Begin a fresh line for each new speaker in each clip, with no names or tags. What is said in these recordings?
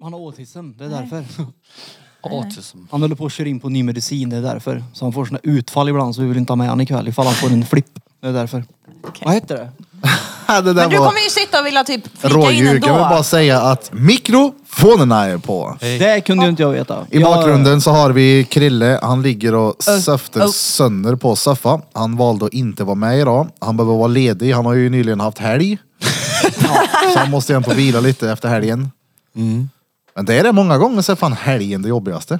Han har autism, det är därför.
Autism.
Han håller på att köra in på ny medicin, det är därför. Så han får såna utfall ibland så vi vill inte ha med han ikväll ifall han får en flipp. Det är därför. Vad heter det?
Äh, det där
Men du
var
kommer ju sitta och vilja typ flika in
rådjur.
ändå.
Kan vi bara säga att mikrofonerna är på.
Det kunde ju inte jag veta.
I
jag,
bakgrunden så har vi Krille. Han ligger och söfter
oh.
sönder på soffa. Han valde att inte vara med idag. Han behöver vara ledig. Han har ju nyligen haft helg. så han måste ju ändå vila lite efter helgen.
Mm.
Men det är det många gånger så är fan helgen det jobbigaste.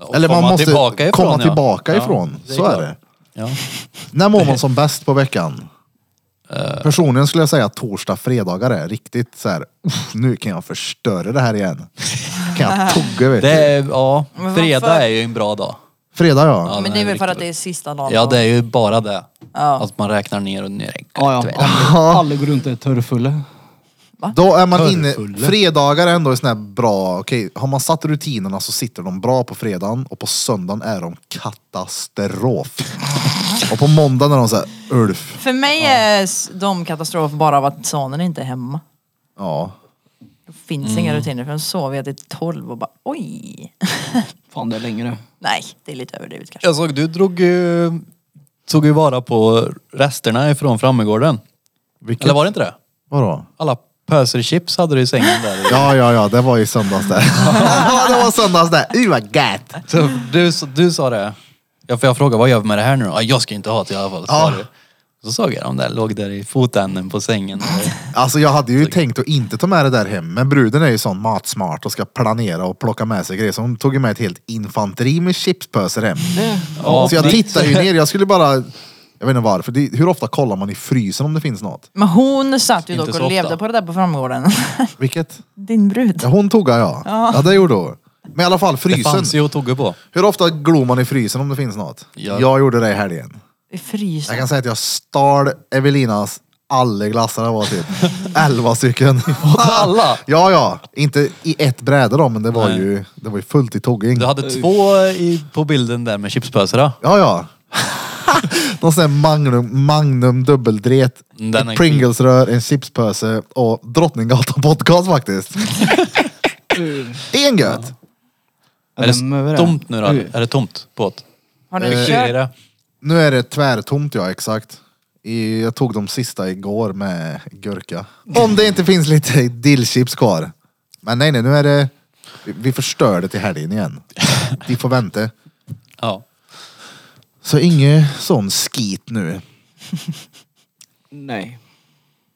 Och komma tillbaka ifrån,
komma
ja.
tillbaka
Ja,
ifrån.
det är
så är
klart.
det.
Ja.
När mår man som bäst på veckan? Personligen skulle jag säga att torsdag, fredagar är riktigt så här. "Uff, Nu kan jag förstöra det här igen. Kan jag tugga vet
Det
du.
är, ja,
Men varför?
fredag är ju en bra dag.
Fredag ja.
Ja,
Men
den
det är väl för
riktigt-
att det är sista dagen.
Ja,
då.
det är ju bara det.
Ja.
Att man räknar ner och ner.
ja, ja. Alla, alla går runt och är törrfulla.
Då är man inne,
Törrfulle.
fredagar är ändå en sån här bra, okej, har man satt rutinerna så sitter de bra på fredagen och på söndagen är de katastrof. och på måndagen är de såhär, Ulf.
För mig är s- de katastrof bara av att sonen inte är hemma.
Ja.
Då finns inga rutiner för den sover jag till tolv och bara oj.
Fan det är längre.
Nej, det är lite överdrivet kanske.
Jag såg du drog ju, tog ju vara på resterna ifrån Frammegården.
Vilket,
Eller var det inte det?
Vadå?
Alla pöser chips hade du i sängen där.
Ja, ja, ja, det var i söndags där. Ja, det var söndags där. Uy vad gött.
Så du, så- du sa det. Ja, för jag frågade vad gör vi med det här nu då? Ja, jag ska inte ha det i alla fall.
Ja.
Ja. Så såg jag dem där, låg där i fotänden på sängen.
Alltså jag hade ju tänkt att inte ta med det där hem, men bruden är ju sån matsmart och ska planera och plocka med sig grejer. Så hon tog ju med ett helt infanteri med chipspöser hem.
Ja,
så jag
men-
tittar ju ner, jag skulle bara... Jag vet inte varför, det, hur ofta kollar man i frysen om det finns något?
Men hon satt ju
Inte
dock
så
och levde
ofta.
på det där på framgården.
Vilket?
Din brud.
Ja, hon tog ja. ja. Ja, det gjorde hon. Men i alla fall
Det
frysen.
fanns ju att tugga på.
Hur ofta glor man i frysen om det finns något?
Ja.
Jag gjorde det i helgen.
I
Jag
frysen.
kan säga att jag stal Evelinas alla glassar det var typ. Elva stycken.
Alla!
Ja, ja. Inte i ett bräde då, men det var,
Nej.
ju, det var ju fullt i togging.
Du hade två i, på bilden där med chipspösarna.
Ja, ja. Någon sån här Magnum, magnum dubbeldret,
Den är
ett Pringles-rör, en chipspöse och Drottninggatan podcast faktiskt. Det är en gött.
Är det tomt nu då? Är det tomt på ett?
Har
Hur
du
är
kört?
det?
Nu är det tvärtomt ja, exakt. I, jag tog de sista igår med gurka. Om det inte finns lite dillchips kvar. Men nej, nej, nu är det... vi- Vi förstör det till helgen igen. De får vänta.
Ja.
Så inget sån skit nu.
Nej.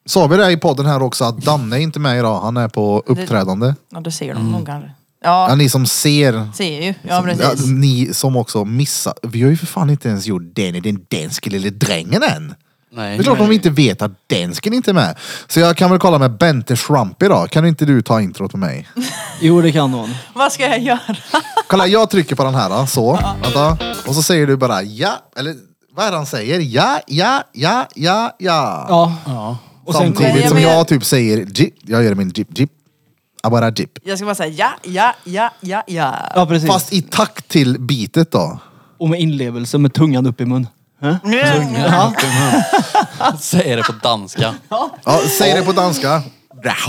Sa vi det i podden här också att Danne är inte med idag. Han är på uppträdande.
Ja, du ser dem nog kanske. Ja,
Ja, ni som ser.
ser ju. Ja,
Ja,
precis.
ni som också missar. Vi har ju för fan inte ens gjort den i den danske lille drängen än.
Nej.
Det är klart de inte vet att dansken inte är med. Så jag kan väl kolla med Bente Schrampi då. Kan inte du ta introt med mig?
Jo det kan hon.
Vad ska jag göra?
Kolla, jag trycker på den här. Så, vänta. Och så säger du bara ja, eller vad är det han säger? Ja, ja, ja, ja, ja.
Ja. Och sen
Samtidigt
kommer-
jag
som
men-
jag typ säger jip. Jag gör min jip, jip. Jag bara jip.
Jag ska bara säga ja, ja, ja, ja, ja.
Ja precis.
Fast i takt till bitet då.
Och med inlevelse med tungan upp i mun. Hä?
Säger det på danska.
Ja, säg det på danska. Det här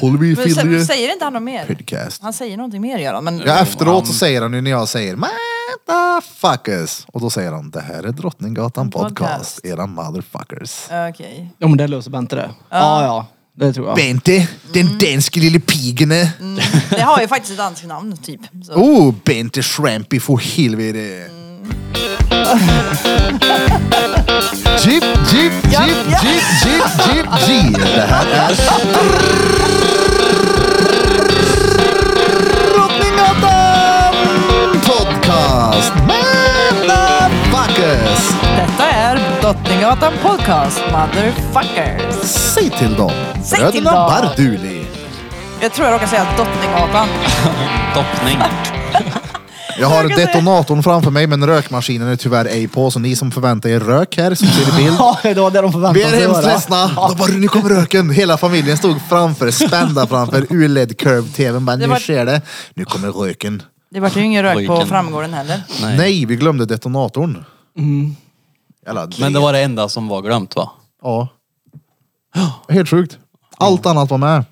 håller vi i
Men sen,
filmen.
säger inte han något mer?
Podcast.
Han säger någonting mer Göran, men
Ja, efteråt så säger han ju när jag säger motherfuckers. Och då säger han det här är Drottninggatan podcast,
Podcast.
era motherfuckers.
okej.
Ja men det löser Bente det. Ja ja. Det tror jag.
Bente, den danske lille pigene.
Det har ju faktiskt ett danskt namn typ. Så.
Oh, Bente Schrampi för helvete. Jip, jip,
Ja,
jip,
ja.
jip, jip, jip, jip. Det här är Drottninggatan podcast. Motherfuckers.
Detta är Drottninggatan Podcast, motherfuckers.
Säg till dem.
Säg till
Bröderna
dem.
Barduli.
Jag tror jag råkar säga Drottninggatan.
Doppning.
Jag har
Jag kan säga-
detonatorn framför mig men rökmaskinen är tyvärr ej på så ni som förväntar er rök här som ser i bild.
Ja det var det de förväntade
Vi är hemskt ledsna. De bara, nu kommer röken. Hela familjen stod framför, spända framför ULED curve tvn bara,
Det
nu
var-
sker det. Nu kommer röken.
Det vart ju ingen rök på
Vilken-
framgården heller.
Nej.
Nej, vi glömde detonatorn.
Mm.
Jävla
Men det var det enda som var glömt va?
Ja. Helt sjukt. Allt annat var med.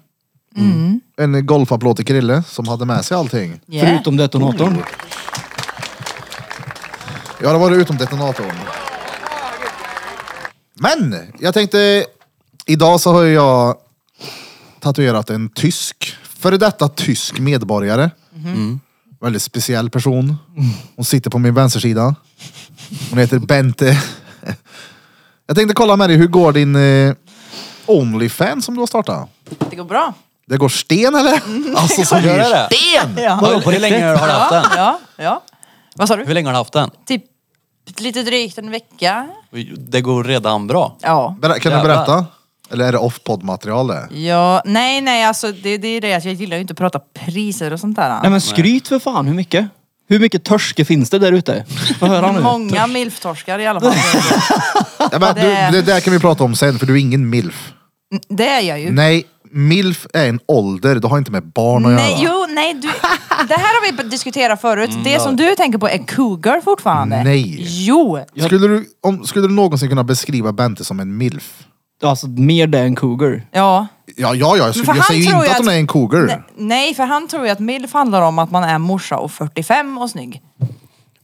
Mm.
En golfapplåd till Krille som hade med sig allting.
Yeah.
Förutom detonatorn.
Ja, det var det utom detonatorn. Men jag tänkte, idag så har ju jag tatuerat en tysk, före detta tysk medborgare. Väldigt speciell person. Hon sitter på min vänstersida. Hon heter Bente. Jag tänkte kolla med dig, hur går din eh, Onlyfans som du har startat?
Det går bra.
Det går sten eller? Alltså som
Mm. Gör det det?
sten!
Ja.
Vadå, Hur länge har du haft den?
Ja, ja, ja. Vad sa du?
Hur länge har du haft den?
Typ lite drygt en vecka.
Det går redan bra.
Ja.
Ber- Kan du
Jävlar.
berätta? Eller är det off-podd material det?
Ja, nej nej alltså det, det är det att jag gillar ju inte att prata priser och sånt där.
Nej men skryt för fan hur mycket. Hur mycket törske finns det där ute? Få höra nu.
Många milftorskar i alla fall.
Ja, men,
det-
Du, det där kan vi prata om sen, för du är ingen milf.
det är jag ju.
Nej, milf är en ålder, det har inte med barn att
Nej,
göra.
jo, nej, du, det här har vi diskuterat förut. det
det
som
har
du tänker på är cougar fortfarande.
Mm, Nej.
Jo.
Skulle du, om, skulle du någonsin kunna beskriva Bente som en milf?
Alltså mer det än cougar.
Ja.
Ja, ja, ja jag,
för
skulle, jag
han
säger ju
tror
inte
jag
att hon
att-
är en cougar.
Ne- Nej, för han tror ju att milf handlar om att man är morsa och 45 och snygg.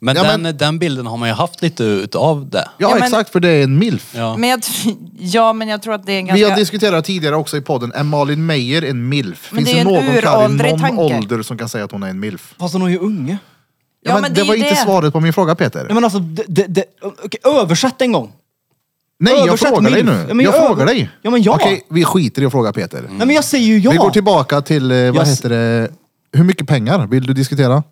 Men,
Ja,
den, den bilden har man ju haft lite utav det.
Ja,
Ja, men-
exakt, för det är en milf.
Ja.
Men jag, t- ja, men jag tror att det är en
Vi
ganska...
har diskuterat tidigare också i podden, är Malin Meyer en milf?
Men
Finns
det är
det
ju
någon
en
karl i
uråldrig
någon
tanke.
ålder som kan säga att hon är en milf?
Fast hon är ju unge.
Ja,
Ja,
men
men
det
det är
var
ju
inte
det.
svaret på min fråga Peter.
Nej men alltså, det, det, det, okej, översätt en gång.
Nej, jag
Översätt
frågar dig
milf.
nu.
Ja, men
jag
jag
frågar
över-
dig.
Ja, men ja.
Okej, vi skiter i att fråga Peter.
Mm.
Nej men jag säger ju ja.
Vi går tillbaka till, eh, vad
Jag s-
heter det, hur mycket pengar vill du diskutera?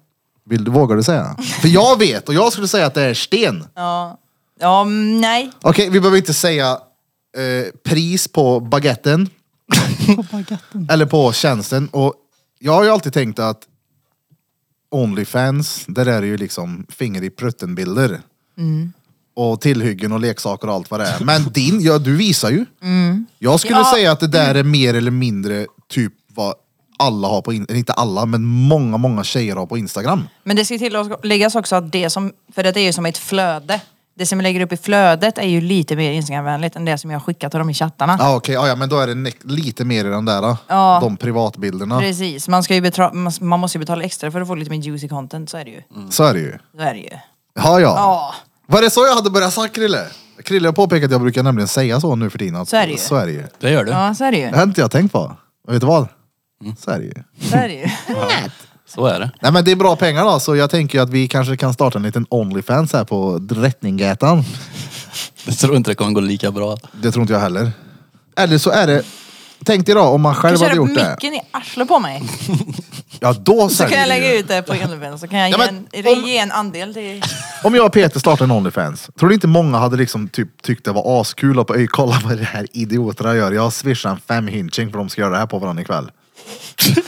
Vill du, vågar du säga? För jag vet och jag skulle säga att det är sten.
Ja, ja mm, nej.
Okej, vi behöver inte säga eh, pris på baguetten eller på tjänsten. Och jag har ju alltid tänkt att Onlyfans, där är det ju liksom finger i prutten-bilder. Och tillhyggen och leksaker och allt vad det är. Men din, ja du visar ju. Jag skulle
Ja.
säga att det där är mer eller mindre typ vad alla har på, in- inte alla, men många, många tjejer har på Instagram.
Men det ska tilläggas också att det som, för det är ju som ett flöde. Det som jag lägger upp i flödet är ju lite mer Instagramvänligt än det som jag skickar till dem i chattarna.
Ja ah, okej, ah, ja men då är det ne- lite mer i den där, ah,
Ja.
de privatbilderna.
Precis, man, ska ju betala, man- man måste ju betala extra för att få lite mer juicy content, så är det ju.
Så är det ju.
Så är det ju.
Ja, ja.
Ja.
Var det så jag hade börjat säga Krille? Krille har påpekat att jag brukar nämligen säga så nu för tiden. Att,
Så är det ju.
Så är det ju.
Det gör du.
Ja, så är det ju.
Det har inte jag tänkt på. Och vet du vad? Så är det ju.
Så är det ju.
Så är det.
Nej men det är bra pengar då, så jag tänker ju att vi kanske kan starta en liten Onlyfans här på Drottninggatan.
Jag tror inte det kommer gå lika bra.
Det tror inte jag heller. Eller så är det, tänk dig då om man
Du
själv
kör
hade gjort
upp
det.
micken i arslet på mig.
Ja då
Så kan
säljer
jag
vi
lägga
ju.
ut det på Elven, så kan jag
Ja,
ge,
men
en,
om-
ge en andel till...
Om jag och Peter startar en Onlyfans, tror du inte många hade liksom typ tyckt det var askul och bara "Ey, kolla vad det här idioterna gör. Jag swishar en femhinching för de ska göra det här på varandra ikväll.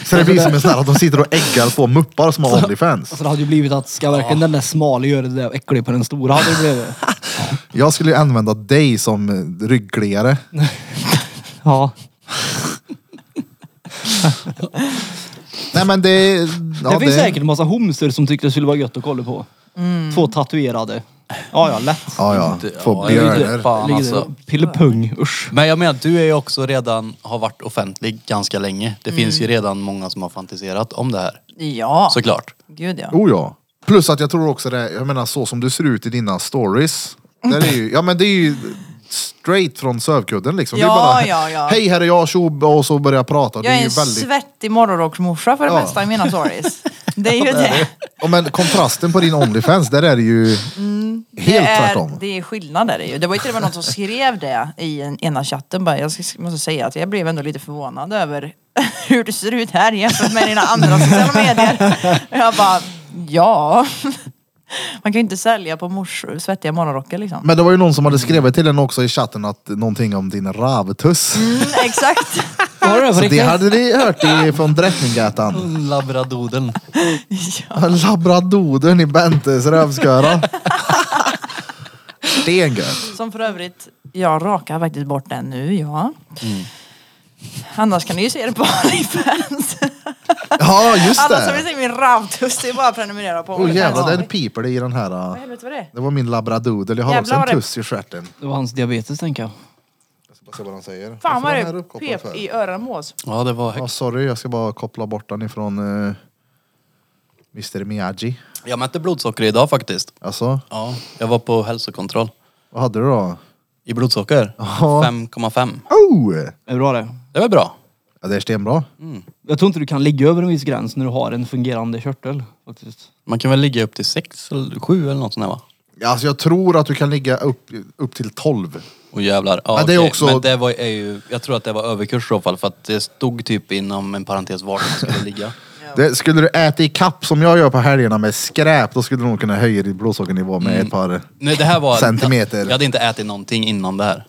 Så det blir som en sån här att de sitter och äggar två muppar som har Onlyfans.
Alltså det hade ju blivit att ska verkligen den där smala göra det där äckliga på den stora hade det blivit.
Jag skulle ju använda dig som eh, ryggkliare.
Ja.
Nej men det... Ja,
det finns säkert en massa homser som tyckte det skulle vara gött att kolla på. Två tatuerade. Ja, ja, lätt.
Ja ja, två
Ja, det är ju
björnar.
Fan
Ligger
alltså.
där. Pillepung, usch.
Men jag menar, du är ju också redan, har varit offentlig ganska länge. Det finns ju redan många som har fantiserat om det här.
Ja,
Såklart.
gud ja.
Oh ja. Plus att jag tror också det, jag menar så som du ser ut i dina stories. Där är ju, ja men det är ju straight från sövkudden liksom. det är
Ja,
bara,
ja, ja.
Hej här är jag tjob och så börjar jag prata. det
Jag
är
är
ju
en
väldigt...
svettig morgonrocksmorsa för det
Ja.
mesta i mina stories. Det är ju det.
Ja, men kontrasten på din Onlyfans, där är det ju
Mm, Det
helt tvärtom.
är, det är skillnad där det ju. Det var ju till och med någon som skrev det i en, ena chatten bara. Jag ska- måste säga att jag blev ändå lite förvånad över hur du ser ut här jämfört med dina andra sociala medier. Och Jag bara, ja. Man kan ju inte sälja på mors svettiga morgonrockar liksom.
Men det var ju någon som hade skrivit till en också i chatten att någonting om din ravtuss.
Mm, exakt.
Var det det på
Så det
riktigt?
hade ni hört i, från Drottninggatan.
Labradoden.
Ja.
Labradodern i Bentes rövsköra. Stengött.
Som för övrigt, jag rakar faktiskt bort den nu, ja.
Mm.
Annars kan ni ju se det på Onlyfans.
Ja, just
Annars har vi
det.
sett min ravtuss, det är bara att prenumerera på
Oh, jävlar, där
Vad
piper det i den här.
i
uh.
helvete var det?
Det var min labradodel. Jag har
Jävlar
också en
vad det-
tuss i stjärten.
Det var hans diabetes tänker jag.
Jag ser vad han säger.
Fan vad
Varför är den
det
här uppkopplad
pep
för?
i öronmås.
Ja, det var
Ja,
högt.
sorry, jag ska bara koppla bort den ifrån eh, Mr Miyagi.
Jag mätte blodsocker idag faktiskt.
Alltså,
Ja, jag var på hälsokontroll.
vad hade du då?
I blodsocker?
Ja.
5,5.
Oh!
Det är bra det.
Det var bra.
Ja, det är stenbra.
Jag tror inte du kan ligga över en viss gräns när du har en fungerande körtel. Faktiskt.
Man kan väl ligga upp till 6 eller 7 eller något sånt där va?
Ja, Alltså, jag tror att du kan ligga upp, upp till 12.
Och jävlar. Ja,
Men det är
okej.
också-
Men det var, är ju, jag tror att det var överkurs i så fall för att det stod typ inom en parentes vart man skulle ligga.
Det, skulle du äta i kapp som jag gör på helgerna med skräp, då skulle du nog kunna höja ditt blodsockernivå med
Mm.
ett par...
Nej, det här var...
Centimeter.
Jag, jag hade inte ätit någonting innan det här.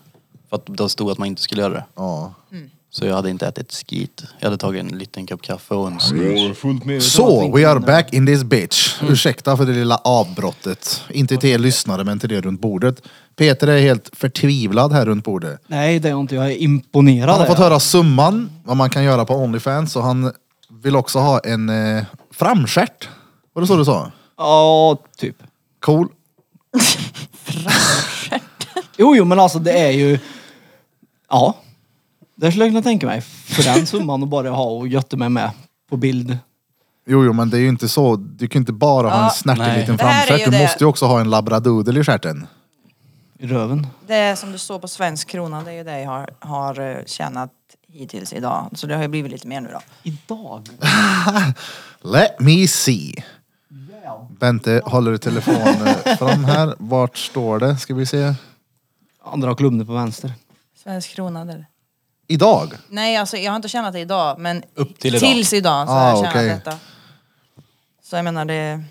För att det stod att man inte skulle göra det.
Ja.
Så jag hade inte ätit skit. Jag hade tagit en liten kopp kaffe och en
Så, we are back in this bitch.
Mm.
Ursäkta för det lilla avbrottet. Inte till er lyssnare, men till er runt bordet. Peter är helt förtvivlad här runt bordet.
Nej, det är jag inte. Jag är imponerad.
Han har fått
är jag.
höra summan, vad man kan göra på Onlyfans och han vill också ha en eh, framstjärt. Var det så du sa?
Ja, typ.
Cool.
Jo, jo, men alltså det är ju... Ja. Det skulle jag kunna tänka mig. För den summan att bara ha och götta mig med på bild.
Jo, jo, men det är ju inte så. Du kan ju inte bara ha en
Ja,
snärtig
nej.
liten
Det här är
framstjärt.
ju
Du
det.
måste ju också ha en labradoodle i stjärten.
I röven.
Det är som det står på svensk krona, det är ju det jag har, har eh, tjänat hittills idag. Så det har ju blivit lite mer nu då.
Idag?
Let me see. Bente håller telefonen eh, fram här. Vart står det? Ska vi se.
Andra kolumner på vänster.
Svensk krona eller?
Idag?
Nej, alltså jag har inte tjänat det idag, men
Upp till idag.
tills idag så
Ah,
har jag tjänat
okej.
detta. Så jag menar det...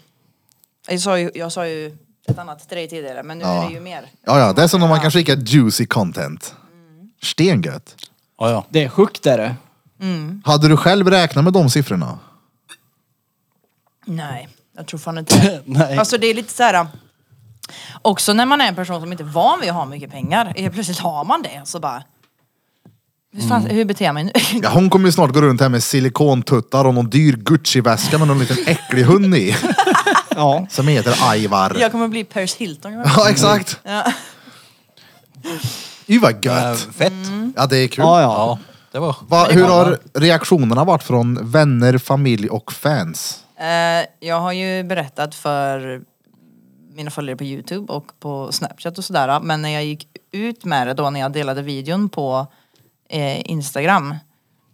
Jag sa ju, jag sa ju ett annat till dig tidigare, men nu är det ju mer.
Ja, ja, det är som när man kan skicka juicy content. Stengött.
Ja, ja.
Det är sjukt är det.
Hade du själv räknat med de siffrorna?
Nej, jag tror fan inte det.
Nej.
Alltså det är lite så här. Också när man är en person som inte är van vid att ha mycket pengar, helt plötsligt har man det så bara... Hur, fan,
Mm.
hur beter jag mig nu?
Ja, hon kommer ju snart gå runt här med silikontuttar och någon dyr Gucci-väska med någon liten äcklig hund i.
Ja.
Som heter Ivar.
jag kommer bli Paris Hilton.
Ja, exakt.
Ja.
Ju vad
Äh,
gött.
fett.
Mm.
Ja, det är kul.
Ja, ja.
Ja, det var...
mm. Va, hur har reaktionerna varit från vänner, familj och fans?
Eh, jag har ju berättat för mina följare på Youtube och på Snapchat och sådär. Men när jag gick ut med det då när jag delade videon på eh, Instagram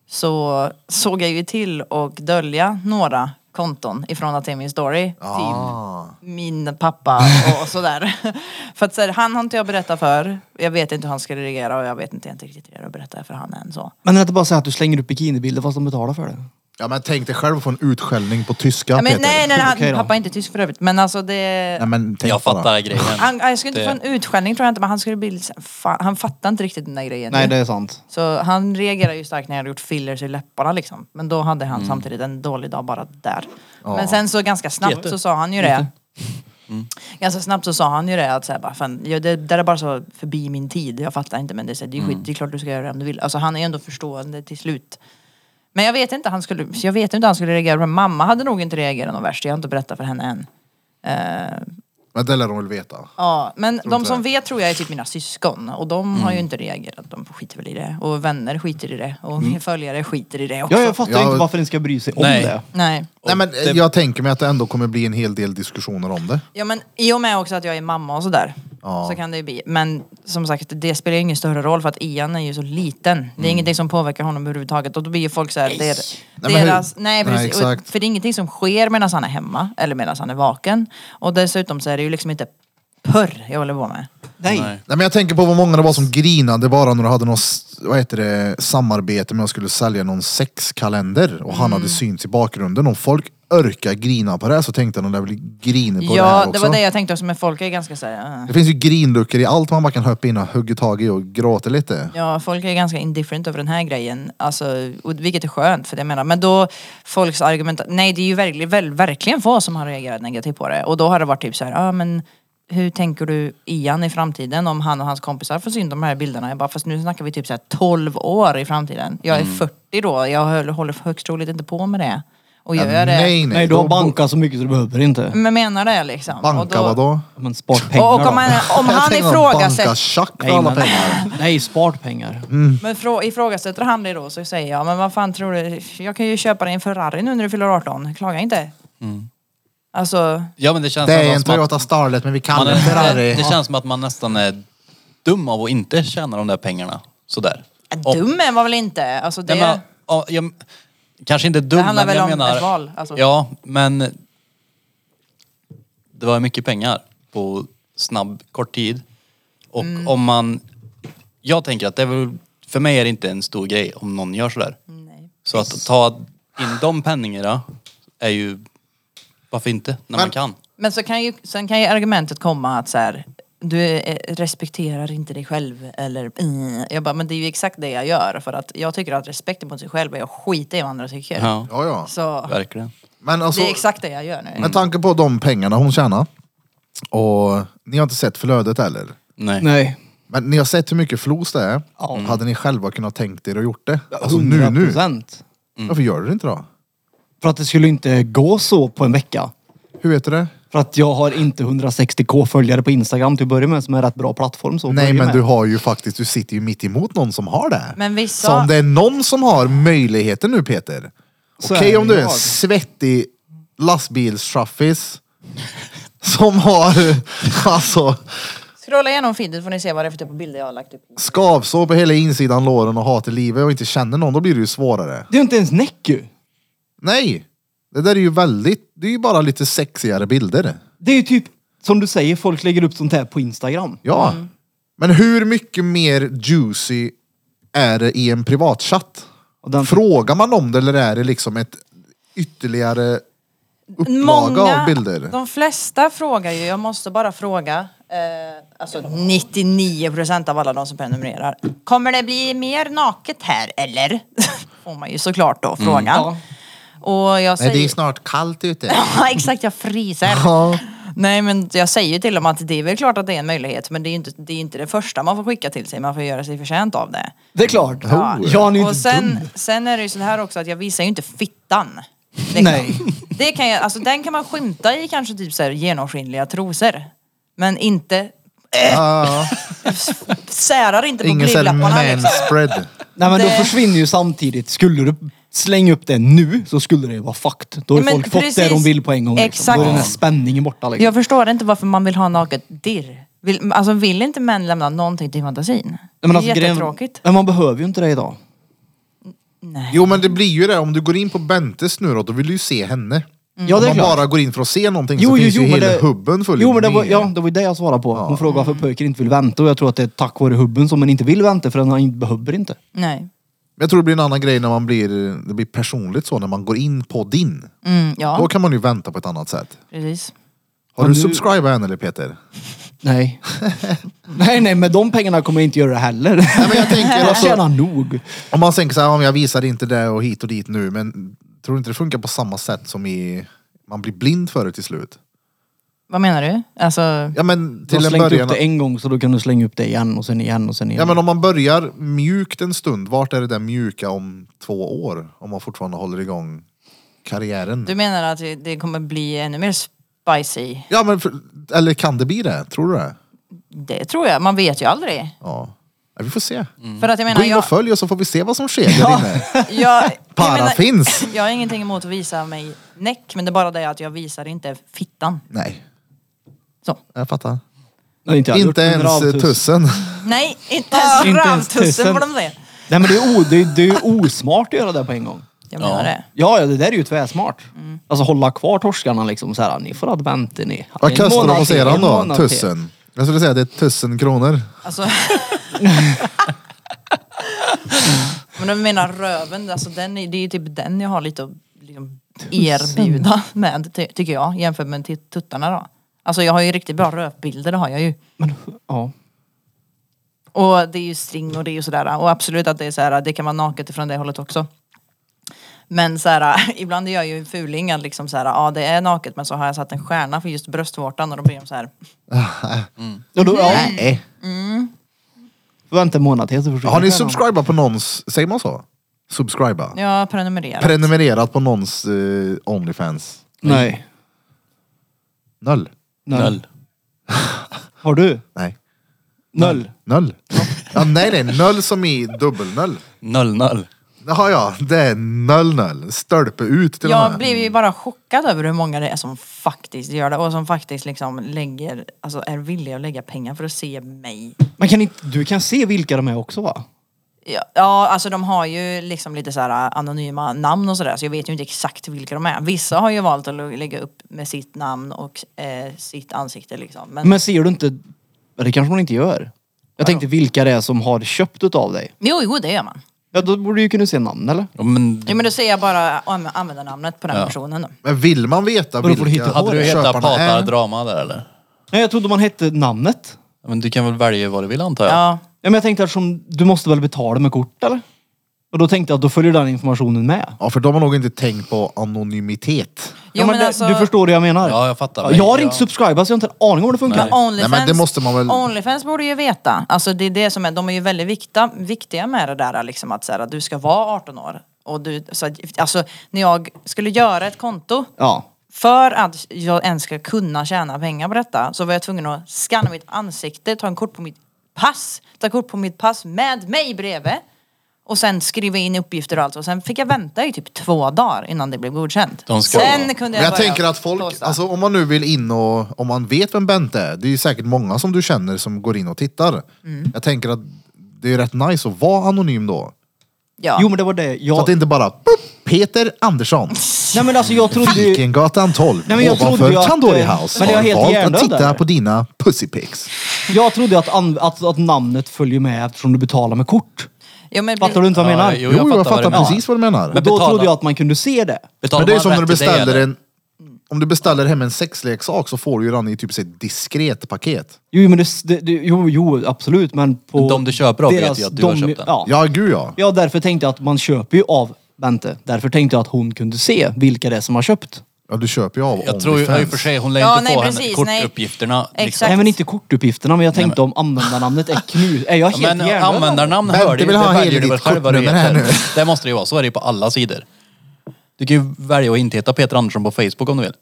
så såg jag ju till och dölja några konton ifrån att det är min story.
Ah.
Typ min pappa och sådär. för att så här, han har inte jag berättat för. Jag vet inte hur han ska reagera och jag vet inte egentligen riktigt hur jag berättar för han än så.
Men är det inte bara så att du slänger upp bikinibilder fast de betalar för det?
Ja, men tänk dig själv att få en utskällning på tyska,
Ja, men,
Peter.
nej, nej, nej,
Okej
han,
då.
pappa är inte tysk för övrigt. Men alltså det...
Nej, men tänk
Jag
bara.
fattar grejen.
Han, jag skulle inte
Det-
få en utskällning tror jag inte, men han skulle bli lite så här, fan, Han fattar inte riktigt den där grejen.
Nej, det är sant.
Så han reagerar ju starkt när jag hade gjort fillers i läpparna liksom. Men då hade han
Mm.
samtidigt en dålig dag bara där. Men sen så ganska snabbt
Lite.
så sa han ju det. Mm. Ganska snabbt så sa han ju det att så här, bara, fan, ja, det där är bara så förbi min tid, jag fattar inte men det är, så här, det är
Mm.
skit, det är klart du ska göra det om du vill. Alltså han är ju ändå förstående till slut. Men jag vet inte, han skulle, jag vet inte hur han skulle reagera, men mamma hade nog inte reagerat något värst, jag har inte berättat för henne än. Eh,
Men det lär de väl veta.
Ja, men de
inte
som
det. Mm.
vet tror jag är typ mina syskon och de har ju inte reagerat. De skiter väl i det. Och vänner skiter i det. Och min följare skiter i det också.
Ja, jag fattar
Mm. Ja.
inte varför ni ska bry sig om
Nej.
det.
Nej.
Nej, men eh, Jag tänker mig att det ändå kommer bli en hel del diskussioner om det.
Ja, men i och med också att jag är mamma och sådär.
Ja.
Så kan det ju bli. Men som sagt, det spelar ju ingen större roll för att Ian är ju så liten. Det är
Mm.
ingenting som påverkar honom överhuvudtaget. Och då blir ju folk såhär, det är
Nej, men
deras...
hur-
Nej,
Nej,
precis. Och-
exakt.
för det är ingenting som sker medan han är hemma. Eller medan han är vaken. Och dessutom så är det ju liksom inte purr jag håller på med.
Nej.
Nej.
Nej, men jag tänker på vad många det var som grinade bara när du hade något vad heter det, samarbete med att skulle sälja någon sexkalender och han
Mm.
hade synts i bakgrunden. Om folk örkar grina på det här så tänkte de det blir griner på det här
ja, det,
också.
var det jag tänkte också. Men folk är ganska såhär... "Ah."
Det finns ju grinluckor i allt man bara kan hoppa in och hugga tag i och gråta lite.
Ja, folk är ganska indifferent över den här grejen. Alltså, och vilket är skönt för det jag menar. Men då, folks argument, nej det är ju verkligen, väl, verkligen få som har reagerat negativt på det. Och då har det varit typ så här, ja ah, men hur tänker du Ian i framtiden om han och hans kompisar får syn de här bilderna? Jag bara, fast nu snackar vi typ så
Mm.
här 12 år i framtiden. Jag är 40 då, jag höll- håller högst troligt inte på med det. Och gör jag det...
nej, nej.
Nej, du
då
har
bo-
bankat så mycket så du behöver inte.
Men menar det liksom. och
Banka
då,
vadå?
Men spart pengar
Mm. Och, och om, man,
då.
om
Jag
han
tänkte bara Banka
ifrågasätter,
tjack för
Nej,
alla
men-
pengar.
Nej, spart pengar.
Mm.
men frå, ifrågasätter han det då så säger jag, men vad fan tror du, jag kan ju köpa dig en Ferrari nu när du fyller 18, klaga inte. Alltså,
Ja men det känns
Det är
nästan
en
som att
Toyota Starlet men vi
alltså, man
kallar den
är, det,
Ferrari.
det känns som att man nästan är dum av att inte tjäna de där pengarna. Sådär.
äh, dum är man väl inte? Alltså det,
Nej, men, ja, jag, kanske inte dum,
det handlar
men
väl
jag
om
menar...
ett val. Alltså.
Ja, men det var mycket pengar på snabb, kort tid. Och
Mm.
om man... Jag tänker att det är väl, för mig är det inte en stor grej om någon gör sådär.
Nej.
Så att ta in de pengarna är ju... Varför inte? När man
Men-
kan.
Men så kan ju, sen kan ju argumentet komma att så här, du eh, respekterar inte dig själv eller mm. Jag bara, men det är ju exakt det jag gör för att jag tycker att respekten mot sig själv är att skita i vad andra tycker.
Ja,
Ja, ja.
Så
verkligen.
Men alltså,
det är exakt det jag gör nu.
med tanke på de pengarna hon tjänar. Och ni har inte sett flödet heller.
Nej.
Nej.
Men ni har sett hur mycket flos det är.
Ja. Mm.
Hade ni själva kunnat tänkt er och gjort det? Alltså nu, nu.
100%.
Varför gör du det inte då?
För att det skulle inte gå så på en vecka.
Hur heter det?
För att jag har inte 160k följare på Instagram till att börja med som är en rätt bra plattform. Så att
Nej
börja
men
med.
du har ju faktiskt, du sitter ju mitt emot någon som har det.
Men vissa-
Så om det är någon som har möjligheten nu Peter.
Så
Okej
är det
om du är en
jag.
svettig lastbilstraffis. Som har alltså
Scrolla igenom feedet får ni se vad det är för typ av bilder jag har lagt upp.
skavsår på hela insidan låren och hatar livet och inte känner någon, då blir det ju svårare.
Det är ju inte ens näck ju.
Nej! Det där är ju väldigt, det är ju bara lite sexigare bilder.
Det är ju typ som du säger, folk lägger upp sånt här på Instagram.
Ja. Men hur mycket mer juicy är det i en privatchatt?
Och den-
Frågar man om det eller är det liksom ett ytterligare upplaga av bilder?
de flesta frågar ju, jag måste bara fråga. Eh, alltså 99% av alla de som prenumererar. Kommer det bli mer naket här eller? Får man ju såklart
Mm.
då frågan. Och jag säger...
snart kallt ute.
Ja exakt, jag fryser.
Ja.
Nej men jag säger ju till dem att det är väl klart att det är en möjlighet men det är ju inte det, är inte det första man får skicka till sig, man får göra sig förtjänt av det.
Det är klart.
Ja.
Oh.
Jan är ju
och
inte dum.
sen, sen är det ju så här också att jag visar ju inte fittan. Liksom.
Nej.
Det kan jag, alltså den kan man skymta i kanske typ så här genomskinliga trosor. Men inte, eh,
Ah.
Ja,
särar inte på
ingen sån
blygdlapparna liksom.
manspread.
Nej men då
det-
försvinner ju samtidigt. Skulle du slänga upp det nu så skulle det ju vara fucked. Då har ju
Men
folk
precis.
fått det de vill på en gång. Liksom.
Exakt.
Då är den här spänningen borta liksom.
Jag förstår inte varför man vill ha naket dirr. Vill, alltså vill inte män lämna någonting till fantasin?
Nej, men alltså,
det är
grejen-
jättetråkigt.
Men man behöver ju inte det idag.
Nej.
Jo men det blir ju det, om du går in på Bentes nu då, då vill du ju se henne.
Ja
Om
det är
man
klart.
bara går in för att se någonting
Jo,
så
jo,
finns
jo,
ju
men
hela
det,
hubben full
jo, men det var,
med.
ja, det var ju det jag svarade på. Hon frågade varför pojkar inte vill vänta och jag tror att det är tack vare hubben som man inte vill vänta för han inte behöver inte.
Nej.
Men Jag tror det blir en annan grej när man blir, det blir personligt så, när man går in på din.
Mm,
Då
ja,
kan man ju vänta på ett annat sätt.
precis.
Har
Men
du
nu-
subscribat än eller Peter?
Nej. nej, nej, med de pengarna kommer jag inte göra det heller. Nej,
men jag tänker alltså-
tjänar nog.
Om man tänker så här, om jag visar inte det och hit och dit nu, men tror du inte det funkar på samma sätt som i, man blir blind för det till slut?
Vad menar du? Alltså,
Ja men
Du har
till en
slängt
början.
upp det en gång så då kan du slänga upp det igen och sen igen och sen igen.
Ja men om man börjar mjukt en stund, vart är det där mjuka om två år? Om man fortfarande håller igång karriären.
du menar att det- det kommer bli ännu mer spicy?
Ja men, för, eller kan det bli det? Tror du det?
Det tror jag, man vet ju aldrig.
Mm.
Ja. ja vi får se.
För att jag menar,
Gå in
jag,
och följ oss så får vi se vad som sker där inne.
jag, jag,
Para
menar
finns.
jag har ingenting emot att visa mig näck men det är bara det att jag visar inte fittan.
Nej,
Så.
jag fattar.
Nej, inte jag.
Inte
Jag har gjort
ens
hundra
eh,
avtus.
tussen.
Nej, inte ens
Inte ens
rövtussen
tusen.
får de det.
Nej men det är, o, det, är, det är osmart att göra det på en gång.
Jag menar
Ja.
det.
Ja, ja, det där är ju tvärsmart.
Mm.
Alltså hålla kvar torskarna liksom så här. Ni får advänta ni.
Vad
En
kostar de
månad
hos
till,
er
en
då?
månad till.
Tusen? Jag skulle säga att det är tusen kronor.
Alltså, men du menar röven, alltså den, är- det är ju typ den jag har lite att liksom, erbjuda med ty, tycker jag jämfört med t- tuttarna då. Alltså jag har ju riktigt bra rövbilder, det har jag ju.
Men, ja.
Och det är ju string och det är ju sådär. Och absolut att det är såhär, det kan vara naket ifrån det hållet också. Men såhär, ibland är jag ju en fuling att liksom såhär, ja det är naket men så har jag satt en stjärna för just bröstvårtan och då blir de såhär,
Ja, då, ja. Mm.
Nej.
Vänta en månad till så försvinner
Har ni
stjärnan.
subscribat på någons, säger man så? subscriba.
Ja, prenumerera.
Prenumererat på någons eh, Onlyfans.
Nej.
Noll.
Noll.
Noll.
Har du?
Nej.
Noll.
Noll. Ja, nej, nej. Noll som i dubbelnoll.
Noll, noll.
Jaha, ja. Det är noll, noll. Stölpe ut till och
Jag
med. Mm.
blev ju bara chockad över hur många det är som faktiskt gör det och som faktiskt liksom lägger, alltså är villiga att lägga pengar för att se mig.
Man kan inte, du kan se vilka de är också va?
Ja, ja alltså de har ju liksom lite så här anonyma namn och sådär så jag vet ju inte exakt vilka de är. Vissa har ju valt att lägga upp med sitt namn och eh, sitt ansikte liksom. Men,
Men ser du inte... ja, Det kanske man inte gör. Jag tänkte vilka det är som har köpt utav dig.
jo, jo, det gör man.
Ja, då borde du ju kunna se namn eller?
Ja, men
Ja, men då säger jag bara an- användarnamnet på den personen då.
Men vill man veta
Vadå, får du
vilka
hitta-
hade du hetat
köparna
Patar
är?
Drama där eller?
Nej, jag trodde man hette namnet.
Ja, Men du kan väl välja vad du vill antar jag?
Ja.
Ja, men jag tänkte eftersom du måste väl betala med kort eller? Och då tänkte jag att då följer den informationen med.
Ja, för de har nog inte tänkt på anonymitet.
ja, men det,
alltså,
Du förstår det jag menar.
Ja, jag fattar.
Ja,
Men
Jag har
jag-
inte subscribat så jag har inte en aning om hur det funkar.
Men Onlyfans,
Nej, men det måste man väl-
Onlyfans borde ju veta. Alltså det är det som är, de är ju väldigt vikta, viktiga med det där liksom att, så här, att du ska vara 18 år. Och du, så att, alltså när jag skulle göra ett konto
Ja.
för att jag ens ska kunna tjäna pengar på detta så var jag tvungen att skanna mitt ansikte, ta en kort på mitt pass, ta kort på mitt pass med mig bredvid och sen skriva in uppgifter och allt och sen fick jag vänta i typ två dagar innan det blev godkänt.
De ska-
sen kunde
Men
jag,
jag
börja
tänker att folk,
posta.
alltså om man nu vill in och, om man vet vem Bente är, det är ju säkert många som du känner som går in och tittar.
Mm.
Jag tänker att det är rätt nice att vara anonym då.
ja.
Jo men det var det.
Så
Jag,
att det inte bara "Pop, Peter Andersson,
Nej men alltså jag trodde ju...
Vikengatan 12,
Nej, men jag trodde
ovanför
ju att,
Tandoori
eh,
House.
men det var helt
har valt
hjärndöd
att titta
där.
på dina pussypics.
Jag trodde att, an- att, att namnet följer med eftersom du betalar med kort.
Ja, men-
Fattar du inte vad jag
Ja,
menar?
jo.
Jo, jag
fattar vad
fattar
du menar.
precis vad du menar.
Men
Men
då
betala-
trodde jag att man kunde se det.
Betalar
Men det är
man
som när du
rätt till det,
beställer
eller?
en... Om du beställer hem en sexleksak så får du ju den i typ ett diskret paket.
Jo men det, det, det, jo, jo absolut men på...
Men de du köper av vet ju att du har köpt den.
Ja.
Ja, gud ja.
ja därför tänkte jag att man köper ju av Bente. Därför tänkte jag att hon kunde se vilka det är som har köpt.
ja du köper ju av
Jag tror ju ja, i och för sig hon lär
Ja,
inte
nej,
få henne
precis, nej.
kortuppgifterna. liksom.
Exakt.
Nej men inte kortuppgifterna men jag tänkte om användarnamnet är knut... Är jag helt
Men
hjärndöd?
användarnamn
Bente
hör du ju,
vill ha
det väljer
hela
du väl
ditt
själv vad du
kortnummer här
heter.
nu.
Det måste det ju vara, så är det ju på alla sidor. Du kan ju välja att inte heta Peter Andersson på Facebook om du vill.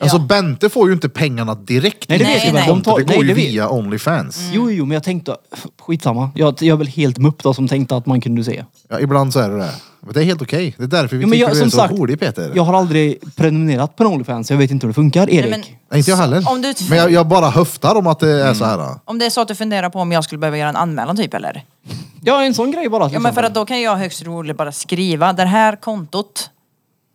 Alltså
Ja.
Bente får ju inte pengarna direkt.
Nej det
Nej,
vet jag väl.
nej.
De tar...
det går
Nej, det
ju
vet...
via Onlyfans.
Mm.
Jo jo men jag tänkte... Skitsamma. Jag, jag är väl helt mupp då som tänkte att man kunde se.
Ja, ibland så är det det. Men det är helt okej. Det är därför vi
Ja, men
tycker
jag,
du är
som
så
sagt,
rolig Peter.
jag har aldrig prenumererat på en Onlyfans. Jag vet inte hur det funkar, Erik.
men-
Nej, inte jag heller.
Om du-
Men jag, jag bara höftar om att det är så
Mm.
här. då.
Om det är så att du funderar på om jag skulle behöva göra en anmälan typ eller?
Ja, en sån grej bara. till
Ja men för
exempel.
att då kan jag högst roligt bara skriva det här kontot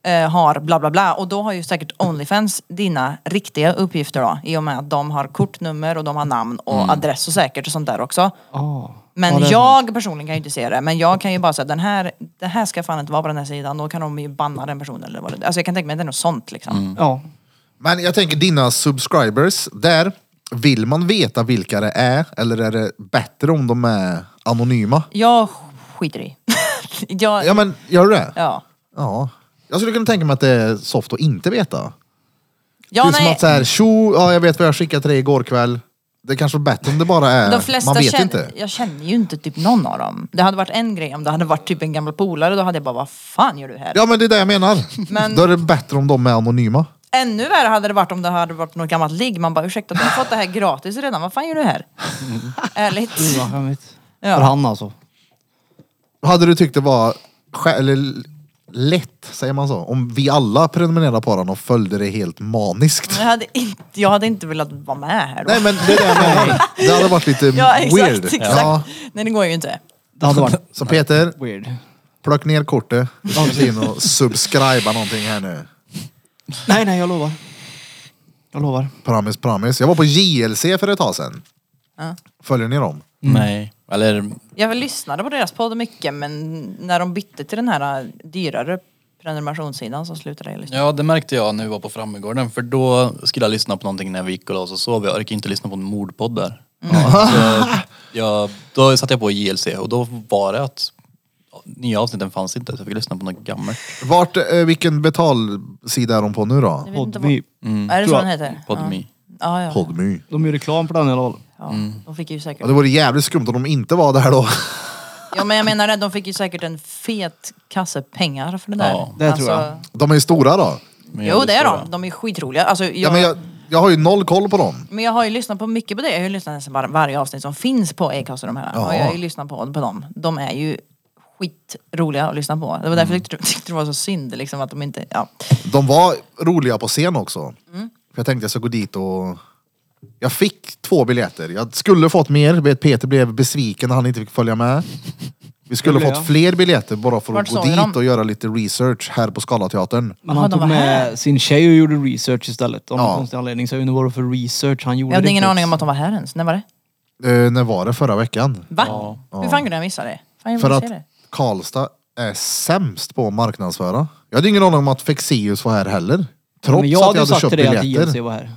eh, har bla bla bla och då har ju säkert Onlyfans dina riktiga uppgifter då i och med att de har kortnummer och de har namn och
Mm.
adress och säkert och sånt där också.
Ah. Ja,
Men
det är sant.
jag personligen kan ju inte se det men jag kan ju bara säga den här, det här ska fan inte vara på den här sidan då kan de ju banna den personen eller vad det Alltså jag kan tänka mig att det är något sånt liksom.
Mm.
Ja.
Men jag tänker dina subscribers där. Vill man veta vilka det är eller är det bättre om de är anonyma?
Jag skiter i. jag,
Ja men gör du det?
ja.
Ja. Jag skulle kunna tänka mig att det är soft att inte veta.
Ja,
det är som att såhär, tjo, ja, jag vet vad jag skickade till dig igår kväll. Det kanske är bättre om det bara är,
De flesta
Eh, man vet
känner,
inte.
Jag känner ju inte typ någon av dem. Det hade varit en grej om det hade varit typ en gammal polare. Då hade jag bara, vad fan gör du här?
Ja men det är det jag menar.
Men-
Då är det bättre om de är anonyma.
Ännu värre hade det varit om det hade varit något gammalt ligg. Man bara, ursäkta du har fått det här gratis redan. Vad fan gör du här? Ärligt.
Gud, vad skämmigt.
Ja.
För han alltså.
Hade du tyckt det var skä- eller l- lätt, säger man så, om vi alla prenumererade på den och följde det helt maniskt?
Jag hade, inte, jag hade inte velat vara med här då.
Nej men det är det jag menar. Det hade varit lite
ja exakt,
weird.
exakt.
Ja.
Nej det går ju inte.
Det hade varit
Så Peter,
weird.
plock ner kortet. Du ska inte in och subscriba någonting här nu.
Nej, nej, jag lovar. Jag lovar.
Promise, promise. Jag var på JLC för ett tag sedan.
Ja.
Följer ni dem?
Nej. Eller,
Jag lyssnade på deras podd mycket men när de bytte till den här äh, dyrare prenumerationssidan så slutade jag lyssna.
ja det märkte jag när vi var på Frammegården för då skulle jag lyssna på någonting när vi gick och la oss och sov. Jag orkade inte lyssna på en mordpodd där.
Mm.
Så jag, då satte jag på JLC och då var det att nya avsnitten fanns inte så jag fick lyssna på något gammalt.
Vart, eh, vilken betalsida är de på nu då?
Jag vet inte
Podme. mm.
vad- Är det så
Tror
den
jag.
heter?
Podme.
Ja, ja. ja.
Podmy.
De gör reklam för den i alla fall.
ja. De fick ju säkert
Ja, det vore jävligt skumt om de inte var där då.
Ja men jag menar att de fick ju säkert en fet kasse pengar för det där. Alltså,
Ja,
det tror jag.
De är ju stora då.
Men
Jo det är
tror jag.
de, de är skitroliga. Alltså, jag,
Ja, men jag, jag har ju noll koll på dem.
Men jag har ju lyssnat på mycket på det. Jag har ju lyssnat nästan bara varje avsnitt som finns på Acast och de här.
Ja.
Och jag har ju lyssnat på, på dem. De är ju skitroliga att lyssna på. Det var därför jag tyckte, tyckte det var så synd liksom att de inte, ja.
De var roliga på scen också.
Mm.
För jag tänkte jag ska gå dit och... Jag fick två biljetter. Jag skulle fått mer, vet Peter blev besviken när han inte fick följa med. Vi skulle
Det blev
fått
jag.
fler biljetter bara för
Vart
att gå
såg ni
dit
dem?
och göra lite research här på Scalateatern.
Men
Jaha,
han
de
tog
var här.
med sin tjej och gjorde research istället. Av någon
Ja.
konstig anledning. Så jag undrar vad det var för research han gjorde.
Jag hade ingen
riktigt.
aning om att de var här ens. När var det?
Eh, när var det? Förra veckan?
Va?
Ja.
Hur fan kunde jag missa det? Fan, jag
För
vill
att
se det.
Karlstad är sämst på att marknadsföra. Jag hade ingen aning om att Fexeus var här heller. Trots
Men jag
att
hade
jag hade
sagt
köpt
till dig att ILC
biljetter.
var här.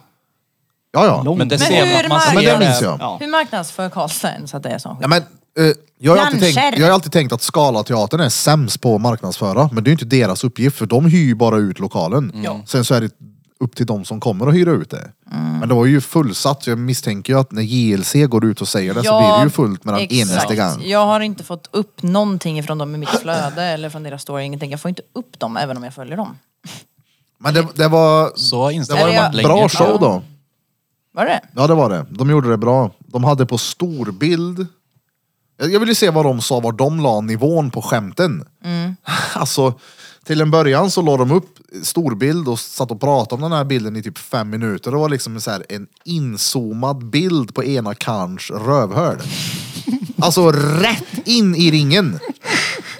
Ja, ja.
Långt.
Men det
Men
ser
hur
man. man
mark-
ser
Men det minns jag.
Ja.
Hur marknadsför Karlstad ens att det är sån skit?
Ja, men, eh, jag, har ju alltid
Planscher.
tänkt, jag har ju alltid tänkt att Scalateatern är sämst på att marknadsföra, men det är ju inte deras uppgift för de hyr ju bara ut lokalen. Sen så är det upp till de som kommer att hyra ut det.
Mm.
Men det var ju fullsatt, så jag misstänker ju att när JLC går ut och säger det så blir det ju fullt med den
exakt.
enaste gång.
Jag har inte fått upp någonting ifrån dem i mitt flöde eller från deras story. Ingenting. Jag får inte upp dem även om jag följer dem.
Men det, det var,
Så har
det var
Instagram
Eller jag-
varit
en
länge.
bra show då.
Var det
Ja det var det, de gjorde det bra. De hade på storbild, jag jag ville se vad de sa, var de la nivån på skämten. Alltså, till en början så la de upp storbild och satt och pratade om den här bilden i typ fem minuter. Det var liksom så här en inzoomad bild på ena karns rövhörd. Alltså rätt in i ringen.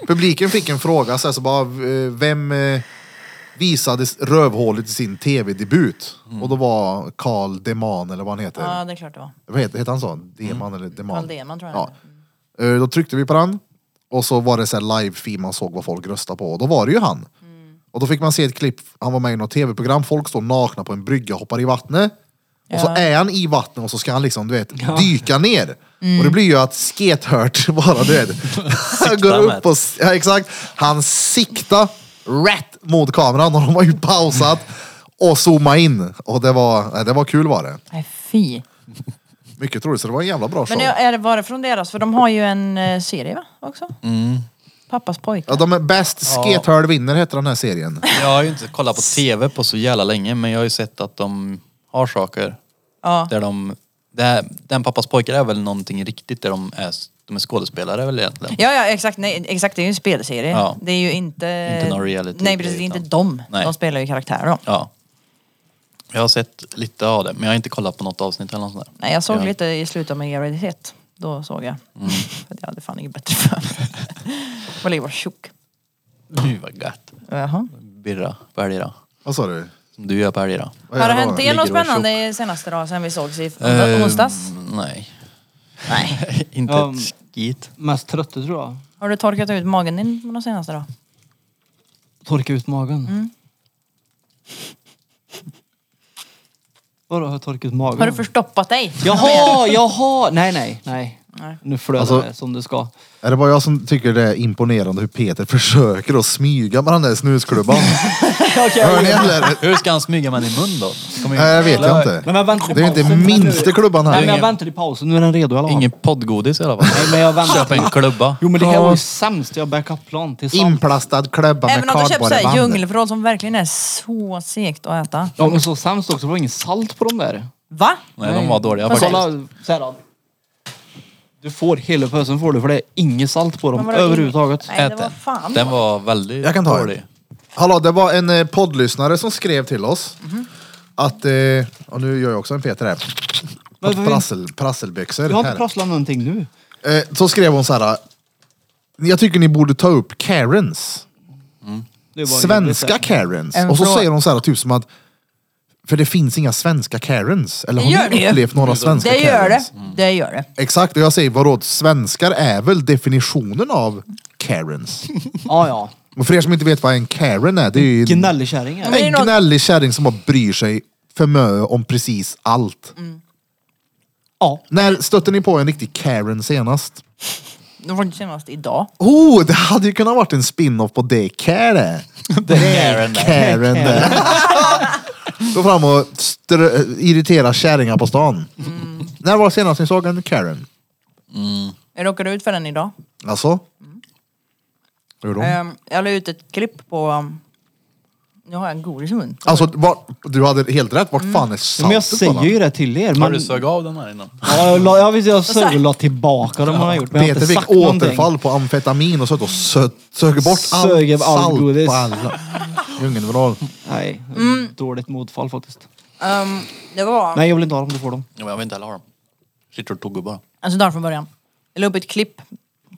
Publiken fick en fråga, så, här, så bara, eh, vem eh, visade rövhålet i sin tv-debut? Och då var Carl Deman eller vad han heter.
Ja, det är klart det var.
Vad heter, heter han så? Deman eller Deman?
Mm. Carl Deman, tror jag
Ja. Eh, Då tryckte vi på den och så var det så här live-feed man såg vad folk röstade på och då var det ju han.
Mm.
Och då fick man se ett klipp, han var med i något tv-program, folk står nakna på en brygga, hoppar i vattnet. Och så
Ja.
är han i vattnet och så ska han liksom du vet, dyka ner.
Mm.
Och det blir ju att skethört bara du vet. Han går
med.
upp och, s- ja, exakt, han siktar rätt mot kameran och de har ju pausat och zoomat in. Och det var, nej, det var kul var det.
Nej, fy.
Mycket troligt, så det var en jävla bra show.
Men är, är det, var det från deras? För de har ju en eh, serie va? Också?
Mm.
Pappas pojkar.
Ja, de är bäst skethörd vinner heter den här serien.
Jag har ju inte kollat på tv på så jävla länge men jag har ju sett att de har saker
Ja.
där de... Det här, den pappas pojkar är väl någonting riktigt där de är, de är skådespelare väl egentligen?
Ja, ja exakt, nej, exakt. Det är ju en spelserie.
Ja.
Det är ju inte...
Inte någon reality
Nej, precis. Det är inte
utan-
dem.
Nej.
De spelar ju karaktärer då.
Ja. Jag har sett lite av det men jag har inte kollat på något avsnitt eller något sånt där.
Nej, jag såg
Ja. Mm.
lite i slutet av min graviditet. Då såg jag. För att jag hade fan inget bättre för mig. Jag ville ju vara tjock.
Gud vad gött.
Jaha.
Birra på helgerna.
Vad sa du?
Som du gör på helgerna.
Vad
Har det
jävlar
hänt
var det?
dig något
Ligger och
spännande i senaste dagen sen vi sågs i
Eh,
onsdags?
Nej.
Nej.
inte
Um,
ett skit.
Mest trött tror jag.
Har du torkat ut magen din på de senaste då?
Torka ut magen.
Mm.
Vadå har jag torkat ut magen?
Har du förstoppat dig?
Oh. Jaha, jaha! Nej, nej, nej.
Nej.
Nu flödar
Alltså-
det som det ska.
Är det bara jag som tycker det är imponerande hur Peter försöker att smyga med den där snusklubban? Hör ni Äh, eller?
Hur ska han smyga med den i mun då? Kommer ju-
Nej, det vet jag inte.
Men jag väntar
Det är ju inte
pausen.
minsta klubban
Nej, men jag
här.
väntar i pausen. Nu är den redo i alla fall.
Ingen poddgodis i alla fall.
Nej, men jag väntar.
Köp en klubba.
Jo men det här var ju sämst jag backup-plan till sant.
Inplastad klubba med
Även om du köper såhär
kardborreband.
djungelvrål som verkligen är så segt att äta.
Ja men så sämst också, det var ingen salt på de där.
Va?
Nej, de var dåliga
men
faktiskt.
kolla så här då. Du får hela pösen får du för det är inget salt på
Men
dem
vadå, ing-
överhuvudtaget.
Nej, det
Ät
var
den.
fan.
Den var väldigt
Jag kan ta
dålig.
en. Hallå, det var en eh, poddlyssnare som skrev till oss
Mhm.
att, eh, och nu gör jag också en Peter här,
Men för-
prassel, prasselbyxor.
Jag har
här.
inte prasslat någonting nu.
Eh, så skrev hon så här. Jag tycker ni borde ta upp Karens.
Det är bara
Svenska
jobbigt
Karens.
En
Och så
fråga.
säger hon så här typ som att för det finns inga svenska Karens. Eller
Det
har
gör det
ni
ju.
upplevt några svenska
Det gör det.
Karens?
Det gör det.
Exakt, och jag säger vadå, svenskar är väl definitionen av Karens.
det. Ja ja.
Och för er som inte vet vad en Karen är, det är ju en,
Gnällig kärring är
Men det är
en
något-
gnällig kärring som bara bryr sig för mycket om precis allt.
Mm.
Ja.
När stötte ni på en riktig Karen senast?
Det var inte senast idag.
Oh, det hade ju kunnat varit en spin-off på det Karen.
Det är Karen där.
Karen där. Gå fram och
Mm.
strö- irritera kärringar på stan. När var senast ni såg en Karen?
Jag råkade ut för den idag.
Alltså? Hur då?
Ehm, Jag la ut ett klipp på... um, Nu har jag en godis i mun.
Alltså, vart, du hade helt rätt. Vart fan är
Mm. Men jag
saltet?
säger
bara?
ju det till er.
Har
Men,
du sög av den här innan?
ja, jag, la, jag, visst, jag
sa
sög och
jag?
la tillbaka dem har jag gjort. Men jag har
Peter
inte
fick
sagt någonting.
återfall på amfetamin och satt och sö- sög bort
Sög
allt
av all
salt
godis.
på alla. Djungelvral.
Nej,
Mm.
dåligt motfall faktiskt.
Ehm, Det var...
Nej, jag vill inte ha dem. Du får dem.
Ja, men jag vill inte heller ha dem. Sitter och tuggar bara.
Alltså där från början. Jag la upp ett klipp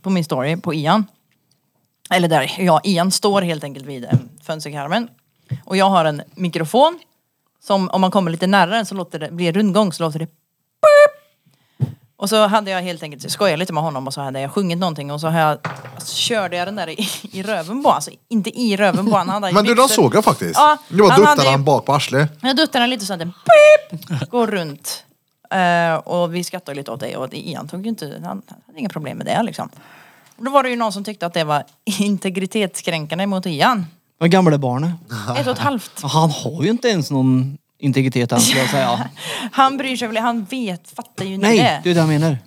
på min story på Ian. Eller där, ja Ian står helt enkelt vid eh, fönsterkarmen. Och jag har en mikrofon. Som om man kommer lite närmare den så låter det, blir det rundgång så låter det pip. och så hade jag helt enkelt skojat lite med honom och så hade jag sjungit någonting och så har jag, så körde jag den där i, i röven på alltså inte i röven på han hade
Men du, den
mixer.
såg jag faktiskt.
Ja,
du bara
han
duttade
hade ju-
han bak på arslet.
Jag duttar den lite så att den pip, går runt. Eh, och vi skrattade lite åt det och Ian tog ju inte, han hade inga problem med det liksom. Och då var det ju någon som tyckte att det var integritetskränkande mot Ian.
Vad gammal är barnet?
Ett och ett halvt.
Han har ju inte ens någon integritet än skulle jag säga.
Han bryr sig väl, han vet, fattar ju inte
Nej, det
det.
är det jag menar.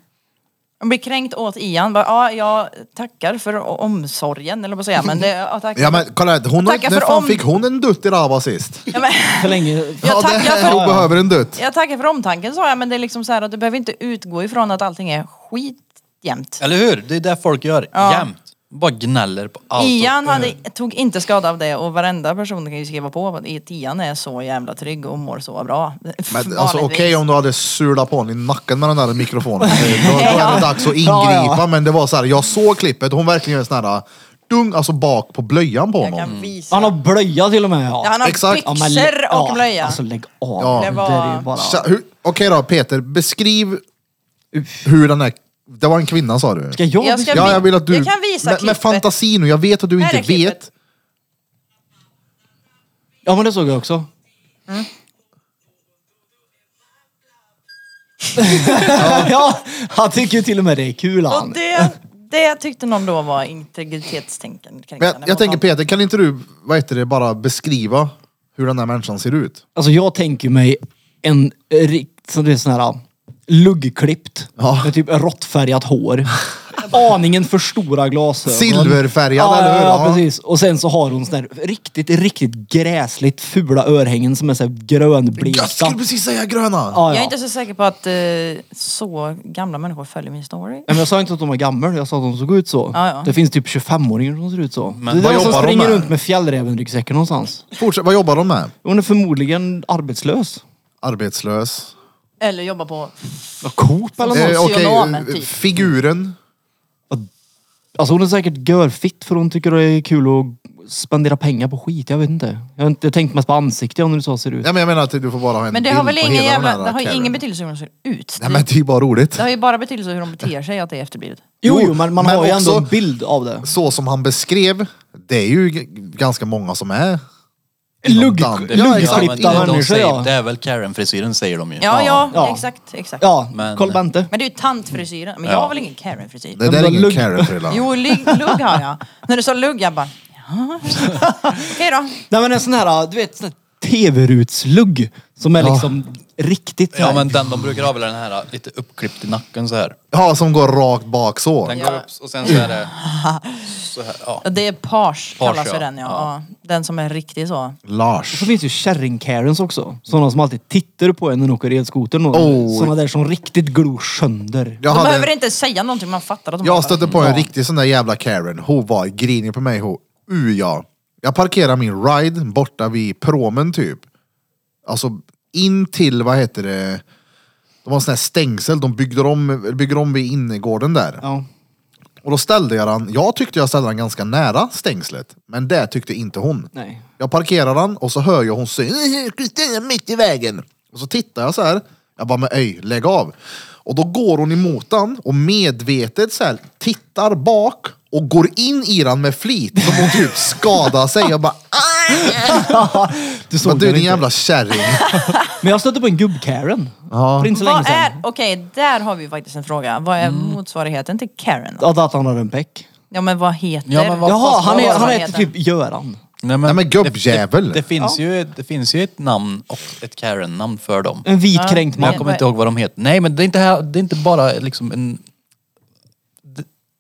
Han blir kränkt åt Ian, bara, ja jag tackar för o- omsorgen eller vad säger jag, men det, ja, tack.
Ja men kolla här, hon,
Tacka
när
för
fan
om-
fick hon en dutt i Rava sist?
Ja, men,
För länge...
jag
ja, det
tackar
här,
för
hon behöver en dutt.
jag tackar för omtanken sa jag men det är liksom så här att du behöver inte utgå ifrån att allting är skit jämt.
Eller hur? Det är det folk gör
Ja.
jämt. Bara gnäller på allt.
Ian hade,
Mm.
tog inte skada av det och varenda person kan ju skriva på att i- Tian är så jävla trygg och mår så bra.
Men alltså okej
Vanligtvis.
om du hade sulat på honom i nacken med den där mikrofonen. Då, då är det dags att ingripa.
Ja, ja.
Men det var så här, jag såg klippet, hon verkligen gör sån här dung, alltså bak på blöjan på
Jag
honom.
kan visa.
Han har blöja till och med. Ja.
Ja, han har
Exakt.
Ja, men-
byxor och
ja,
blöja.
Alltså lägg av.
Ja.
Det,
Det var-
där är ju bara...
Så, hur- Okej då Peter, beskriv hur den är. Det var en kvinna sa du?
Ska jag...
Jag ska-
Ja, jag vill att du...
Jag kan visa
med, med
klippet.
fantasi nu, jag vet att du
Här
inte
är klippet.
vet.
Ja, men det såg jag också.
Mm.
ja, han tycker ju till och med det är kul
och
han.
det, det tyckte någon då var integritetstänkande.
Men jag, jag tänker Peter, kan inte du, vad heter det, bara beskriva hur den här människan ser ut?
Alltså jag tänker mig en rikt, som det är sån här luggklippt.
Ja.
Med typ råttfärgat hår. Aningen för stora glasögon.
Silverfärgad,
ja,
eller hur?
Ja,
Ja.
precis. Och sen så har hon sån här riktigt, riktigt gräsligt fula örhängen som är såhär grönbleka.
Jag skulle precis säga gröna!
Ja,
Jag är
ja.
inte så säker på att eh, så gamla människor följer min story.
Nej, men jag sa inte att de var gammal, jag sa att de såg ut så.
Ja, ja.
Det finns typ 25-åringar som ser ut så.
Men
det är
vad
de som
jobbar de
springer
med?
runt med fjällräven-ryggsäcken någonstans.
Fortsätt, vad jobbar de med?
Hon är förmodligen arbetslös.
Arbetslös.
Eller jobbar på...
Ja, Coop eller något.
Eh. socionomen,
eh,
typ.
figuren.
Alltså hon är säkert görfitt för hon tycker det är kul att spendera pengar på skit. Jag vet inte. Jag har inte tänkt mest på ansiktet om hur så ser ut.
Ja, men jag menar att du får bara ha en
Men det
bild
har väl
på
ingen
hela
jävla...
den här
Det har ju
Karen.
ingen betydelse hur de ser ut.
Nej men det är ju bara roligt.
Det har ju bara betydelse hur de beter sig att det är efterblivet.
Jo,
Jo,
jo men man
men
har ju ändå
också-
en bild av det.
Så som han beskrev, det är ju g- ganska många som är...
Lugg,
Ja,
Det- ja, men
luggklippta
det- de
människor
säger-
ja.
Det är väl Karen-frisyren säger de ju.
Ja, ja,
Ja.
exakt, exakt.
Ja,
Men-
Carl Bente.
Men det är ju tantfrisyren. Men jag
Ja.
har väl ingen Karen-frisyr?
Det där
Men
är
då
ingen
lugg-
Karen-frilla.
Jo, lugg, lugg har jag. När du sa lugg, jag bara... Ja. Okej då.
Nej men en sån här, du vet, sån här tv-rutslugg. Som är liksom riktigt så
Ja
här-
men den de brukar ha väl den här äh, lite uppklippt i nacken så här.
Ja, som går rakt bak så.
Den
Ja.
går upp och sen så är det så här. Ja.
Ja, Det är page,
Page,
kallas för
ja.
den ja.
Ja.
ja. Den som är riktig så.
Lars.
Så finns ju kärring-karens också. Sådana som alltid tittar på en när de åker elskotern.
Oh.
Oh. Sådana där som riktigt glor sönder.
Jag,
De
hade,
behöver inte säga någonting, man fattar att de har-
jag stötte på en riktig sån där jävla Karen. Hon var grinig på mig. Hon, uh, ja. Jag parkerar min ride borta vid promen typ. Alltså in till, vad heter det? De har en sån här stängsel, de byggde om, bygger om vid innergården där.
Ja.
Och då ställde jag den, jag tyckte jag ställde den ganska nära stängslet. Men det tyckte inte hon.
Nej.
Jag parkerar den och så hör jag hon säga Kristina mitt i vägen. Och så tittar jag så här. Jag bara, men öj, lägg av. Och då går hon emot den och medvetet så här tittar bak och går in i den med flit. Som hon typ skadar sig. Jag bara, "Aj!"
Du såg
men du
den
din
inte.
jävla kärring.
Men jag stötte på en gubb-Karen.
Ja.
För inte så länge
Vad är,
sedan.
okej, där har vi faktiskt en fråga. Vad är motsvarigheten till Karen? då?
Att, att han har en peck.
Ja men vad heter?
Ja, men vad-
Jaha,
vad-
han, är,
vad-
han
vad
heter typ Göran.
Nej, men gubbjävel.
Det, det, det, finns ju, det finns ju ett namn och ett Karen-namn för dem.
Mm.
En vit kränkt
Men
man.
jag kommer inte ihåg vad de heter. Nej men det är inte, här, det är inte bara liksom en...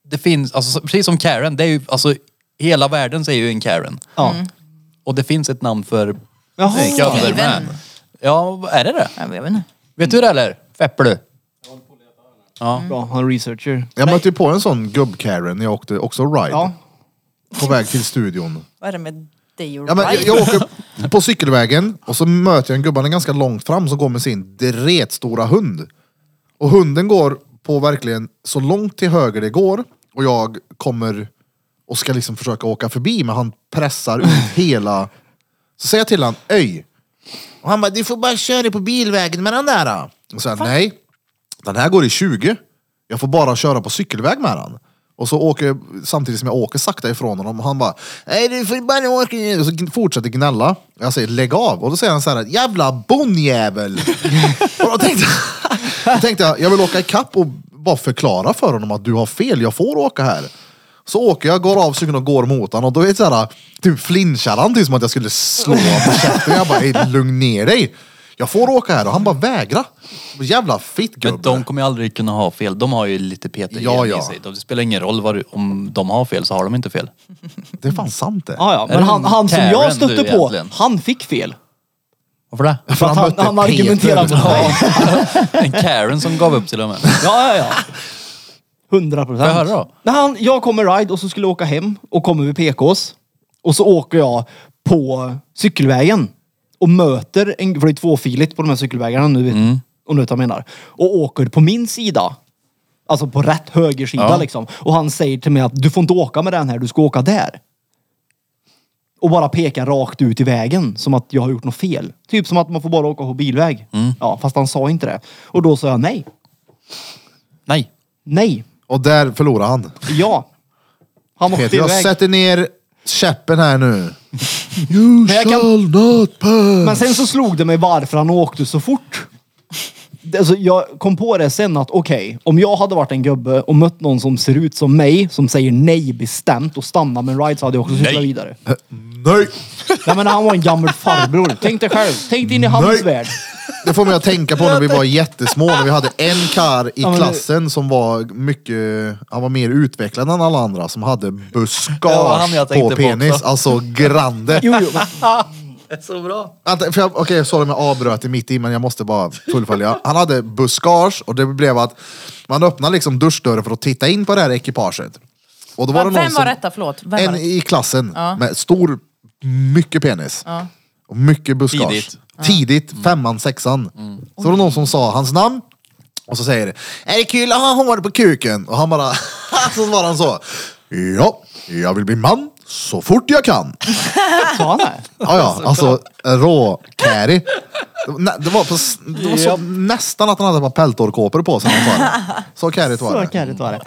det finns, alltså, så- precis som Karen, det är ju, alltså, hela världen säger ju en Karen.
Ja.
Mm.
Och det finns ett namn för
Jaha.
Skander med.
Steven.
Ja, är det det?
Jag vet inte.
Vet du det eller? Feppelu. Ja.
Bra, han är researcher.
Jag mötte ju på en sån gubb-Karen när jag åkte också ride.
Ja.
På väg till studion.
Vad är det med dig och
Ja, men jag,
Ryan?
jag åker på cykelvägen och så möter jag en gubbe, han är ganska långt fram, som går med sin dretstora hund. Och hunden går på verkligen så långt till höger det går och jag kommer och ska liksom försöka åka förbi men han pressar ut hela... Så säger jag till han, öj! Och han bara, du får bara köra på bilvägen med den där. då." Och så här, nej, den här går i 20. Jag får bara köra på cykelväg med den. Och så åker jag, samtidigt som jag åker sakta ifrån honom och han bara Nej du får bara åka Och så gn- fortsätter gnälla. Jag säger lägg av och då säger han så här jävla bonnjävel. och då tänkte, jag- då tänkte jag jag vill åka ikapp och bara förklara för honom att du har fel, jag får åka här. Så åker jag, går av cykeln och går mot honom och då är det så här, typ flinchar han typ som att jag skulle slå honom på käften. Jag bara "Ey, lugn ner dig. Jag får åka här och han bara vägra. Jävla
Men
fittgubbe.
de kommer ju aldrig kunna ha fel. De har ju lite Peter
Ja,
Jen
ja.
i sig. De- Det spelar ingen roll vad, du- om de har fel så har de inte fel.
Det är fan sant det.
Ja, ja.
Är
Men
det
han, han som
Karen
jag
du
stötte på,
egentligen?
han fick fel.
Varför det?
För att han,
mötte
han
Peter.
argumenterade mot mig.
En Karen som gav upp till och med.
Ja, ja, ja. 100 procent.
jag höra då?
När han, jag kommer ride och så skulle jag åka hem och kommer vid PKs. Och så åker jag på cykelvägen och möter en, för det är tvåfiligt på de här cykelvägarna nu.
Mm.
Om du vet vad jag menar. Och åker på min sida. Alltså på rätt högersida
Ja.
liksom. Och han säger till mig att du får inte åka med den här, du ska åka där. Och bara pekar rakt ut i vägen som att jag har gjort något fel. Typ som att man får bara åka på bilväg.
Mm.
Ja, fast han sa inte det. Och då sa jag nej.
Nej.
Nej.
Och där förlorade han.
Ja. Han åkte
Peter, jag
iväg.
sätter ner käppen här nu. You
jag kan-
shall not pass.
Men sen så slog det mig varför han åkte så fort. Det- Alltså, jag kom på det sen att okej, om jag hade varit en gubbe och mött någon som ser ut som mig, som säger nej bestämt och stannar med en ride så hade jag också cyklat
Nej.
vidare.
Nej!
Nej men han var en gammal farbror. Tänk dig själv. Tänk dig in i hans
Nej.
värld.
Det får mig att tänka på när vi var jättesmå, när vi hade en kar i
men det-
klassen som var mycket, han var mer utvecklad än alla andra, som hade
Ja,
buskage
han jag tänkte
på
på
penis.
också.
alltså grande.
Jo, jo, men,
Så bra.
Vänta, för jag- Okej, okay, sorry om jag avbröt i mitt i, men jag måste bara fullfölja. Han hade buskage och det blev att man öppnade liksom duschdörren för att titta in på det här ekipaget. Och då var det någon
Vem
som,
var detta? Förlåt. Vem var
En
det?
i klassen
Ja.
med stor, mycket penis. Och mycket buskage.
Tidigt.
Tidigt, femman, sexan. Så var det någon som sa hans namn. Och så säger det, är det kul att ha hår på kuken? Och han bara, så svarar han så. Ja, jag vill bli man så fort jag kan.
sa han det?
Ja, ja, alltså rå carry. Det var, nä- det var, på, s- det var så,
Japp.
nästan att han hade ett par peltorkåpor på sig. när han sa det. Så carryt var
Så
det.
karrigt var det.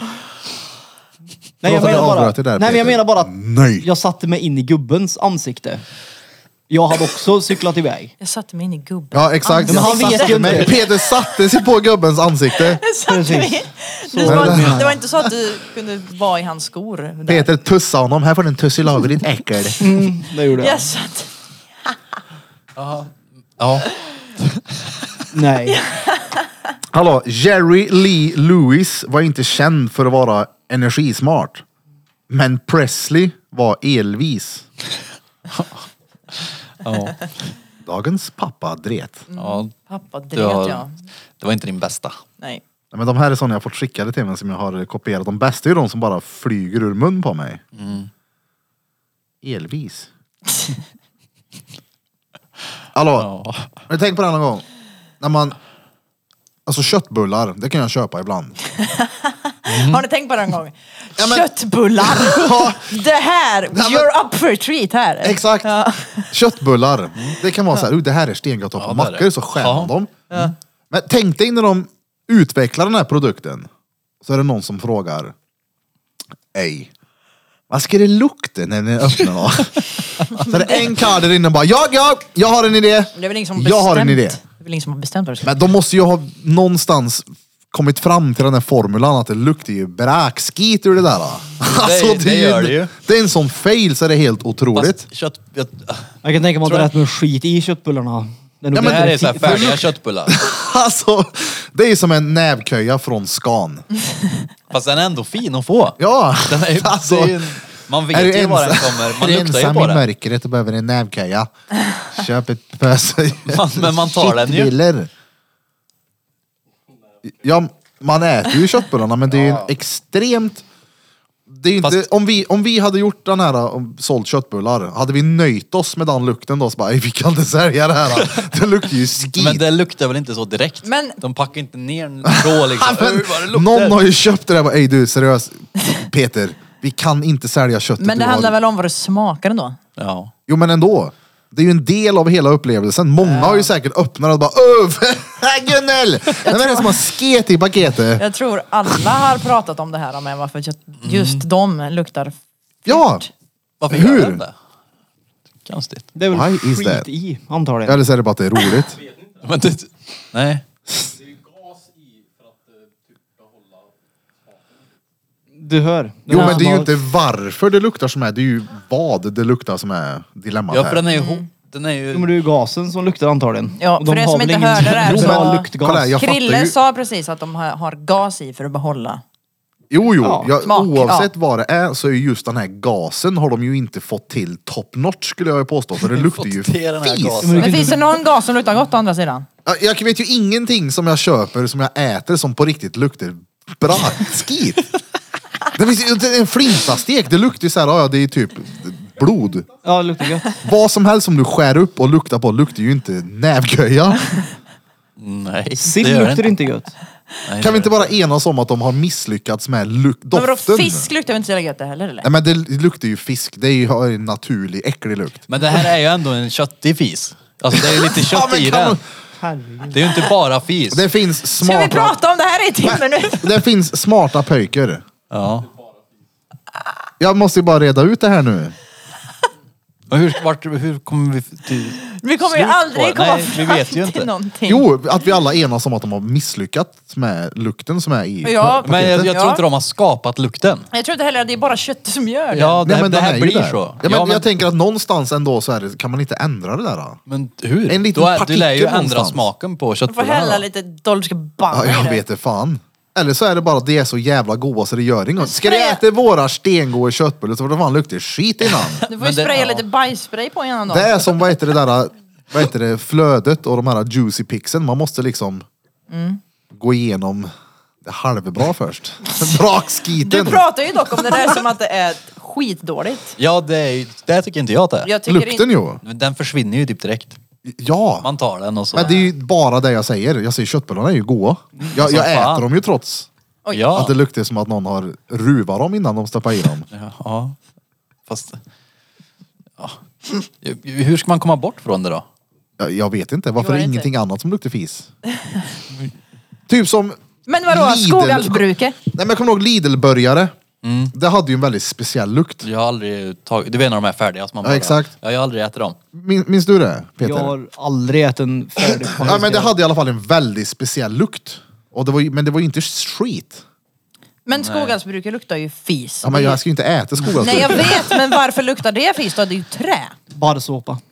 Nej, jag
att jag
menar bara,
avbröt dig där,
nej men jag
Peter.
menar bara att
Nej.
jag satte mig in i gubbens ansikte. Jag hade också cyklat iväg.
Jag satte mig in i gubben.
Ja, exakt.
Men han
Jag
vet
satte
ju
mig-
inte.
Peter satte sig på gubbens ansikte.
Jag satte mig in. Du
Så-
var, det var inte så att du kunde vara i hans skor. där.
Peter tussa honom, här får du en tuss i lager ditt äckel.
Det gjorde jag.
Jag satt...
Ja.
Nej.
Hallå, Jerry Lee Lewis var inte känd för att vara energismart. Men Presley var elvis.
ja.
Dagens pappa dret.
ja.
Pappa dret
Du har-
jag.
Det var inte din bästa.
Nej.
Nej, Men de här är sådana jag fått skickade till mig som jag har kopierat. De bästa är ju de som bara flyger ur mun på mig. Elvis. Hallå,
Ja.
Har du tänkt på det här någon gång? När man... Alltså köttbullar, det kan jag köpa ibland.
Har ni tänkt på det någon gång?
Ja, men-
Köttbullar!
Ja,
det här!
men-
You're up for a treat här!
exakt.
Ja.
Köttbullar. Det kan vara så här, "Oh, det här är stengott och på
Ja, det är
mackor,
det.
så skär man
Ja.
dem. Mm. Men tänk dig när de utvecklar den här produkten, så är det någon som frågar. Ej. Vad ska det lukta när ni öppnar då? så är det en karl där inne och bara, ja, ja, jag har en idé.
Det är väl ingen som har
Jag har en
bestämt-
idé.
Det är väl ingen som har bestämt vad du ska
Men de måste ju ha någonstans kommit fram till den här formulan att det luktar ju bräkskit ur det där. då.
det gör det ju.
Det är en sån fail så det är helt otroligt.
Fast kött... Jag,
Jag kan tänka mig att det
Tror
är
jag.
rätt med skit i köttbullarna. Den
Ja,
Det
men-
här är så här
För-
färdiga köttbullar.
Alltså, det är ju som en nävköja från Skan.
Fast den är ändå fin att få.
Ja!
Den är,
Alltså,
det är, ju- man
är
vet
du
ju var den
ensam-
kommer.
är
Man
du
luktar ju
ensam
på
i
den.
mörkret och behöver en nävköja? Köp ett pöse.
Man- men man tar den ju.
Köttbullar. Ja, man äter ju köttbullarna men det är ju en extremt... Det är ju inte,
Fast-
om, vi, om vi hade gjort den här, om- sålt köttbullar, hade vi nöjt oss med den lukten då? Så bara, "Ej, vi kan inte sälja det här. Det luktar ju skit.
Men det luktar väl inte så direkt?
Men-
De packar inte ner den då liksom.
Alltså,
Oj, vad det luktar.
Någon har ju köpt det där och bara, ej du seriöst Peter, vi kan inte sälja köttet
Men det
du har."
handlar väl om vad det smakar ändå?
Ja.
Jo men ändå. Det är ju en del av hela upplevelsen. Många har ju säkert öppnat och bara Öh! Gunnel! Den är det som har sket i paketet.
Jag tror alla har pratat om det här med varför just- just de luktar
Mm. Ja!
Varför
Hur?
gör den det? Konstigt.
Det är väl
Why is
skit
that?
i, antar jag.
Eller så är det bara att det är roligt.
Men det, nej.
Du hör.
Jo
Den
men det är ju
som
inte varför det luktar som är, det är ju vad det luktar som är dilemmat
Ja, för
här.
den är ju...
Mm.
ho- Den är
Jo, men
ju
det är ju gasen som luktar antagligen.
Ja,
Och
för er
har
som
väl
inte
ingen
hörde det här
bra
så-
luktgas.
Kolla här, jag fattar
Krille
ju.
sa precis att de har, har gas i för att behålla.
Jo jo,
Ja,
jag,
smak,
oavsett vad det är så är ju just den här gasen har de ju inte fått till top notch skulle jag ju påstå. För det luktar ju
Fått till den här
fis.
gasen.
Men finns det någon gas som luktar gott å andra sidan?
Ja, Jag vet ju ingenting som jag köper som jag äter som på riktigt luktar bra. Skit. Det finns ju inte en flintastek, det luktar ju såhär, ja det är typ blod.
Ja, det luktar gött.
Vad som helst som du skär upp och luktar på luktar ju inte nävgöja.
Mm, Nej,
Sill
det gör
luktar inte gött.
Nej,
Kan vi
det
inte
gör
bara enas om att de har misslyckats med luk-
Men vadå,
doften?
fisk luktar väl inte så jävla gött det heller eller?
Nej men det luktar ju fisk, det är ju har ju en naturlig äcklig lukt.
Men det här är ju ändå en köttig fis. Alltså det är ju lite
Ja,
kött
men
i
kan
den.
Herregud.
Det är ju inte bara fis.
Det finns
Ska vi
smarta,
prata om det här i timmen nu?
det finns smarta pöjker.
Ja.
Jag måste ju bara reda ut det här nu.
Men hur, vart, hur kommer vi till...
Vi kommer ju
Slut på det.
aldrig komma
Nej, vi
fram
vet ju
till
inte.
någonting.
Jo, att vi alla enas om att de har misslyckats med lukten som är i
Ja.
Men jag, jag tror
Ja.
inte de har skapat lukten.
Jag tror inte heller att det är bara kött som gör det.
Ja, det,
Nej, men
det
den är
här
ju
blir
där.
så.
Ja, men Jag tänker att någonstans ändå så är det, kan man inte ändra det där? Då?
men hur?
En liten
Då är, du lär ju
partikel
ändra
någonstans.
smaken på
Du får
köttbullarna.
hälla
då.
lite Dolce
Ja,
Gabbana i
jag
det.
vet det fan. Eller så är det bara att det är så jävla goda så det gör inget. Ska du
Spraya-
äta våra stengoda köttbullar så får det fan lukta skit innan.
Du får
Men
ju
det-
spraya
ja.
lite bajsspray på innan då.
Det är som vad heter det där, vad heter det, flödet och de här juicy pixen. Man måste liksom
Mm.
gå igenom det halvbra först.
Du
Brakskiten.
pratar ju dock om det där som att det är skitdåligt.
Ja, det, är, ju- det tycker inte jag att det är.
Jag tycker
Lukten
inte...
ju.
Men Den försvinner ju typ direkt.
Ja.
Man tar den och så...
Men det är ju bara det jag säger. Jag säger köttbullarna är ju goda. Jag,
Som
jag
fan.
äter dem ju trots
Oj.
ja.
Att det luktar som att någon har ruvat dem innan de stoppar i dem.
Ja, ja. Fast... Ja. Hur ska man komma bort från det då?
Jag, jag vet inte, varför
Gör
är det
inte.
ingenting annat som luktar fis? typ som...
Men vadå,
Lidl-
skogalsbruket?
Nej men jag kommer ihåg Lidl-burgare.
Mm.
Det hade ju en väldigt speciell lukt.
Jag har aldrig tagit... Du vet när de är färdiga? Som man
Ja,
bara,
exakt.
Ja, jag har aldrig ätit dem.
Min, minns du det Peter?
Jag har aldrig ätit en färdig
Ja, men det hade i alla fall en väldigt speciell lukt. Och det var, ju- men det var ju inte skit.
Men skogalsbruket luktar ju fis.
Ja, men jag ska ju inte äta
Nej
skogalsbruk.
jag vet, men varför luktar det fis då? Det är ju trä.
Barrsåpa. Mm.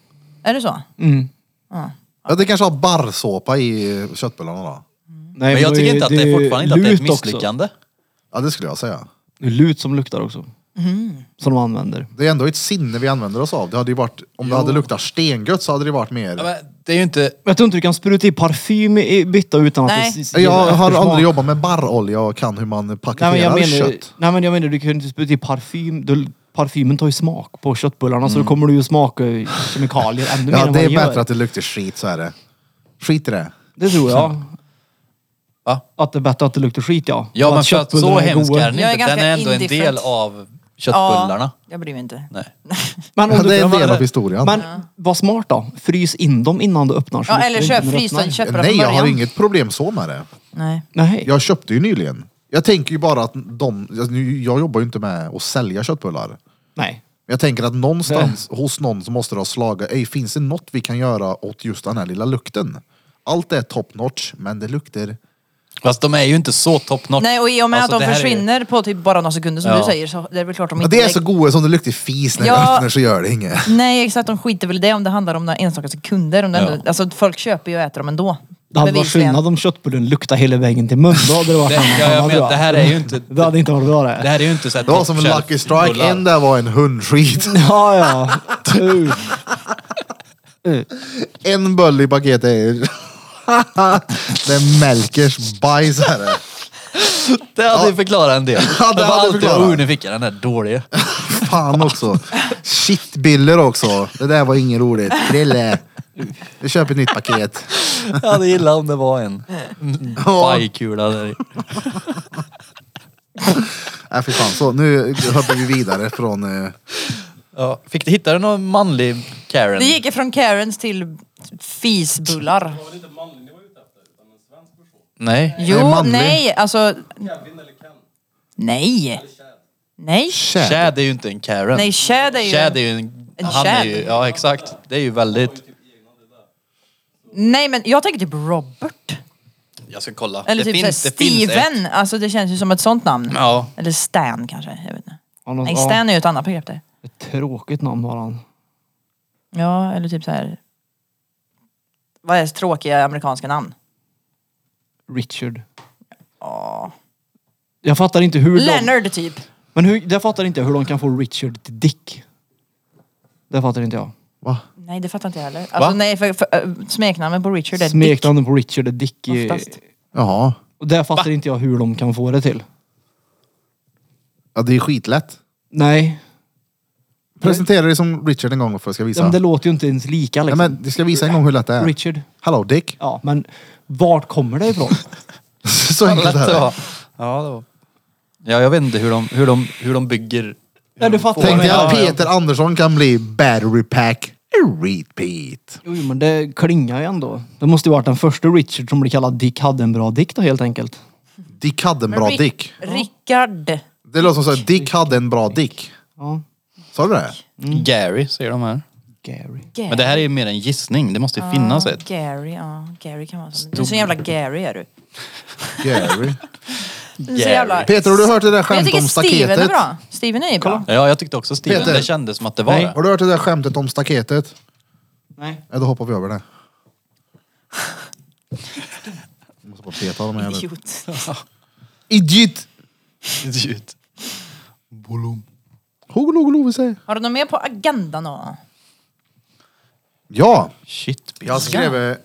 Är det så?
Ja, det kanske har barrsåpa i eh, köttbullarna då.
Nej,
Men jag tycker inte att det är fortfarande inte att det är ett
lut också.
misslyckande.
Ja det skulle jag säga.
Det är lut som luktar också.
Mm.
Som de använder.
Det är ändå ett sinne vi använder oss av. Det hade ju varit, om det hade luktat stengött så hade det varit mer...
Ja, men det är ju inte...
Men Jag tror inte du kan spruta i parfym i bytta utan
Nej.
att det s- ger
Jag har
eftersmak.
aldrig jobbat med barrolja och kan hur man
nej,
paketerar
men jag menar,
kött.
nej men jag menar du kan ju inte spruta i parfym. Du, parfymen tar ju smak på köttbullarna så då kommer du ju smaka kemikalier ännu mer
Mm. Ja,
än
det
vad
är
den gör.
bättre att det luktar skit, så är det. Skit i det.
Det tror jag.
Va?
Att det är bättre att det luktar skit ja.
Ja,
Och
men för att så
köttbullarna är
hemsk
goda.
är den
Jag är
inte. Den
ganska
är ändå en
indifferent.
del av köttbullarna.
Ja, jag bryr mig inte.
Nej.
Men
Ja,
om
det är en
du,
del av historien.
men var smart då. Frys in dem innan du öppnar. så
Ja,
luktar
eller
det
köp
inte när du öppnar.
frysställd köttbullar
Nej,
från
jag
början.
har inget problem så med det.
Nej.
Nej.
Jag köpte ju nyligen. Jag tänker ju bara att de... jag- nu- Jag jobbar ju inte med att sälja köttbullar. Men
Nej.
Jag tänker att någonstans hos någon så måste det ha slagit, "Ey, finns det något vi kan göra åt just den här lilla lukten? Allt är top notch, men det luktar
Fast de är ju inte så top notch.
Nej och i och med
Alltså,
att
det
de
här är ju-
försvinner på typ bara några sekunder som
Ja.
du säger så det är väl klart de
Men
inte
det är
lägger-
så goda som det luktar fis när
Ja.
du öppnar så gör det inget.
Nej exakt, de skiter väl i det om det handlar om några enstaka sekunder. Om det
Ja.
ändå, alltså folk köper ju och äter dem ändå.
Det hade varit
Bevisligen.
skillnad om köttbullen luktade hela vägen till mun. Då hade det varit
Det-
en
ja, jag
annan
menar,
bra.
det här är ju inte-
Det hade inte varit bra det.
Det här är ju inte så här
Det var som en
top-shelf
lucky strike,
bullar.
en där var en hundskit.
Ja, ja. Uh.
En bull i paketet är Det är Melkers bajs här.
Det hade ju förklarat en del.
Ja, det
det var
hade
alltid,
förklarat.
oh nu fick jag den där dåliga.
Fan också. Shitbiller också. Det där var inget roligt. Krille. Vi köper ett nytt paket.
Jag hade gillat om det var en bajkula där i.
Nej Äh, fy fan. Så nu hoppar vi vidare från... eh,
Ja. Fick du, hittade du någon manlig Karen?
Det gick ifrån Karens till fisbullar.
Nej.
Det är
Jo,
manlig.
nej alltså... Nej! Nej!
Chad.
Chad är ju inte en Karen.
Nej, Chad är ju-
Chad är ju en...
En
han Är
Chad.
ju, ja exakt. Det är ju väldigt...
Nej men jag tänker typ Robert.
Jag ska kolla.
Eller
det
typ
finns,
såhär
det finns ett.
Steven. Alltså det känns ju som ett sånt namn.
Ja.
Eller Stan kanske. Jag vet inte.
Ja, någon-
Nej,
ja.
Stan är ju ett annat begrepp där.
Ett Tråkigt namn har han.
Ja, eller typ så här. Vad är tråkiga amerikanska namn?
Richard.
Ja.
Jag fattar inte hur de...
Leonard typ.
Men hur, jag fattar inte hur de kan få Richard till Dick. Det fattar inte jag.
Va?
Nej det fattar inte jag heller. Alltså nej för, för äh, smeknamnet på Richard är Dick.
Smeknamnet på Richard är Dick. i-
Oftast.
Jaha.
Och där fattar inte jag hur de kan få det till.
Ja det är skitlätt.
Nej.
Presentera dig som Richard en gång för jag ska
Ja, men
visa.
det låter ju inte ens lika
Nej,
liksom.
men du ska visa en gång hur lätt det är.
Richard.
Hallå Dick.
Ja, men vart kommer det ifrån?
Så enkelt
Lätt
är
det
det.
var. Ja, det var. Ja, jag vet inte hur de, hur de, hur de bygger... hur
Ja, du
de
fattar vad
får-
Tänk dig
jag
att
menar.
Peter Andersson kan bli battery pack repeat.
Jo, men det klingar ju ändå. Det måste ju varit den första Richard som blir kallad Dick hade en bra dikt då helt enkelt.
Dick hade en bra
Rick-
dick.
Rickard.
Det låter som så här, Dick hade en bra dick.
Ja.
Sa du det?
Mm.
Gary säger de här.
Gary.
Gary.
Men det här är ju mer en gissning. Det
Ah,
måste ju finnas
ja,
ett.
Gary, ja. Gary kan vara så. Du är så jävla Gary är du.
Gary.
Du är så jävla...
Peter, har du hört det där
Men jag
skämtet
tycker
om
Steven är
staketet?
bra. Steven är ju bra.
Ja, jag tyckte också Steven.
Peter.
Det kändes som att det var
Nej.
det.
Har du hört det där skämtet om staketet?
Nej.
Ja, då hoppar vi över det. Jag måste bara peta honom här nu.
Idiot.
Idiot!
Ljud.
Hogologolo vill säga.
Har du något mer på agendan då?
Ja,
Shit,
jag skrev eh,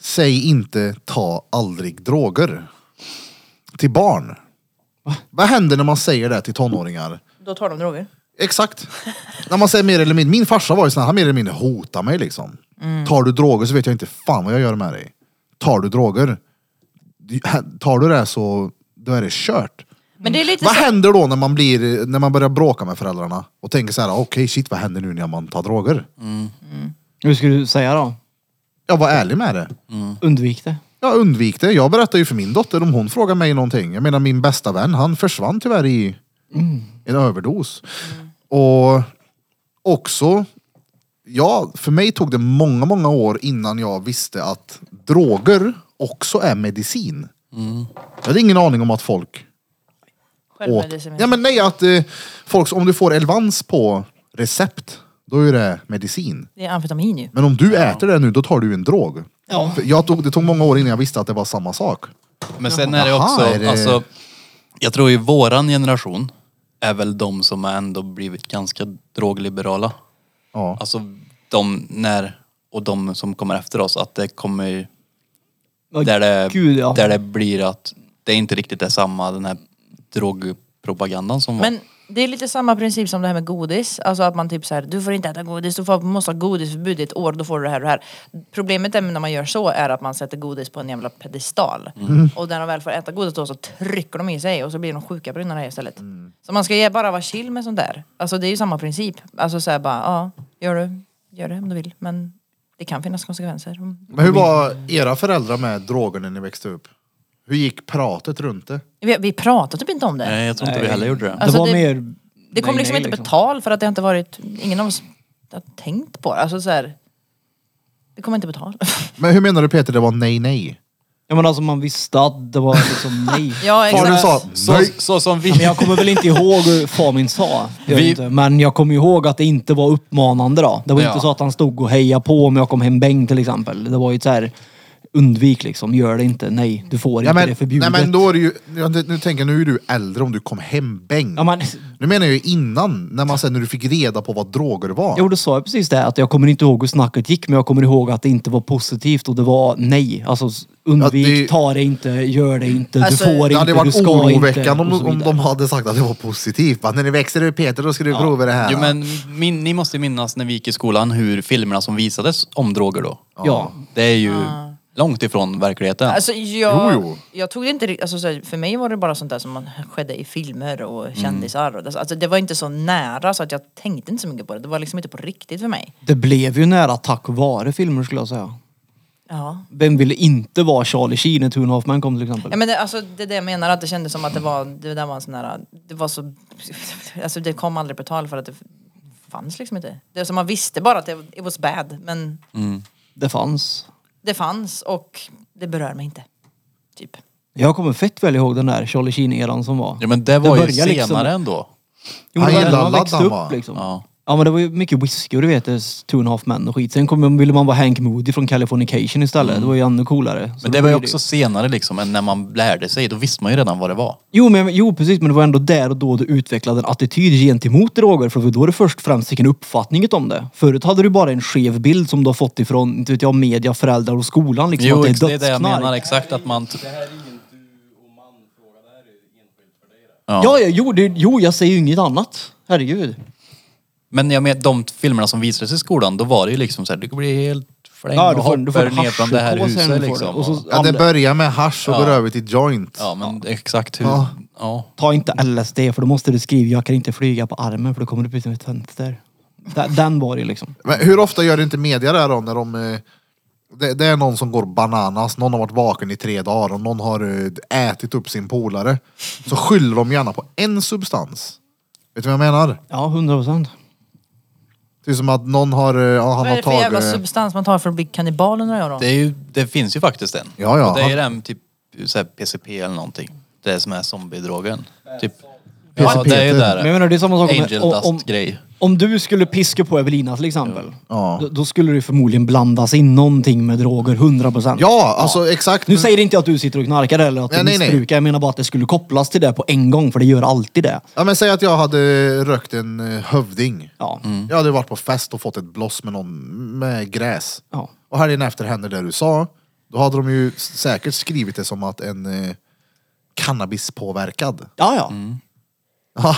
Säg inte ta aldrig droger. Till barn. Vad händer när man säger det till tonåringar?
Då tar de droger.
Exakt. När man säger mer eller mindre. Min farsa var ju sån här, han mer eller mindre hotade mig liksom.
Mm.
Tar du droger så vet jag inte fan vad jag gör med dig. Tar du droger, tar du det här så då är det kört.
Men det är lite
Vad
så...
händer då när man, blir, när man börjar bråka med föräldrarna och tänker så här, "Ah, okej shit vad händer nu när man tar droger?
Mm.
Hur skulle du säga då?
Jag var ärlig med det.
Undvik det.
Jag undvik det. Jag berättade ju för min dotter om hon frågar mig någonting. Jag menar min bästa vän, han försvann tyvärr i en överdos. Och också, ja, för mig tog det många, många år innan jag visste att droger också är medicin. Jag hade ingen aning om att folk åt...
Självmedicinering.
Ja men nej, att eh, folk, om du får Elvans på recept, då är det medicin.
Det är amfetamin ju.
Men om du äter det nu, då tar du en drog.
Ja.
För Jag tog, det tog många år innan jag visste att det var samma sak.
Men sen är det också,
Jaha, är det-
alltså, jag tror ju våran generation är väl de som har ändå blivit ganska drogliberala.
Ja.
Alltså de när, och de som kommer efter oss, att det kommer,
Åh,
där det,
Gud, ja.
där det blir att det inte riktigt är samma den här drogpropagandan som var.
Men det är lite samma princip som det här med godis. Alltså att man typ så här, du får inte äta godis, du får, måste ha godisförbud i ett år, då får du det här och det här. Problemet är när man gör så är att man sätter godis på en jävla pedestal. Och när de väl får äta godis då så trycker de i sig och så blir de sjuka på grund av det här istället. Så man ska ju bara vara chill med sånt där. Alltså det är ju samma princip. Alltså så här bara, ja, gör du, gör det om du vill. Men det kan finnas konsekvenser. Mm.
Men hur var era föräldrar med droger när ni växte upp? Hur gick pratet runt det?
Vi, vi pratar typ inte om det.
Nej, jag tror inte vi heller gjorde det.
Det
Alltså,
var
det-
mer...
Det kom
nej,
liksom
nej,
inte på tal för att det har inte varit, ingen av oss har tänkt på det. Alltså så här, det kommer inte på tal.
Men hur menar du Peter, det var nej nej?
Ja men alltså man visste att det var liksom nej.
Ja,
Far du
exakt.
sa
Så,
nej.
så som vi...
Men jag kommer väl inte ihåg hur far min sa. Jag
Vi-
vet inte. Men jag kommer ihåg att det inte var uppmanande då. Det var
Ja.
inte så att han stod och hejade på om jag kom hem bäng till exempel. Det var ju så här undvik liksom. Gör det inte. Nej, du får
Ja,
inte.
men,
det är
nej
förbjudet.
men då är det ju, ja, det- nu tänker jag, nu är du äldre om du kom hem bäng.
Ja, men,
Nu menar jag ju innan, när man sen när du fick reda på vad droger var.
jo, då sa jag precis det. Att jag kommer inte ihåg hur snacket gick. Men jag kommer ihåg att det inte var positivt och det var nej. Alltså s- undvik,
Ja, det-
ta det inte, gör det inte,
Alltså,
du får
det
inte,
hade
du
varit
ska inte.
oroväckande om,
och så
om de
vidare.
hade sagt att det var positivt. Va? När ni växer upp Peter, då ska du prova det här.
Jo,
va?
men min, ni måste minnas när vi gick i skolan hur filmerna som visades om droger då.
Ja.
Det är ju långt ifrån verkligheten.
Alltså jag,
Jo, jo.
jag tog det inte rikt- alltså, så här, för mig var det bara sånt där som man skedde i filmer
Mm.
och kändisar. och det- Alltså, det var inte så nära så att jag tänkte inte så mycket på det. Det var liksom inte på riktigt för mig.
Det blev ju nära tack vare filmer skulle jag säga.
Ja.
Vem ville inte vara Charlie Sheen när Two and a Half Men kom till exempel?
Ja, men det, alltså, det är det jag menar, att det kändes som att det var, det där var en sån där, det var så, alltså det kom aldrig på tal för att det fanns liksom inte. Det är som man visste bara att det it was bad, men
Det fanns.
det fanns och det berör mig inte. Typ.
Jag kommer fett väl ihåg den där Charlie Sheen-eran som var.
ja, men det var ju
började
senare
liksom-
ändå.
Jo, men
Han
det var
gillade
när man växte
Laddan,
upp
va?
liksom. Ja.
Ja.
men det var ju mycket whisky och du vet, det, Two and a Half Men och skit. Sen kom, man- ville man vara Hank Moody från Californication istället. Det var ju ännu coolare. Så
Mm. Men
då
det var ju
blir
också senare liksom än när man lärde sig. Då visste man ju redan vad det var.
Jo, men, jo, precis. Men det var ändå där och då du utvecklade en attityd gentemot droger. För det var då du först och främst fick en uppfattning om det. Förut hade du bara en skev bild som du har fått ifrån, inte vet jag, media, föräldrar och skolan. Liksom,
Jo,
att det
ex-
är
det är det jag
dödsknark.
menar liksom. exakt att man... t-
Ja, ja jo, det, jo, jag säger ju inget annat. Herregud.
Men jag menar, de filmerna som visades i skolan, då var det ju liksom så här, du kommer bli helt flängd
Ja,
ja,
du
och
får- du får
hoppar ner från det här
haschpåsen får
huset
du.
liksom.
Och
Och
så-
ja, det börjar med hash och går över till joint.
ja, men exakt hur...
Ja.
Ja.
Ta inte LSD för då måste du skriva jag kan inte flyga på armen för då kommer du ut som ett fönster. Da- Den var det liksom.
Men hur ofta gör inte media det här då när de... eh, Det, det är någon som går bananas, någon har varit vaken i tre dagar och någon har eh, ätit upp sin polare. Så skyller de gärna på en substans. Vet du vad jag menar?
Ja, hundra procent.
Det är som att någon har... eh, Ja, han
Vad är
har
det för jävla
tagit... eh,
substans man tar för att bli kannibal undrar jag då?
Det, är ju, det finns ju faktiskt en.
Ja, ja.
Och det är ju den typ så här PCP eller någonting. Det som är zombiedrogen. Typ. Ja,
PCP,
det är ju
det-
där.
Men jag menar det är samma sak
Angel
om, om,
Dust-grej.
om du skulle piska på Evelina till exempel.
Ja.
Då, då skulle det förmodligen blandas in någonting med droger, hundra procent.
Ja, alltså exakt.
Nu säger inte jag att du sitter och knarkar eller att du
Nej, nej, nej.
missbrukar. Jag menar bara att det skulle kopplas till det på en gång för det gör alltid det.
Ja, men säg att jag hade rökt en eh, hövding.
Ja.
Jag hade varit på fest och fått ett bloss med någon med gräs.
Ja.
Och helgen efter hände det du sa. Då hade de ju s- säkert skrivit det som att en eh, cannabispåverkad.
Ja, ja.
Ja,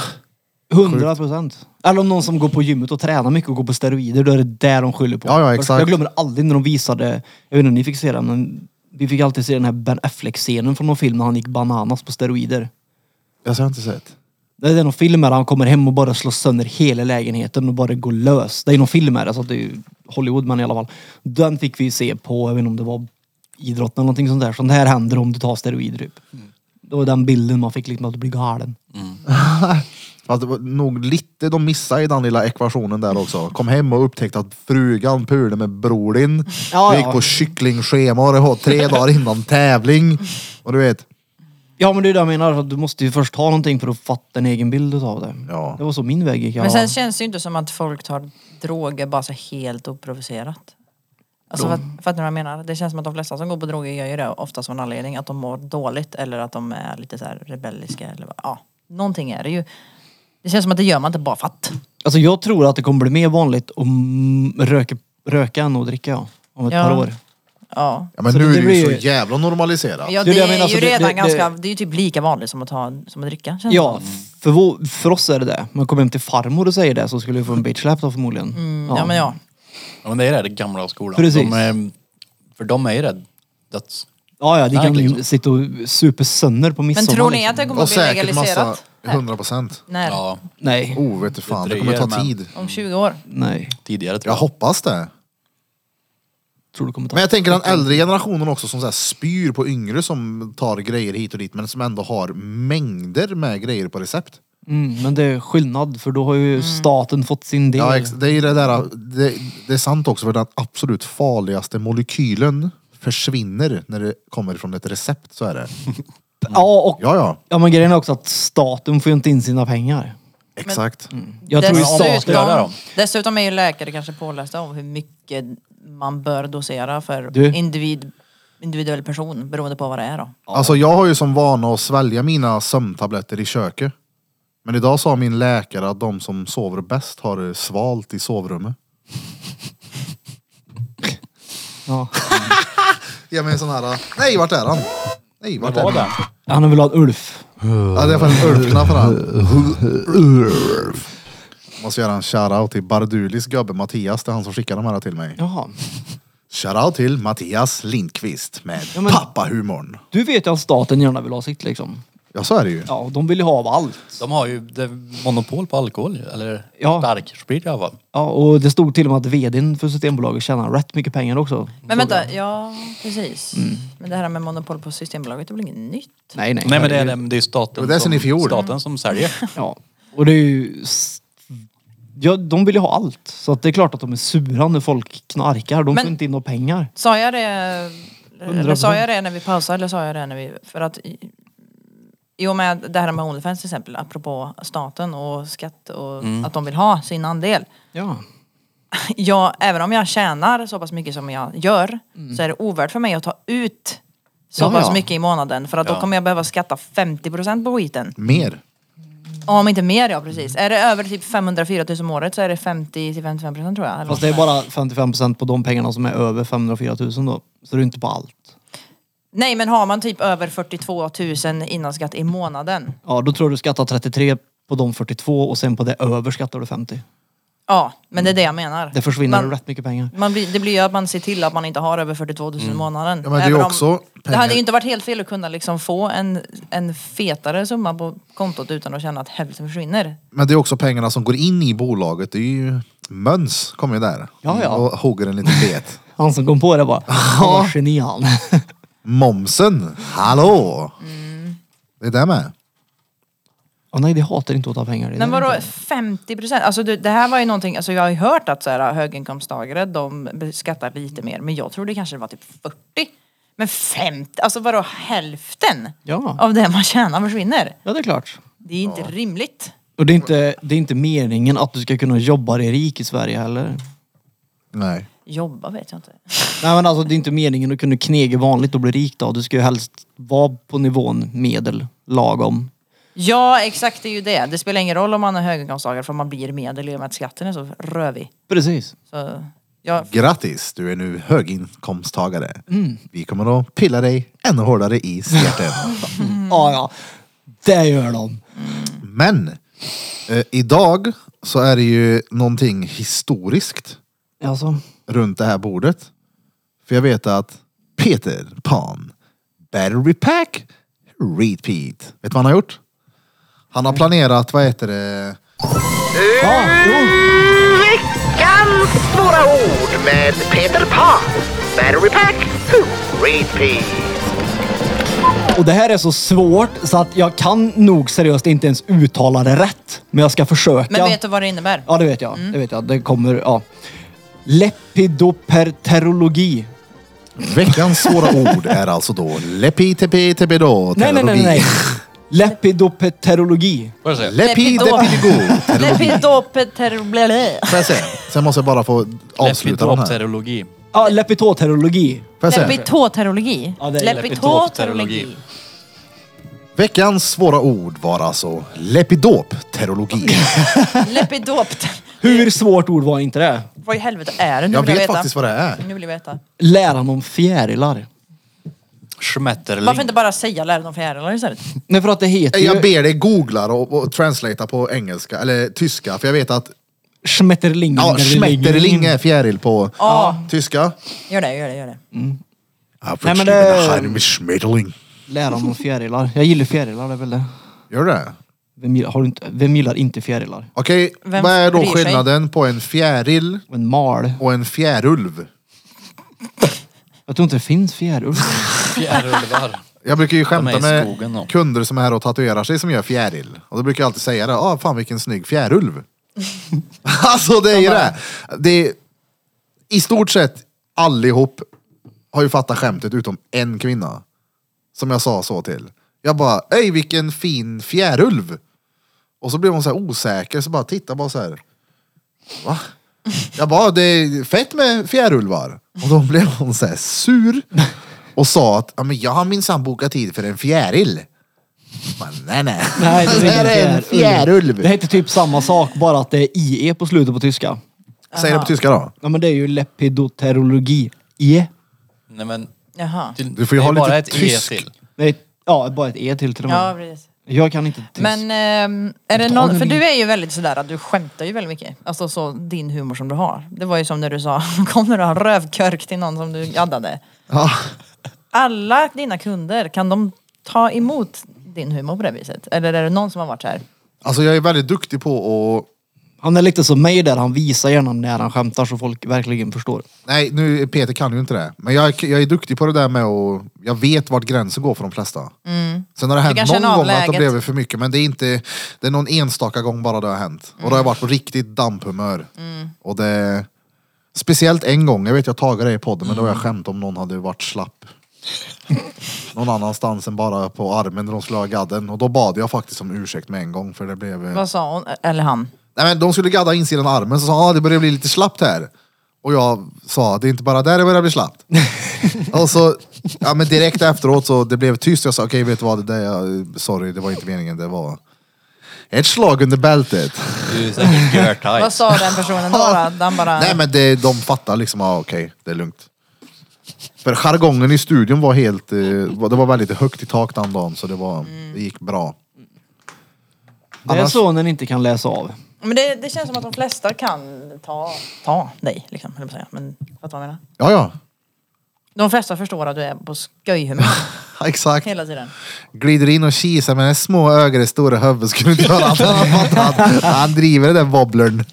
Hundra procent. Eller om någon som går på gymmet och tränar mycket och går på steroider, då är det där de skyller på.
Ja, ja, exakt.
Jag glömmer aldrig när de visade, jag vet inte om ni fick se den, men vi fick alltid se den här Ben Affleck-scenen från någon film när han gick bananas på steroider.
jag har inte sett.
Det är någon film där han kommer hem och bara slår sönder hela lägenheten och bara går lös. Det är någon film här, alltså det är ju Hollywood men i alla fall. Den fick vi se på, jag vet inte om det var idrott eller någonting sånt där. Sånt här händer om du tar steroider typ. Det var den bilden man fick liksom att du blir galen.
Fast det var nog lite de missade i den lilla ekvationen där också. Kom hem och upptäckte att frugan pulade med bror din.
Ja,
Vi gick
ja.
på kycklingschema och det var tre dagar innan tävling. Och du vet,
Ja men det är det jag menar, att du måste ju först ha någonting för att fatta en egen bild utav det.
Ja.
Det var så min väg gick. Jag.
Men sen känns det ju inte som att folk tar droger bara så helt oprovocerat. Alltså, fatt, fattar ni vad jag menar? Det känns som att de flesta som går på droger gör ju det oftast av en anledning. Att de mår dåligt eller att de är lite så här rebelliska eller vad- ja, någonting är det ju. Det känns som att det gör man inte bara för att.
Alltså jag tror att det kommer bli mer vanligt att mm, röka, röka än att dricka ja, om ett
Ja.
par år.
Ja.
ja, men
Så
nu
det- det
är det
blir
ju så
ju-
jävla normaliserat.
Ja,
Det
det,
är det jag
är
menar,
ju
så det-
redan
det- det-
ganska, det är ju typ lika vanligt som att ta, som att dricka känns det
Ja,
som.
för, vår, för oss är det det. Om jag kommer hem till farmor och säger det så skulle jag få en bitch slap då förmodligen.
Mm, ja. men ja.
Ja, men det är det, det gamla skolan.
Precis.
De är, för de är ju det döds...
Ja, ja, de kan
Knark, liksom.
ju sitta och supa sönder på
Men
midsommar.
tror ni
liksom.
att det kommer
Och
att bli
säkert massa,
legaliserat?
100 procent.
När?
Ja,
Nej,
Oh, vet du fan,
Det
det kommer ta
dröjer, men-
tid.
Om 20 år?
nej.
tidigare tror
Jag
jag.
hoppas det.
Tror du kommer ta...
Men jag tänker den äldre generationen också som så här spyr på yngre som tar grejer hit och dit men som ändå har mängder med grejer på recept.
Mm, men det är skillnad för då har
Mm.
ju staten fått sin del.
Ja, ex- det är ju det där, det, det är sant också för den absolut farligaste molekylen försvinner när det kommer från ett recept. Så är det.
Ja, och,
Ja, ja.
ja, men grejen är också att staten får ju inte in sina pengar.
Exakt.
Jag tror ju
Dessutom-
staten...
göra då?
dessutom är ju läkare kanske pålästa om hur mycket man bör dosera för
Du?
individ, individuell person beroende på vad det är då.
Alltså jag har ju som vana att svälja mina sömntabletter i köket. Men idag sa min läkare att de som sover bäst har det svalt i sovrummet.
Ja.
Ge mig en sån här... Nej, vart är han? Nej, vart är han?
Han vill ha en Ulf.
Ja, det är för en urfna för han. Måste göra en shoutout till Bardulis gubbe Mattias. Det är han som skickar de här till mig.
Jaha.
Shoutout till Mattias Lindqvist med
Ja, men-
pappahumorn.
Du vet ju att staten gärna vill ha sitt liksom.
Ja, så är det ju.
Ja, och de vill ju ha av allt.
De har ju det, monopol på alkohol, eller
Ja.
starksprit i alla fall.
Ja, och det stod till och med att vdn för Systembolaget tjänar rätt mycket pengar också.
Men vänta, ja precis.
Mm.
Men det här med monopol på Systembolaget, det är väl inget nytt?
Nej, nej.
Nej men det är, det är ju staten,
Det är sen i
som,
fjol.
staten som säljer.
Ja, och det är ju... s- Ja, de vill ju ha allt. Så att det är klart att de är sura när folk knarkar. De
Men-
får inte in några pengar.
Sa jag det, eller
100%.
sa jag det när vi pausade eller sa jag det när vi, för att i, i och med det här med Onlyfans till exempel, apropå staten och skatt och
Mm.
att de vill ha sin andel.
Ja.
jag, även om jag tjänar så pass mycket som jag gör så är det ovärt för mig att ta ut så
Mm. Ja,
pass
ja. Mm.
mycket i månaden för att då
Ja.
kommer jag behöva skatta 50% på skiten.
Mer.
Om inte mer ja, precis. Är det över typ 504 000 om året så är det 50-55% tror jag. eller?
Fast det är bara 55 på de pengarna som är över 504 000 då. Så det är inte på allt.
Nej men har man typ över 42 000 innan skatt i månaden.
Ja, då tror du skattar 33 på de 42 och sen på det över skattar du 50.
Ja, men det är det jag menar.
Det försvinner
man,
rätt mycket pengar.
man blir, Det blir ju att man ser till att man inte har över 42 000 i månaden.
Mm. Ja, men det är
Även
ju
om-
också
Det
pengar-
hade ju inte varit helt fel att kunna liksom få en, en fetare summa på kontot utan att känna att hälften försvinner.
Men det är också pengarna som går in i bolaget. Det är ju... Möns kommer ju där.
Ja, ja.
Och hugger en liten bet.
Han som kom på det bara. Han var geni han.
Momsen. Hallå!
Mm.
Det är det med.
Ja, nej, det hatar inte att ta pengar. Det är
Men
det
vadå
inte.
50 procent? Alltså det, det här var ju någonting, alltså jag har ju hört att så här, höginkomsttagare de beskattar lite mer men jag trodde kanske det var typ 40. Men 50, alltså vadå hälften
Ja.
av det man tjänar försvinner?
Ja, det är klart.
Det är inte rimligt.
Och det är, inte, det är inte meningen att du ska kunna jobba dig rik i Sverige heller.
Nej.
Jobba vet jag inte.
Nej men alltså det är inte meningen att kunna knega vanligt och bli rik då. Du ska ju helst vara på nivån medel, lagom.
Ja exakt det är ju det. Det spelar ingen roll om man är höginkomsttagare för man blir medel i och med att skatten är så rövig.
Precis.
Så jag
Grattis, du är nu höginkomsttagare.
Mm.
Vi kommer att pilla dig ännu hårdare i stjärten.
Mm. Ja, ja. Det gör de.
Men eh, idag så är det ju någonting historiskt
Alltså,
runt det här bordet. För jag vet att Peter Pan Battery Pack Repeat. Vet du vad han har gjort? Han har planerat, vad heter det?
Veckans svåra ord med Peter Pan. Battery Pack Repeat.
och det här är så svårt så att jag kan nog seriöst inte ens uttala det rätt. Men jag ska försöka.
Men vet du Mm. vad det innebär?
Ja, det vet jag. Det vet jag. Det kommer, ja. Lepidoperterologi.
Veckans svåra ord är alltså då lepitepetepedo.
Nej, nej, nej, nej, nej. Lepidoperterologi.
Får jag säga?
Lepidepidigo.
Lepidopeterblele.
Får jag säga? Sen måste jag bara få avsluta den här.
Lepidopterologi.
Ja, lepitoterologi.
Får jag säga?
Lepitoterologi.
Ja, det är
Lepitoterologi.
Veckans svåra ord var alltså lepidopterologi.
Lepidopter...
Hur svårt ord var inte det?
Vad i helvete är det? Nu
Jag
vill
vet
veta.
faktiskt vad det är.
Nu vill jag veta.
Läran om fjärilar.
Schmetterling.
Varför inte bara säga lära om fjärilar istället?
Nej, för att det heter
Nej,
ju...
Jag ber dig googla och, och translatea på engelska, eller tyska, för jag vet att
Schmetterlingen.
ja,
eller
schmetterling
lingen.
är fjäril på
Ja.
tyska.
Gör det, gör det, gör det.
Nej, men det-
schmetterling.
Läran om fjärilar. Jag gillar fjärilar, det är väl det.
Gör det?
Vem gillar, har du inte, vem gillar inte fjärilar?
Okej,
Vem
vad är då
bryr sig?
skillnaden på en fjäril
Och en mal.
och en fjärulv?
Jag tror inte det finns fjärilar.
Fjärilvar.
Jag brukar ju skämta
i
med
skogen då.
kunder som är här och tatuerar sig som gör fjäril. Och då brukar jag alltid säga det, ah, fan vilken snygg fjärulv. alltså det är ju det. det är, I stort sett allihop har ju fattat skämtet utom en kvinna. Som jag sa så till. Jag bara, ej vilken fin fjärulv. Och så blev hon så här osäker, så bara titta bara så här. Va? Jag bara, det är fett med fjärulvar. Och då blev hon så här sur. Och sa att, ja men jag har minsann bokat tid för en fjäril. Men nej nej.
Nej,
det, här
ingen
är en fjärulv.
Det heter typ samma sak, bara att det är IE på slutet på tyska.
Säg det på tyska då.
Ja, men det är ju E? lepidoterologi. IE.
Nej men,
Jaha.
till,
Du får ju
det
ha
är bara
lite
ett
tysk.
E till.
Nej, ja, bara ett E till till och med.
Ja, precis.
Jag kan inte tyst.
Men ehm, är det
Ta
någon,
den
för
i-
du är ju väldigt sådär att du skämtar ju väldigt mycket. Alltså så din humor som du har. Det var ju som när du sa, kommer du ha rövkörk till någon som du gaddade?
Ja.
Alla dina kunder, kan de ta emot din humor på det viset? Eller är det någon som har varit så här?
Alltså jag är väldigt duktig på att
Han är lite som mig där, han visar gärna när han skämtar så folk verkligen förstår.
Nej, nu, Peter kan ju inte det. Men jag, jag är duktig på det där med att... Jag vet vart gränsen går för de flesta. Sen har det
Mm. kan
hänt
känna
någon
av
gång att det
läget.
blev för mycket. Men det är inte... Det är någon enstaka gång bara det har hänt. Och då har jag varit på riktigt damphumör.
Mm.
Och det... Speciellt en gång, jag vet jag tagit det i podden, men då var jag skämt om någon hade varit slapp. någon annanstans än bara på armen när de skulle ha gadden. Och då bad jag faktiskt om ursäkt med en gång för det blev... eh,
Vad sa hon? Eller han?
Nej, men de skulle gadda insidan av armen, så sa han ah, det börjar bli lite slappt här. Och jag sa, det är inte bara där det börjar bli slappt. och så, ja men direkt efteråt så det blev tyst. Jag sa, okej vet du vad, det där, jag, sorry det var inte meningen, det var ett slag under bältet.
Du är säkert
Vad
görtajt.
sa den personen då? då? Den bara...
Nej men det, de fattar liksom, ah, okej det är lugnt. För jargongen i studion var helt, eh, var- det var väldigt högt i tak den dagen så det, var, det gick bra.
Det är
Annars-
så när ni inte kan läsa av.
Men det, det känns som att de flesta kan ta, ta dig, liksom, höll jag på att säga. Men fattar du vad jag menar?
Ja ja,
De flesta förstår att du är på skojhumör
exakt.
hela tiden.
glider in och kisar med den små ögon i stora huvudet skulle inte göra annat än att fatta att han driver den där wobblern.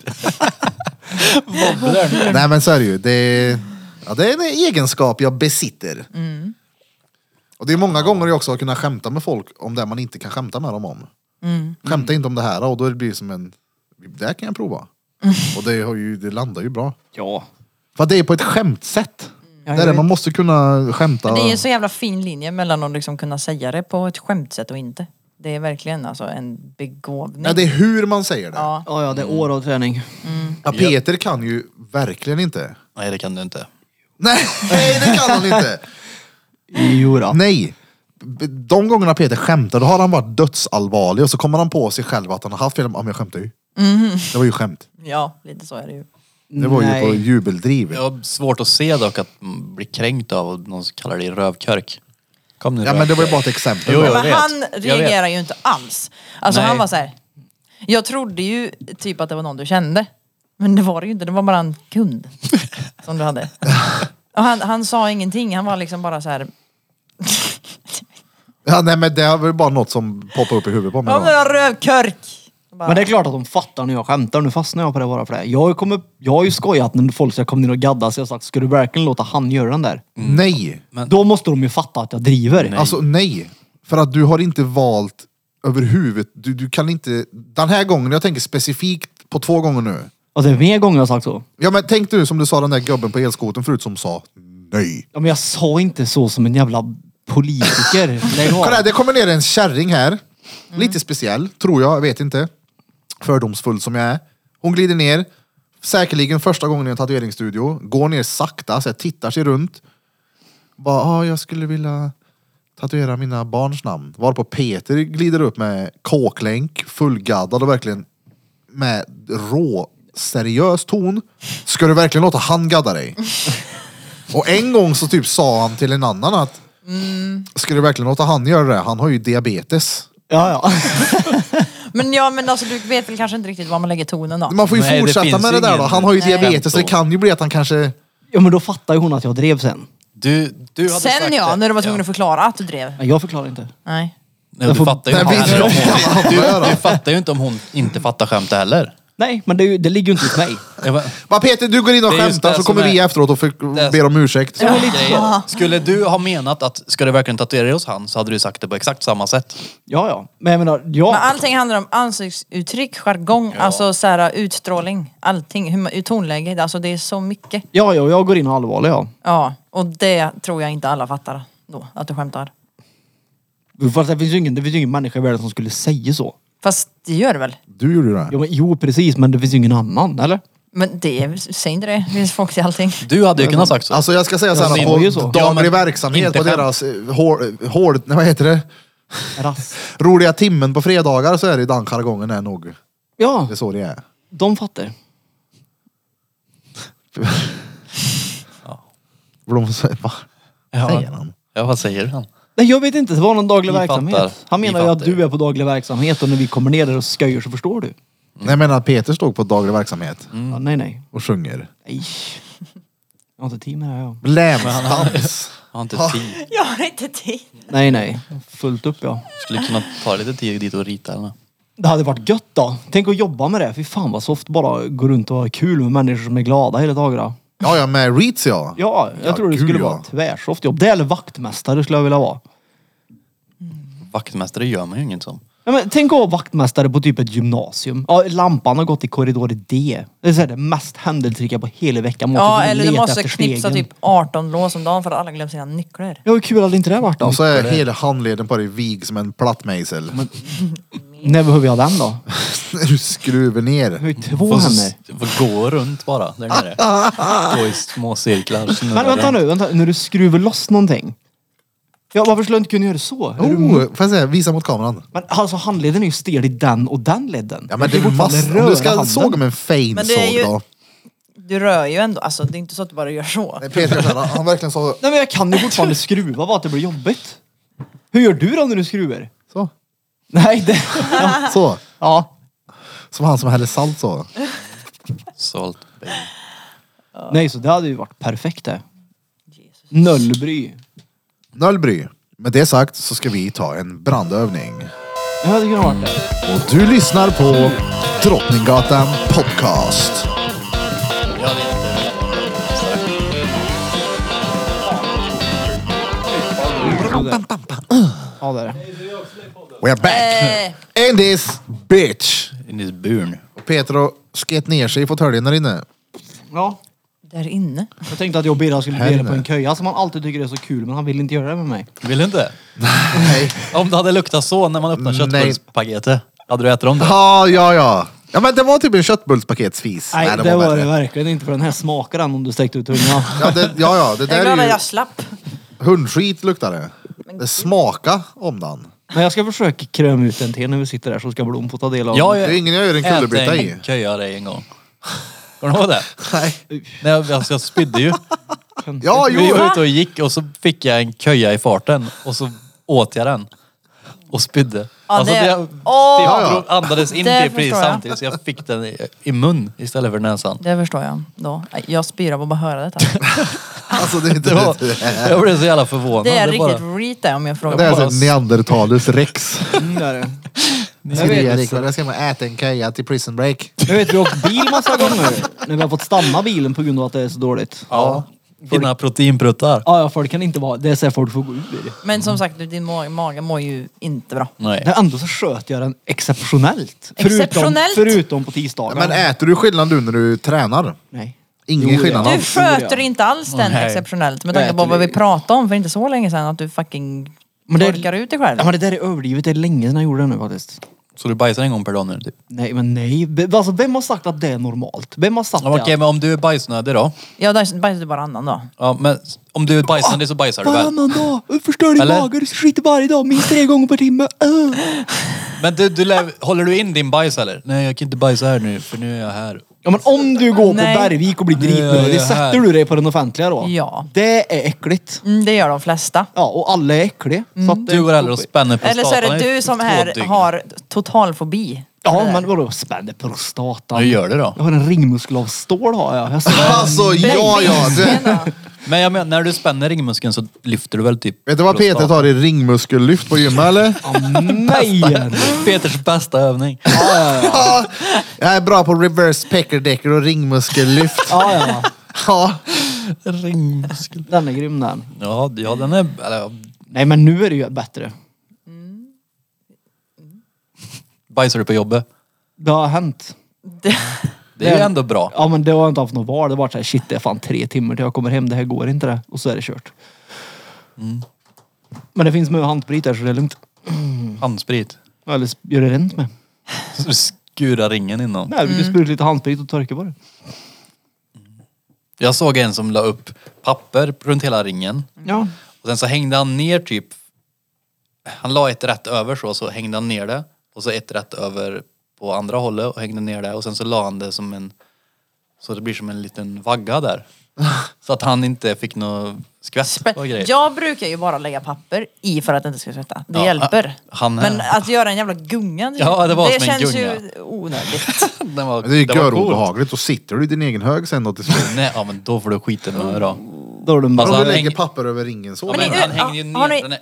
Nej men så är det ju. Det, ja, det är en egenskap jag besitter.
Mm.
Och det är många gånger jag också har kunnat skämta med folk om det man inte kan skämta med dem om.
Mm.
Skämta inte om det här och då blir det som en, det här kan jag prova.
Mm.
Och det, har ju, det landar ju bra.
Ja.
För det är på ett skämtsätt.
jag
det är det,
vet.
man måste kunna skämta.
Det är en så jävla fin linje mellan att liksom kunna säga det på ett skämtsätt och inte. Det är verkligen alltså en begåvning.
Ja, det är hur man säger det.
Ja.
Ja, ja, det är år av träning.
Ja, Peter kan ju verkligen inte.
Nej det kan du inte.
Nej, nej det kan han inte.
Jo då.
Nej. B- De gångerna Peter skämtar, då har han varit dödsallvarlig och så kommer han på sig själv att han har haft fel. Ja, men jag skämtar ju. Det var ju skämt.
ja, lite så är det ju.
Det var ju på
Nej.
jubeldriv.
Jag har svårt att se dock att mm, bli kränkt av att någon som kallar dig rövkörk. Kom nu
Ja, men det var ju
rövkörk.
bara ett exempel.
Jo,
bara.
jo.
Men
vet.
han
Jag
reagerar ju inte alls. Alltså
Nej.
han var så här. Jag trodde ju typ att det var någon du kände. Men det var det ju inte, det var bara en kund. som du hade. Och han, han sa ingenting, han var liksom bara så här.
Ja, nej, men det var ju bara något som poppade upp i huvudet på mig.
Ja men
då.
en rövkörk! Bara,
Men det är klart att de fattar när jag skämtar. Nu fastnar jag på det bara för det. Jag, har ju kommit, jag har ju skojat när folk ska komma ner och gadda sig. Jag har sagt, ska du verkligen låta han göra den där?
Nej.
Då måste de ju fatta att jag driver.
Alltså nej. För att du har inte valt över huvudet. Du, du kan inte... Den här gången, jag tänker specifikt på två gånger nu.
Alltså, det är mer gånger jag har sagt så.
Ja men tänk du som du sa den där gubben på elskoten förut som sa nej.
Ja, men jag sa inte så som en jävla politiker. Lägg av.
Kolla här, det kommer ner en kärring här. Lite speciell, tror jag. Jag vet inte. Fördomsfull som jag är. Hon glider ner. Säkerligen första gången i en tatueringsstudio. Går ner sakta, så här, tittar sig runt. Bara, ah, jag skulle vilja tatuera mina barns namn. Varpå Peter glider upp med kåklänk, fullgaddad och verkligen med rå, seriös ton. Ska du verkligen låta han gadda dig? Och en gång så typ sa han till en annan att Ska du verkligen låta han göra det? Han har ju diabetes.
Ja, ja.
Men ja men alltså du vet väl kanske inte riktigt var man lägger tonen då.
Man får ju
Nej, det
fortsätta
finns
med det
ju
där
ingen-
då. Han har ju
Nej.
diabetes. Det kan ju bli att han kanske...
ja, men då fattar ju hon att jag drev sen.
Du, du hade
Sen
sagt
ja,
det.
när du var tvungen att förklara att du drev.
Men jag förklarar inte.
Nej.
Nej, du, fattar ju
Nej,
inte
vi-
heller om
vi-
hon,
vi-
du, du fattar ju inte om hon inte fattar skämt heller.
Nej, men det, är ju- det ligger ju inte hos mig.
Jag bara,
Va Peter, du går in och
Det är just
skämtar
det
så
som
kommer vi
är-
efteråt och
det är-
för... ber om ursäkt.
Ja, lite så.
grejer. Skulle du ha menat att ska du verkligen tatuera dig hos han så hade du sagt det på exakt samma sätt.
Ja, ja. Men jag menar, ja.
Men allting handlar om ansiktsuttryck, jargong, alltså så här, utstrålning, allting, hur, man- tonläge, alltså det är så mycket.
Ja, ja, jag går in allvarlig ja.
Ja, och det tror jag inte alla fattar då, att du skämtar.
Fast det finns ju ingen, det finns ju ingen människa i världen som skulle säga så.
Fast det gör det väl?
Du gjorde det. här.
Jo, men, jo precis, men det finns ju ingen annan, eller?
Men det, är- säg inte det, det finns folk till allting.
Du hade ju kunnat sagt så.
Alltså jag ska säga så
Ja, det
här,
var ju
på
så.
Ja, men
daglig verksamhet
inte
på
skämt.
deras eh, hår, hår, nej, vad heter det?
Rast.
Roliga timmen på fredagar så är det i den jargongen är nog.
Ja,
Det är så det är.
de fattar.
För de säger, va?
Ja,
Säger han.
ja vad säger han?
Nej, jag vet inte. Det var någon daglig
Vi
verksamhet.
fattar.
Han
Vi
menar ju att
fattar.
du är på daglig verksamhet och när vi kommer ner där och skojar så förstår du.
Mm.
Nej, Jag menar att Peter stod på daglig verksamhet
Ja, nej, nej.
och sjunger.
Nej. Jag har inte tid med det här jag.
Länsdans.
Jag har inte tid.
Jag har inte tid.
Nej, nej. Fullt upp ja.
Skulle kunna ta lite tid dit och rita henne.
Det hade varit gött då. Tänk att jobba med det. Fy fan vad soft. Bara gå runt och ha kul med människor som är glada hela dagarna.
Ja, ja, med Reeds ja.
Ja, jag
Ja,
tror det
gud,
skulle
ja.
vara ett tvärsoft jobb. Det eller vaktmästare skulle jag vilja vara.
Vaktmästare gör man ju inget som.
Ja, men tänk att vara vaktmästare på typ ett gymnasium. Ja, lampan har gått i korridor D. Det är så här det mest händelserika på hela veckan. Man
Ja,
måste
eller du
leta
måste
efter
knipsa
stegen.
typ 18 lås om dagen för att alla glömmer sina nycklar.
Ja, hur kul hade inte det varit då?
Och så är hela handleden på dig vig som en plattmejsel.
När behöver jag den då?
När du skruvar
Jag har
ner.
ju två
Får
händer.
s- får gå runt bara där nere. Gå i små cirklar. snurra
Men vänta
runt.
nu, vänta. När du skruvar loss någonting. Ja, varför skulle jag inte kunna göra så? Är du-
Oh, får jag säga, visa mot kameran.
Men alltså handleden är ju stel i den och den leden.
Ja men
kan ju
du
fortfarande
måste, om
röra
du ska
handen.
såga med en fein
Men det är
såg
ju-
då.
Du rör ju ändå, alltså det är inte så att du bara gör så.
Nej, Peter så här, han verkligen sa
Nej men jag kan ju fortfarande skruva bara att det blir jobbigt. Hur gör du då när du skruvar?
så.
Nej, det...
Så.
Ja.
Som han som häller salt så.
Salt baby.
Nej, så det hade ju varit perfekt det. Noll bry.
Noll bry. Med det sagt så ska vi ta en brandövning.
Det hade kunnat varit det.
Och du lyssnar på Drottninggatan Podcast.
Ja, det är det.
We're back!
Eh,
In this bitch!
In this burn.
Och Peter sket ner sig i fåtöljen där inne.
Ja.
där inne.
Jag tänkte att jag och Birra skulle
Här
dela på
inne.
en köja som han alltid tycker är så kul, men han vill inte göra det med mig.
Vill du inte?
Nej.
Om det hade luktat så när man öppnar
Mm, Nej.
köttbullspaketet. Hade du ätit dem då?
Ja, ja, ja. Ja men det var typ en köttbullspaketsfis.
Nej, det, var,
värre.
det verkligen inte, för den här smakar den om du sträckte ut tungan.
Ja, det, ja, ja, det
Jag är
där
glad
är
att
ju...
jag slapp.
Hundskit luktar det. Det smakar om den.
Men jag ska försöka kröma ut en till när vi sitter där så ska Blom få ta del av
Ja,
den.
ja.
Det är ingen jag gör en kullerbytta i.
en köja dig en gång. Kommer du ihåg det?
Nej.
Nej, alltså jag spydde ju.
Ja,
Vi
jo!
var ute och gick och så fick jag en köja i farten och så åt jag den. Och spydde.
Ja,
alltså
det-
det,
Åh!
det andades in
Det
till pris
förstår jag.
samtidigt så jag fick den i, i mun istället för näsan.
Det förstår jag då. Jag spyr av att bara höra detta.
Alltså det är inte
Det var, jag blev så jävla förvånad.
Det är
bara-
riktigt reet där om jag frågar.
Det är
bara-
såhär neandertalus rex.
Mm, det är det.
Skriar ikväll, jag ska man äta en köja till prison break.
Jag vet, vi har åkt bil massa gånger. När vi har fått stanna bilen på grund av att det är så dåligt.
Ja. Dina proteinpruttar.
Ja, ja, folk kan inte vara... Det är så här folk får gå ur.
Men som sagt, du, din ma- mage mår ju inte bra.
Nej.
Men ändå så sköt jag den exceptionellt.
Exceptionellt?
Förutom, förutom på
Ja,
tisdagar.
Men äter du skillnad nu när du tränar?
Nej.
Ingen
Jo, ja.
skillnad
Du
Ja,
alls?
sköter
ja.
inte alls den
Nej.
exceptionellt med
Jag
tanke på
äter
vad
det.
vi pratade om för inte så länge sedan att du fucking
Men det-
torkar ut dig själv.
Ja, men det där är överdrivet. Det är länge sedan jag gjorde det nu faktiskt.
Så du bajsar en gång per dag nu? Typ.
Nej, men nej. Be- Alltså, vem har sagt att det är normalt? Vem har sagt
Ja, men Okej,
det?
men om du är bajsnödig då?
Ja, där bajsar du varannan då.
Ja, men om du är bajsnödig så bajsar du väl?
Varannan dag! Du förstör din
Eller?
mage, du skiter varje dag minst tre gånger per timme. Öh.
Men du, du lär, håller du in din bajs eller? Nej, jag kan inte bajsa här nu för nu är jag här.
Ja men om du går på
Nej.
Bergvik och blir
Nu är jag
dritnödig,
här.
sätter du dig på den offentliga då?
Ja.
Det är äckligt.
Mm, det gör de flesta.
Ja, och alla är äckliga. Så att det-
Du går hellre och spänner på
Eller så är det
statan i
du som
två
här
dygn.
har total fobi.
Ja, men vadå? Spänner prostatan.
Nu gör det då.
Jag har en ringmuskel av stål har jag. jag spänner-
Alltså ja, ja. Det,
Tjena.
Men jag menar, när du spänner ringmuskeln så lyfter du väl typ...
Vet du vad Peter tar i ringmuskellyft på gymmet eller?
Nej!
Peters bästa övning.
Ja, jag är bra på reverse peckerdecker och ringmuskellyft.
Ja, ja.
Ja.
Ringmuskel.
Den är grym den.
Ja, d- ja den är... Eller,
Nej men nu är det ju bättre.
bajsar du på jobbet?
Det har hänt.
Det är ju
Den-
ändå bra.
Ja men det har jag inte haft något val. Det har varit såhär, shit det är fan tre timmar till jag kommer hem. Det här går inte det. Och så är det kört. Mm. Men det finns med handsprit där så det är lugnt.
Handsprit.
Eller s- gör det rent med.
Så du skurar ringen innan.
Nej, vi sprutar lite handsprit och torkar på det.
Jag såg en som la upp papper runt hela ringen.
Ja.
Och sen så hängde han ner typ... Han la ett rätt över så, så hängde han ner det. Och så ett rätt över på andra hållet och hängde ner det. Och sen så la han det som en... Så det blir som en liten vagga där. Så att han inte fick något skvätt och grejer.
Jag brukar ju bara lägga papper i för att det inte ska tvätta. Det
Ja,
hjälper.
han-
Men att göra en jävla gunga, det,
Ja, det var som en
känns
gunga.
ju onödigt.
Den var,
Men Det är ju
den var Alltså, cool.
görobehagligt. Då sitter du i din egen hög sen då till slut.
Nej, ja men då får du skiten med då.
Då har du en
Alltså,
Om
massa...
du lägger
häng-
papper över ringen så.
Ja, men
ni-
han hängde ju
ja, har
ner.
ni-
den är-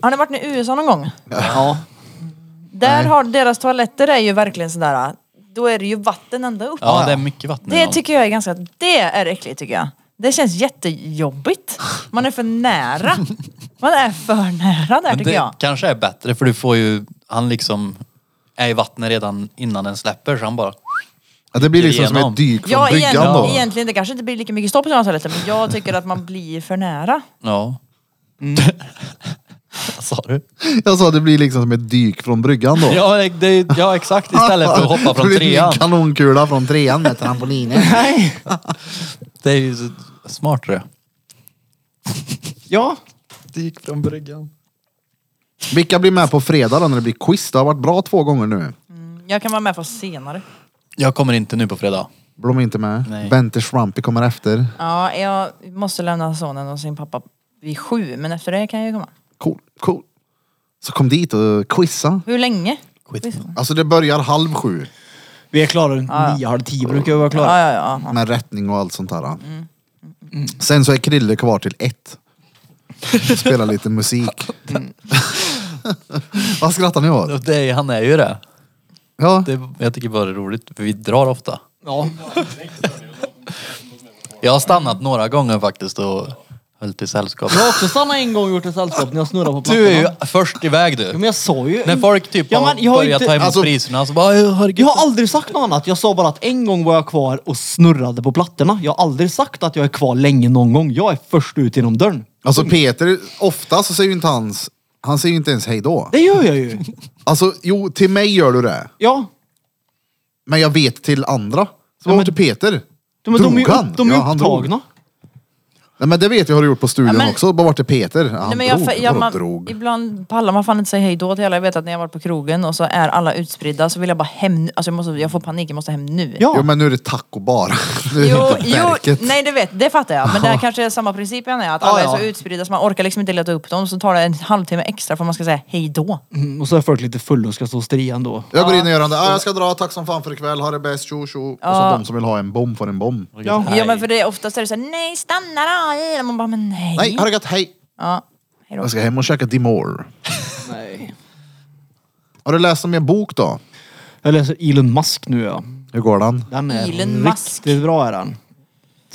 Har ni varit i USA någon gång?
Ja.
Där har deras toaletter är ju verkligen sådär, då är det ju vatten ända upp.
Ja, det är mycket vatten i
Det
den.
tycker jag är ganska, det är äckligt tycker jag. Det känns jättejobbigt. Man är för nära. Man är för nära där
Men
tycker
det
jag.
kanske är bättre för du får ju... Han liksom är i vattnet redan innan den släpper så han bara...
Ja, det blir liksom som
Igenom.
ett dyk från
Ja,
bryggan
egentligen,
då.
egentligen, det kanske inte blir lika mycket stopp i sådana toaletter, men jag tycker att man blir för nära.
Ja. Vad sa du?
Jag sa det blir liksom som ett dyk från bryggan då.
Ja, det- det, ja exakt istället för att hoppa från
Det blir en
trean.
kanonkula från trean med trampolinen.
Nej.
Det är ju så- smartare.
Ja.
Dyk från bryggan.
Vilka blir med på fredag då när det blir quiz? Det har varit bra två gånger nu.
Jag kan vara med på senare.
Jag kommer inte nu på fredag.
Blom är inte med.
Nej.
Bente Schrampi kommer efter.
Ja, jag måste lämna sonen och sin pappa vid sju, men efter det kan jag ju komma.
Cool, cool. Så kom dit och quizza.
Hur länge?
Skit.
Alltså det börjar halv sju
Vi är klara runt nio, halv tio brukar vi vara klara.
Ja, ja, ja. ja.
med rättning och allt sånt där.
Mm.
Sen så är Krille kvar till ett. Spela lite musik. Vad skrattar ni åt?
Och Det, han är ju det.
Ja,
det. Jag tycker bara det är roligt. för Vi drar ofta.
Ja.
Jag har stannat några gånger faktiskt och höll till sällskap.
Jag har också stannat en gång och gjort ett sällskap när jag snurrar på plattorna.
Du är ju först iväg
Ja,
du.
men jag sa ju...
När folk typ
Ja, men jag
har
har
börjat
inte-
ta emot
alltså-
priserna så bara "Ja, herregud.
Jag har aldrig sagt något annat. Jag sa bara att en gång var jag kvar och snurrade på plattorna. Jag har aldrig sagt att jag är kvar länge någon gång. Jag är först ut genom dörren.
alltså Peter, ofta så säger ju inte hans, han säger ju inte ens hej då.
Det gör jag ju.
Alltså jo, till mig gör du det.
Ja.
Men jag vet till andra. Så
Ja,
var
men-
till Peter?
De, men de är,
Drog
ju
han?
upp, de är
Ja, han drog.
upptagna.
Nej men det vet jag har du gjort på studion
Ja, men-
också. Bara vart är Peter? Han
Nej, men
drog.
jag, jag,
Vadå
man,
drog?
Ibland pallar man fan inte säga hej då till alla. Jag vet att när jag varit på krogen och så är alla utspridda så vill jag bara hem nu. Alltså jag, måste, jag får panik, jag måste hem nu.
Ja.
Jo men nu är det tacobar. Nu är
Jo,
det inte
jo,
verket.
nej det vet, det fattar jag. Men det här kanske är samma princip igen är, att
Ja,
alla
ja.
är så utspridda så man orkar liksom inte leta upp dem. Så tar det en halvtimme extra för man ska säga hej då.
Mm, och så är folk lite fulla och ska stå och stria ändå.
Jag går in och gör det. Ah, jag ska dra, tack som fan för ikväll, ha det bäst, tjo tjo. Och så de som vill ha en bomb får en bomb.
Ja.
Ja men för det är oftast är det såhär, nej stanna då! Och Man bara, men nej.
Nej, ha det gött, hej!
Ja, hej då.
Jag ska hem och käka Dimore.
Nej.
Har du läst om min bok då?
Jag läser Elon Musk nu ja.
Hur går den?
Den är
Elon Musk.
riktigt bra är den.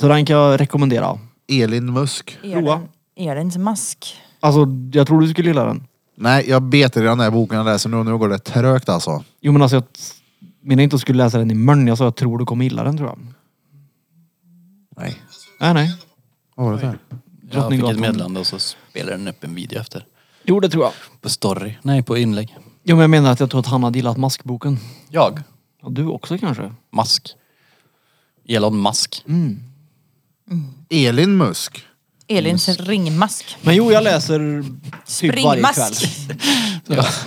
Så den kan jag rekommendera.
Elin Musk.
Roa.
Elin, Elins mask.
Alltså jag tror du skulle gilla den.
Nej, jag beter i den här boken jag läser nu och nu går det trögt alltså.
Jo men alltså jag menar inte att jag skulle läsa den i mörn. Jag sa jag tror du kommer gilla den tror jag.
Nej.
Nej nej.
Vad var det där?
Jag fick ett
Drottninggatan.
meddelande och så spelade den upp en video efter.
Jo det tror jag.
På story. Nej, på inlägg.
Jo men jag menar att jag tror att han hade gillat maskboken.
Jag.
Ja, du också kanske?
Mask. Elon Musk.
Mm.
Elin Musk.
Elins ringmask.
Men jo, jag läser typ varje kväll.
Springmask.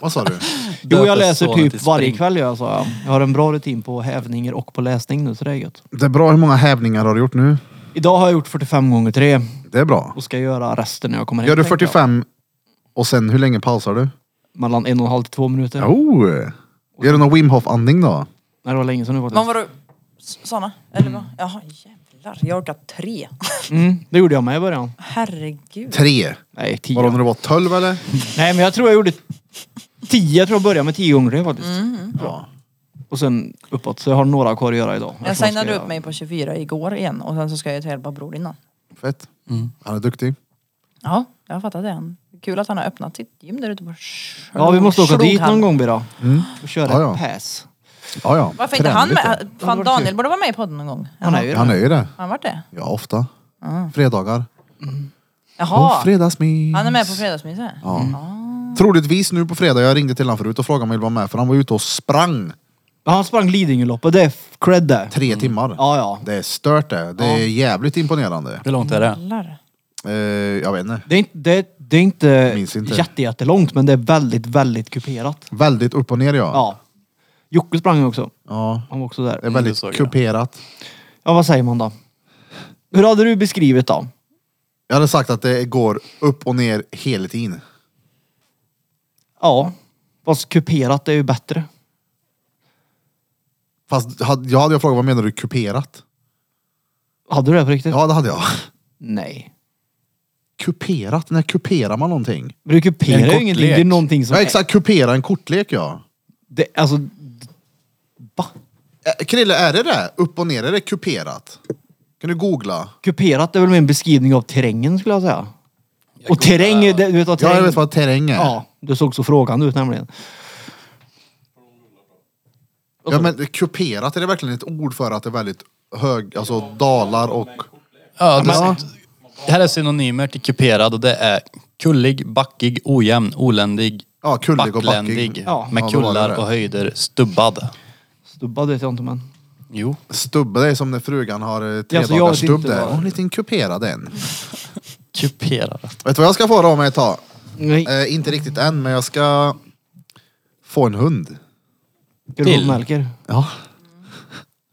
Vad sa du?
Jo, jag
Döper
läser
sonen
typ
till
varje
Spring.
kväll jag sa jag. Jag har en bra rutin på hävningar och på läsning nu, så det är gött.
Det är bra, hur många hävningar har du gjort nu?
Idag har jag gjort 45 gånger 3
Det är bra.
och ska göra resten när jag kommer hem.
Gör du
tänkte jag.
45 och sen hur länge pausar du?
Mellan en och en halv till två minuter.
Oh. Gör du någon Wim Hof andning då?
Nej, det var länge sedan nu faktiskt.
Vad var du? S- Sanna? Eller vad? Jaha, jävlar.
jävlar, jag orkar tre.
Mm, det gjorde jag med i början.
Herregud.
Tre.
Nej, tio.
Var det när du var tolv eller?
Nej, men jag tror jag gjorde tio. Jag tror jag började med tio gånger det faktiskt.
Mm.
Ja.
Och sen uppåt. Så jag har några kvar att göra idag.
Jag
tror
signade
ska
upp mig på 24 igår igen och sen så ska jag till Elba Bror innan.
Fett. Han är duktig.
Ja, jag har fattat det. Han- Kul att han har öppnat sitt gym där ute på
Ja, vi måste åka dit någon gång Bira. Och köra
Mm. Ja, ja.
ett pass.
Ja, ja.
Varför inte
Träna
han
lite.
med? Fan,
varit
Daniel
kul.
borde vara med i podden någon gång.
Han är ju
Han
det.
är ju det.
Har han varit det?
Ja, ofta. Fredagar.
Jaha,
Och fredagsmys.
han är med på fredagsmyset?
Troligtvis nu på fredag. Jag ringde till honom förut och frågade om han ville vara med för han var ute och sprang
Ja, Han sprang Lidingöloppet. Det är f- cred där.
tre timmar.
Ja, ja.
Det är stört det. Det är jävligt imponerande.
Hur långt är det?
Jävlar.
Eh, jag vet inte.
Det är inte, det, det är inte,
Minns inte.
jätte, jättelångt men det är väldigt, väldigt kuperat.
Väldigt upp och ner ja.
Ja. Jocke sprang ju också.
Ja.
Han var också
Det är
där.
det
väldigt
såg jag.
kuperat.
Ja, vad säger man då? Hur hade du beskrivit då?
Jag hade sagt att det går upp och ner hela tiden.
Ja, fast kuperat är ju bättre.
Fast hade- jag hade jag frågat vad menar du kuperat?
Hade du det på riktigt?
Ja det hade jag.
Nej.
Kuperat? När kuperar man någonting?
Men du
Det är
kuperar
en
ju ingenting.
kortlek.
Det är någonting som...
Ja exakt, kupera en kortlek ja.
Det, alltså... Va?
Eh, Krille, är det det? Upp och ner, är det kuperat? Kan du googla?
Kuperat är väl en beskrivning av terrängen skulle jag säga. och
googlar-
terräng, är det, du vet vad terräng...
Ja, jag vet vad terräng är.
Ja, du såg så frågande ut nämligen.
Ja, men kuperat, är det verkligen ett ord för att det är väldigt hög, alltså dalar och...
Ja, det, det här är synonymer till kuperad och det är kullig, backig, ojämn, oländig,
Ja, kullig och
backländig,
backig.
Ja.
med
Ja, då var det
kullar
det.
och höjder, stubbad.
Stubbad vet jag inte men.
Jo.
Stubbe, det är som när frugan har eh, tre
Ja, så jag
dagars
vet
stubb
inte
där.
vad-
Och en liten kuperad en.
Kuperad.
Vet du vad jag ska få då om ett tag?
Nej,
Eh, inte riktigt än, men jag ska få en hund.
äh, hundmälker.
Ja.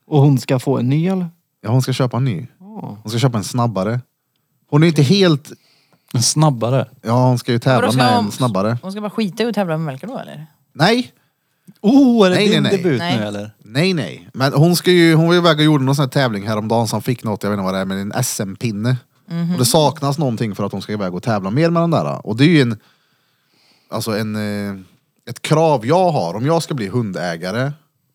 Och hon ska få en ny eller?
ja, hon ska köpa en ny. Hon ska köpa en snabbare. Hon är inte helt...
Snabbare.
Ja, hon ska ju
Men då
tävla
ska
med
hon-
en snabbare.
Hon ska bara skita i att tävla med Melker då eller?
Nej,
Oh, är det
Nej,
din
nej, nej.
debut
Nej.
nu eller?
Nej, nej. Men hon, ska ju, hon var ju iväg och gjorde någon sån här tävling häromdagen som fick något, jag vet inte vad det är, men en SM-pinne. Och det saknas någonting för att hon ska iväg och tävla mer med den där. Och det är ju en, alltså en, eh, ett krav jag har. Om jag ska bli hundägare,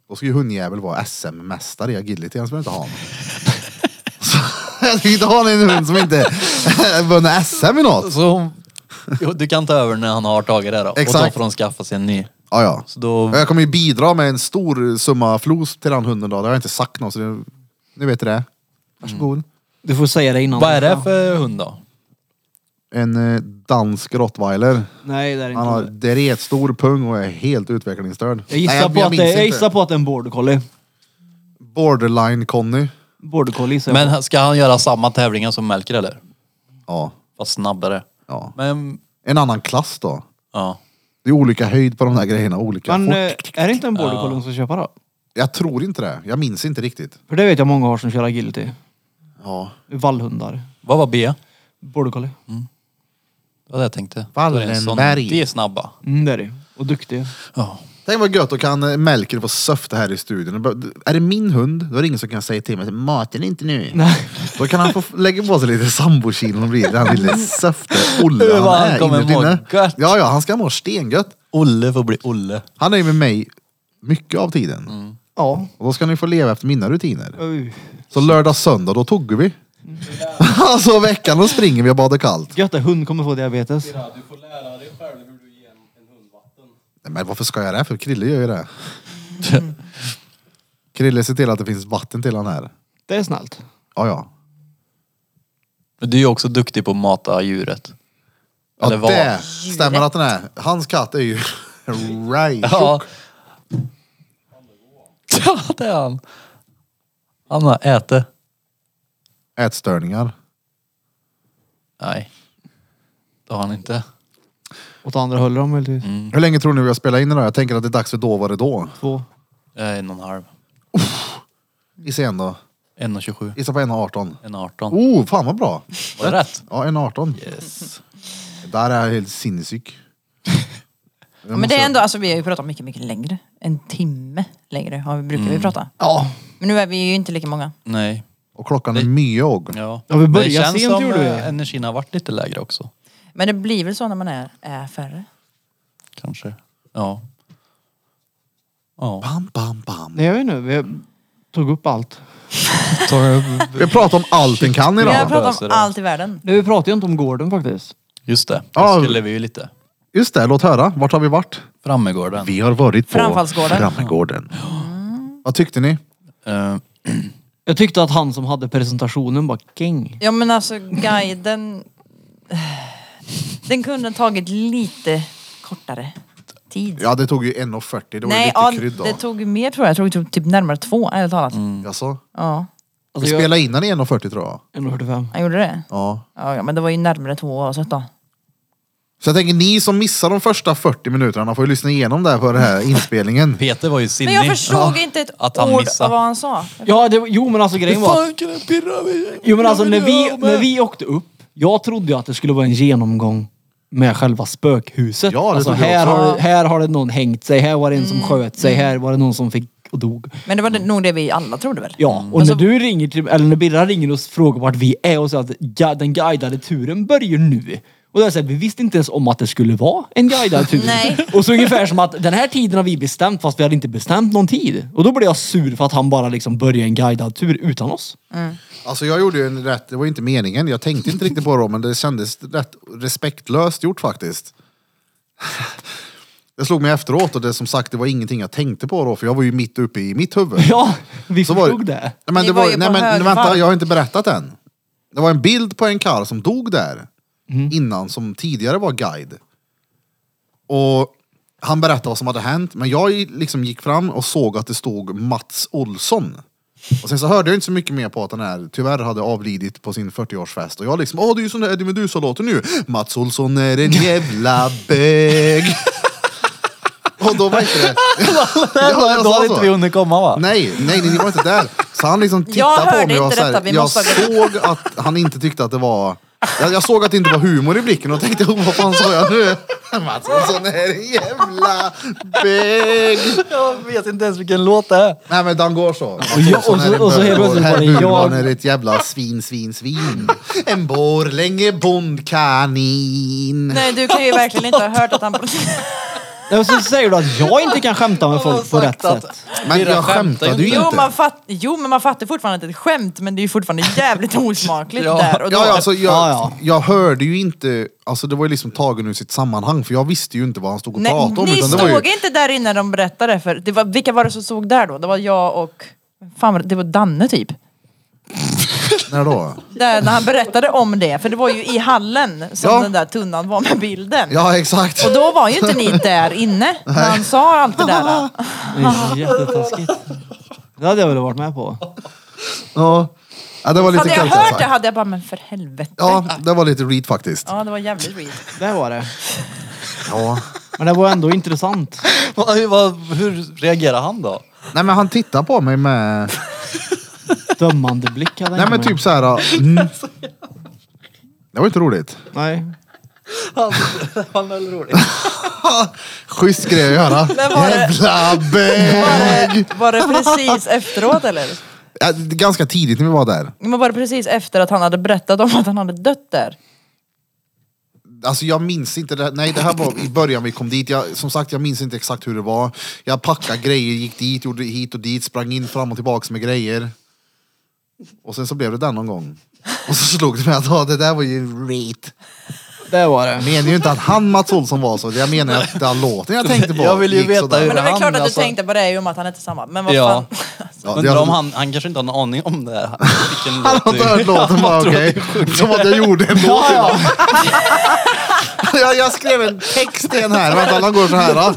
då ska ju hundjävel vara SM-mästare i agility. Annars vill jag inte ha honom. Så jag ska inte ha en hund som inte vunnit SM i något.
Så hon- Jo, du kan ta över när han har tagit det då. Och då
Exakt.
får hon skaffa sig en ny.
Ja, ja.
Så då...
Jag kommer ju bidra med en stor summa flos till den hunden då. Det har jag inte sagt något, så det, nu vet du det. Varsågod.
Du får säga det innan.
Vad är det för hund då?
En eh, dansk rottweiler.
Nej, det är inte
Han har
det.
dretstor pung och är helt utvecklingsstörd.
Jag gissar,
Nej,
på, att
minns
det, jag
inte.
gissar på att det är en border collie.
Borderline Conny.
Border collie gissar jag
Men ska han göra samma tävlingar som Melker eller?
Ja.
Fast snabbare.
ja.
Men,
En annan klass då.
ja.
Det är olika höjd på de där grejerna. Olika
Men
fort.
eh, är det inte en border collie hon ska köpa då?
Jag tror inte det. Jag minns inte riktigt.
För det vet jag många har som kör agility.
Ja.
Vallhundar.
Vad var B?
Border collie.
Det var det jag tänkte.
Wallenberg.
Då är det en sån- Det är snabba.
Mm, det är det Och duktig.
Ja.
Tänk vad gött, då kan eh, Melker få söfta här i studion. Det bara- Är det min hund, då är det ingen som kan säga till mig maten är inte nu.
Nej.
Då kan han få f- lägga på sig lite sambokilon och bli den lille söfte-Olle
Vad han kommer
innerst
må
inne.
gött.
Ja, ja, han ska må stengött.
Olle får bli Olle.
Han är ju med mig mycket av tiden.
Ja.
Och då ska ni få leva efter mina rutiner.
Oj.
Så lördag, söndag, då tog vi. alltså veckan, då springer vi och badar kallt.
Gött att hund kommer få diabetes.
Du får lära dig själv hur du ger en, en hund vatten.
Nej, men varför ska jag det? För Krille gör ju det.
Mm.
Krille ser till att det finns vatten till han här.
Det är snällt.
Ja, ja.
Men du är ju också duktig på att mata djuret.
Ja,
Eller vad?
det stämmer att den är. Hans katt är ju right.
Ja. Ja, det är han. Han har ätit.
Ätstörningar.
Nej. Det har han inte.
Åt andra hållet om möjligtvis.
Mm.
Hur länge tror ni vi har spelat in det där? Jag tänker att det är dags för då var det då.
Två.
Eh, En och en halv.
Gissa igen då.
En och tjugosju.
Gissa på 1,18.
En och arton.
Oh, fan vad bra.
Var det rätt?
Ja, 1,18.
Yes.
Där är jag helt sinnessjuk.
Ja, men det är ändå, alltså vi har ju pratat mycket, mycket längre.
Mm.
En timme längre har vi, brukar vi prata.
Ja.
Men nu är vi ju inte lika många.
Nej.
Och klockan är myog.
Ja.
Ja, vi börjar
det känns
sent,
som
gjorde vi.
eh, energin har varit lite lägre också.
Men det blir väl så när man är, är färre?
Kanske. Ja. Ja.
Bam, bam, bam.
Nej, jag vet inte. Vi tog upp allt.
Vi pratar om allt den kan
Vi har
idag.
pratat
löser
om
det.
allt i världen.
Nej, vi pratade ju inte om gården faktiskt.
Just det,
Ja.
det skulle vi ju lite.
Just det, låt höra. Vart har vi varit?
Frammegården.
Vi har varit på
Framfallsgården. Mm.
Framgården. Vad tyckte ni?
Eh,
Jag tyckte att han som hade presentationen bara gäng.
Ja men alltså guiden... Den kunde ha tagit lite kortare tid.
Ja, det tog ju 1.40. Det var
Nej,
ju
ja,
lite krydda. Mm.
det tog mer tror jag. Jag tror det tog typ närmare två, ärligt talat.
Jaså?
Ja,
Vi
Alltså, jag,
spelade innan i 1.40 tror jag.
1,45.
han gjorde det?
Ja.
Ja, ja, men det var ju närmare två oavsett då.
Så jag tänker, ni som missar de första 40 minuterna får ju lyssna igenom det här på den här inspelningen.
Peter var ju sinnig.
Men jag förstod inte ett
Att han
ord
missade.
av vad han sa.
Ja, det, jo men alltså grejen var...
Fan, kan jag pirra mig?
Jo men alltså när vi, när vi åkte upp, jag trodde ju att det skulle vara en genomgång med själva spökhuset.
Ja, det
alltså,
trodde jag
här,
också.
har, här har det någon hängt sig, här var det en som sköt sig, här var det någon som fick och dog.
Men det var det, nog det vi alla trodde väl?
Ja,
Mm.
och
Alltså-
när du ringer till, eller när Birra ringer och frågar vart vi är och säger att ga, den guidade turen börjar nu. Och då är det så här, vi visste inte ens om att det skulle vara en guidad tur.
Nej.
Och så ungefär som att den här tiden har vi bestämt fast vi hade inte bestämt någon tid. Och då blev jag sur för att han bara liksom började en guidad tur utan oss.
Alltså jag gjorde ju en rätt, det var ju inte meningen. Jag tänkte inte riktigt på det men det kändes rätt respektlöst gjort faktiskt. Det slog mig efteråt och det som sagt det var ingenting jag tänkte på då för jag var ju mitt uppe i mitt huvud.
Ja, vi
Så var
förstod det.
Nej, men
Ni
det
var
var,
ju
nej,
på
men,
högvarv.
vänta, jag har inte berättat än. Det var en bild på en karl som dog där innan, som tidigare var guide. Och han berättade vad som hade hänt, men jag liksom gick fram och såg att det stod Mats Olsson. Och sen så hörde jag inte så mycket mer på att den här tyvärr hade avlidit på sin 40-årsfest. Och jag liksom, åh det är ju sån där Eddie Meduza-låten nu. Mats Olsson är en jävla bög. och då var inte det... Ja, jag
Då
sa
hade
så.
inte vi hunnit komma va?
Nej, nej, ni var inte där. Så han liksom tittade
Jag hörde
på mig och
inte
så här,
detta, vi
jag
måste ha
såg att han inte tyckte att det var... Jag, jag såg att det inte var humor i blicken och tänkte, "Oh, vad fan sa jag nu? Mats Olsson är en jävla bög.
Jag vet inte ens vilken låt det är.
Nej men den går så.
jag- och så- och så helt plötsligt var det jag.
jag. är ett jävla svin, svin, svin. En Borlänge bondkanin.
Nej, du kan ju verkligen inte ha hört att han...
Ja, Och så säger du att jag inte kan skämta med folk på rätt sätt.
Men
Birra
jag
skämtar
skämtade ju
Jo,
inte.
man fatt, jo, men man fattar fortfarande att det är ett skämt, men det är ju fortfarande jävligt osmakligt
Ja.
där och då.
Ja, ja, alltså, jag,
Ja, ja.
jag hörde ju inte, alltså det var ju liksom tagen ur sitt sammanhang för jag visste ju inte vad han stod och
Nej,
pratade om.
ni
utan det var
stod
ju,
inte där inne när de berättade för, det var, vilka var det som stod där då? Det var jag och, fan var det, det var Danne typ.
När då?
Där, när han berättade om det, för det var ju i hallen som
Ja.
den där tunnan var med bilden.
Ja exakt.
Och då var ju inte ni där inne när han sa allt det där.
Det är jättetaskigt. Det hade jag väl varit med på.
Ja. Ja, det var lite
Hade jag
kallt
hört
alltså.
det hade jag bara, men för helvete. Ja,
Ja, det var lite read faktiskt.
det var jävligt weird.
Det var det.
Ja.
Men det var ändå intressant.
Vad- vad- Hur reagerar han då?
Nej men han tittar på mig med,
Dömande blick hade
nej
jag
men
med.
typ så här. Mm. Det var inte roligt.
Nej.
Schysst grej att göra.
var det-
Jävla bög!
Var det precis efteråt eller?
Ja, det är ganska tidigt när vi var där.
Men var det precis efter att han hade berättat om att han hade dött där?
Alltså jag minns inte, det, nej det här var i början vi kom dit. Jag, som sagt jag minns inte exakt hur det var. Jag packade grejer, gick dit, gjorde hit och dit, sprang in fram och tillbaks med grejer. Och sen så blev det den någon gång. Och så slog det mig att ja, det där var ju reet.
Det var det.
Jag menar ju inte att han Mats Olsson var så, jag menar att den låten jag tänkte på
Jag vill ju
gick
veta
sådär.
hur-
Men det är väl
Han,
klart att du
alltså.
tänkte på det i och med att han inte är samma. Men vad
Ja.
fan.
Ja, det
Undrar om
jag,
han, han kanske inte har någon aning om det här. Vilken
han har
låt
inte
det är.
hört låten, bara okej. Som att jag gjorde en låt till honom. jag, jag skrev en text till den här, vänta den går så här. då.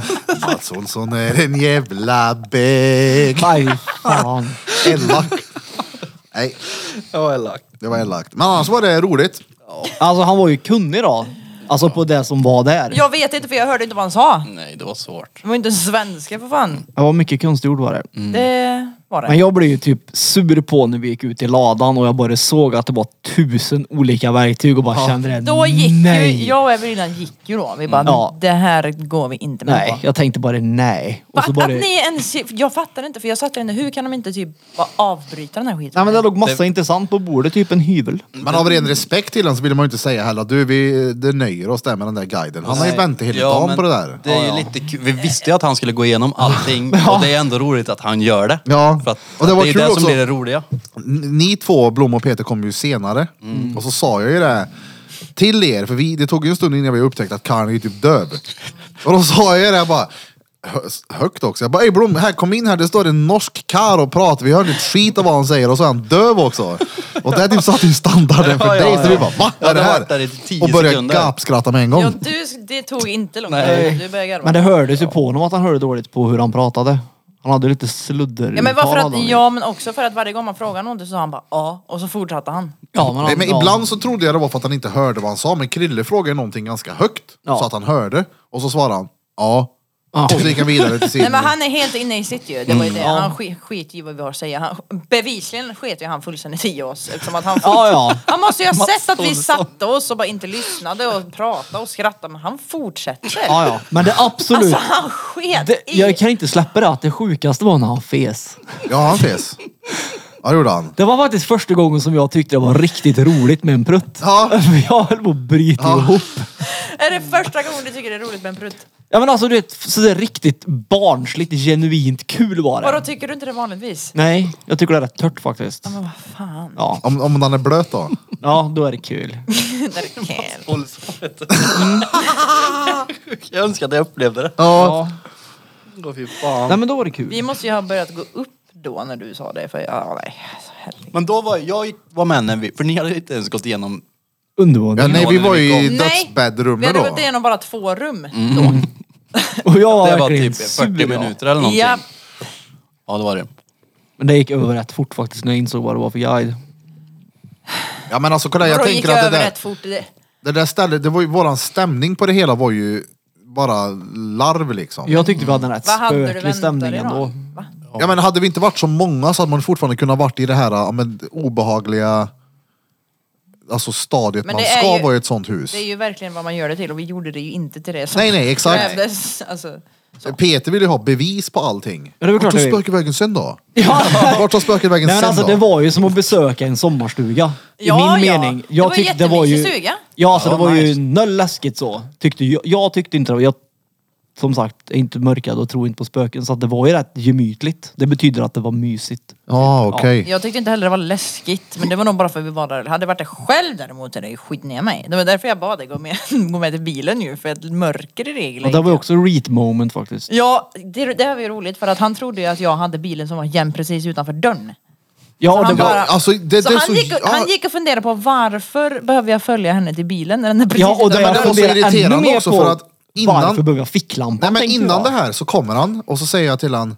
Mats Olsson är en jävla bög.
Nej, fan.
Elak. Nej,
Ja, elakt.
det var elakt. Men annars var det roligt.
Alltså han var ju kunnig då. Alltså på det som var där.
Jag vet inte för jag hörde inte vad han sa.
Nej, det var svårt.
Det var inte svenska för fan.
Det var mycket konstiga ord var det.
Det... var det.
Men jag blev ju typ sur på när vi gick ut i ladan och jag bara såg att det var tusen olika verktyg och bara kände det.
Då gick
nej.
ju, jag och Evelina gick ju då. Vi bara,
Ja.
det här går vi inte med
Nej,
på.
jag tänkte bara nej. Och så
Fatt,
bara,
att ni ens, jag fattar inte för jag satt där inne, hur kan de inte typ bara avbryta den här skiten?
nej men det låg massa intressant på bordet, typ en hyvel.
Men av ren respekt till honom så vill man ju inte säga heller att du, vi det nöjer oss där med den där guiden. Han har ju väntat hela
Ja,
dagen
men
på det där.
Det är ju lite kul. Vi visste ju att han skulle gå igenom allting och det är ändå roligt att han gör det.
Ja.
För att
Och det
det,
var
är
kul
det
också.
som blir det roliga.
N- Ni två, Blom och Peter, kom ju senare.
Mm.
Och så sa jag ju det till er, för vi, det tog ju en stund innan vi upptäckte att Karin är ju typ döv. Och då sa jag ju det bara, hö- högt också. Jag bara, "Ey Blom, här, kom in här, det står en norsk karl och pratar. Vi hörde ett skit av vad han säger och så är han döv också. Och det typ satte ju standarden för
Ja, ja,
dig. Så
ja.
vi bara, va?
Ja,
är det
det har
här?
varit där i tio
och började
sekunder.
gapskratta med en gång.
Ja, du, det tog inte lång tid,
Nej.
du började garva.
Men det hördes ju på honom att han hörde dåligt på hur han pratade. Han hade lite sludder.
Ja men, varför att,
uttalanden.
ja men också för att varje gång man frågar någon så sa han bara ja och så fortsatte han.
Ja, men,
Nej, men
ja.
ibland så trodde jag det var för att han inte hörde vad han sa, men Krille frågade någonting ganska högt
Ja.
så att han hörde. Och så svarade han ja. Och så gick han vidare till sin...
Nej men han är helt inne i sitt ju, det var ju det.
Mm, ja.
Han skit, skit i vad vi har att säga. Han, bevisligen sket ju han fullständigt i oss eftersom att han
Ja, ja.
Han måste ju ha sett att vi satte oss och bara inte lyssnade och pratade och skrattade men han fortsätter.
Ja, ja. Men det absolut...
Alltså han sket
det,
i.
jag kan inte släppa det att det sjukaste var när han fes.
Ja, han fes. Ja, det gjorde han.
Det var faktiskt första gången som jag tyckte det var riktigt roligt med en prutt.
Ja.
Jag höll på att bryta ihop.
Är det första gången du tycker det är roligt med en prutt?
Ja men alltså du vet, sådär riktigt barnsligt, genuint kul var det.
Vadå tycker du inte det vanligtvis?
Nej, jag tycker det är rätt tört faktiskt.
Men vad fan.
Ja,
Om, om han är blöt då?
ja då är det kul.
Det är kul.
Mm. Jag önskar att jag upplevde det.
Ja.
Ja. Nej men då var det kul.
Vi måste ju ha börjat gå upp då när du sa det för ja, nej. alltså, herregud.
Men då var jag gick- var med när vi, för ni hade inte ens gått igenom.
ja
Undervåningen.
nej, vi var ju i
Nej, vi
dödsbäddrummet
hade
då. Mm.
gått igenom bara två rum då.
Och jag var
Det var
verkligen
typ
sur,
40
ja.
minuter eller någonting.
Ja,
Ja det var det.
Men det gick över rätt fort faktiskt när jag insåg vad det var för guide.
Ja, men alltså kolla,
jag
jag
då gick
tänker
jag
att
över
det där,
rätt fort. i Det.
det där stället, det var ju, våran stämning på det hela var ju bara larv liksom. Ja.
Jag tyckte vi hade en rätt
Vad hade du
spöklig
väntat
stämning
dig
ändå.
då? Va?
men hade vi inte varit så många så hade man fortfarande kunnat varit i det här ja, men, obehagliga alltså stadiet
Men
man
det är
ska
ju-
vara i ett sånt hus.
Det är ju verkligen vad man gör det till och vi gjorde det ju inte till det som
Nej, nej, exakt.
krävdes. Alltså,
Peter vill ju ha bevis på allting.
Ja, det är väl klart
Vart
jag
tar
vill.
spöket vägen sen då?
Ja.
Vart tar spöket vägen
Nej men
sen
alltså
då?
det var ju som att besöka en sommarstuga. I
Ja,
min
ja.
mening.
Det
Jag
var
tyckte det var ju
jättemysig stuga.
Ja alltså
Ja,
det var
nice.
ju noll läskigt så. Tyckte jag, jag tyckte inte det. Jag som sagt är inte mörkad och tror inte på spöken så att det var ju rätt gemytligt. Det betyder att det var mysigt.
Ja, okej.
jag tyckte inte heller det var läskigt men det var nog bara för att vi var där. Hade det varit det själv däremot hade det ju skit ner mig. Det var därför jag bad dig gå med, gå med till bilen ju för att mörker i regel.
Och det var ju också reat moment faktiskt.
Ja, det, det var ju roligt för att han trodde ju att jag hade bilen som var jämn precis utanför dörren.
Ja,
han
det var,
bara-
Ja, alltså, det,
Så,
det är
han,
så
gick, och-
ja,
han gick och funderade på varför behöver jag följa henne till bilen när den är precis
ja och det
utanför
men
jag
det var så
funderar ännu
irriterande
mer
också
på
för att innan-
varför behöver jag ficklampan?
Nej men
tänkte
innan
jag.
det här så kommer han och så säger jag till han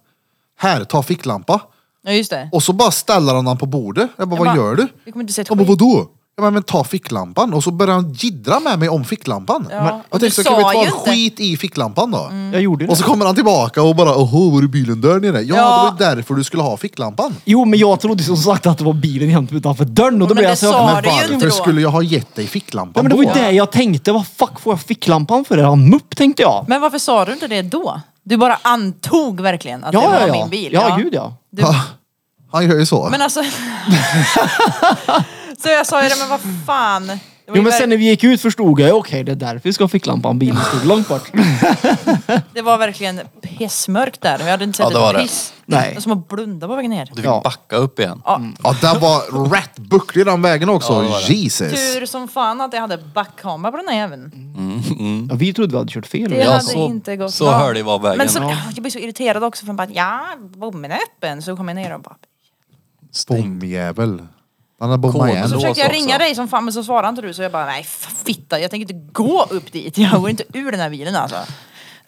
Här, ta ficklampa.
Ja just det.
Och så bara ställer han den på bordet. Jag bara,
Jag
vad
bara,
gör du?
"Vi kommer inte se ett
Han bara,
skit."
vadå? Jag bara, men ta ficklampan. Och så börjar han jiddra med mig om ficklampan.
Ja,
Men,
och
jag
du
tänkte, så kan vi
sa
ta
ju
en
inte. Mm.
skit i ficklampan då?
Jag gjorde det.
Och så kommer han tillbaka och bara, åhå, var är bilen där nere? Ja,
Ja.
det var ju därför du skulle ha ficklampan.
Jo men jag trodde som sagt att det var bilen jämt utanför dörren och då
Men
blev
det
jag så...
sa
Men
Ja, det är ju inte
varför
då.
skulle jag ha gett dig ficklampan
Ja, men det var ju
då?
det jag tänkte. Vad fuck får jag ficklampan för? Är han mupp tänkte jag.
Men varför sa du inte det då? Du bara antog verkligen att det
Ja,
var
ja, ja.
min bil.
Ja, gud ja.
Du,
Han gör ju så.
men alltså... så jag sa ju det, men vad fan. Det var
Jo
ju,
men
ver-
sen när vi gick ut förstod jag ju, okej det är därför vi ska ha ficklampan. Bilen stod långt bort.
det var verkligen pissmörkt där. Jag hade inte sett
Ja, det var
ett
det.
piss.
Nej.
Det var som att blunda på vägen ner.
Du Mm, fick
Ja.
backa upp igen.
Ja,
Ja, det var rätt bucklig den vägen också.
Ja, det var det.
Jesus.
tur som fan att jag hade backkamera på den här jäveln.
Ja, vi trodde vi hade kört fel.
Det
Ja.
hade
Mm. så-
inte gått
så
bra.
hörde jag var vägen.
Men så,
Ja.
Jag blev så irriterad också för att bara, ja, bommen är öppen. Så kom jag ner och bara...
Bomjävel. Han har bommat
Kod.
Så
igen.
Lås
försökte jag
också.
ringa dig som fan men så svarade inte du så jag bara nej fitta jag tänker inte gå upp dit. Jag går inte ur den här bilen alltså.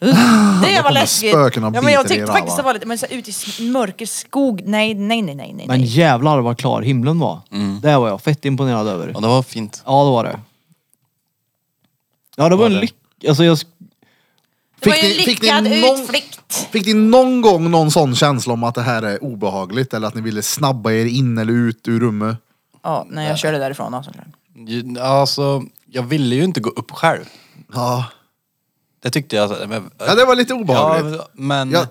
Uh, Det var läskigt.
Ah, spöken och
Ja, men jag
biter i
tyckte
era,
faktiskt
va?
det var lite, men så här, ut i s- mörker skog, nej nej nej nej nej.
Men
nej.
jävlar vad klar himlen var. Det var jag fett imponerad över.
Ja det var fint.
Ja det var det. Ja det var en lyck... Alltså jag... sk-
Det var ju en
Fick ni- fick ni
lyckad
någon-
utflykt.
Fick ni någon gång någon sån känsla om att det här är obehagligt eller att ni ville snabba er in eller ut ur rummet?
Ja, när jag körde därifrån också.
Ju- Alltså, jag ville ju inte gå upp själv.
Ja.
Det tyckte jag... så- Men,
Ja, det var lite obehagligt.
Ja, men...
Ja.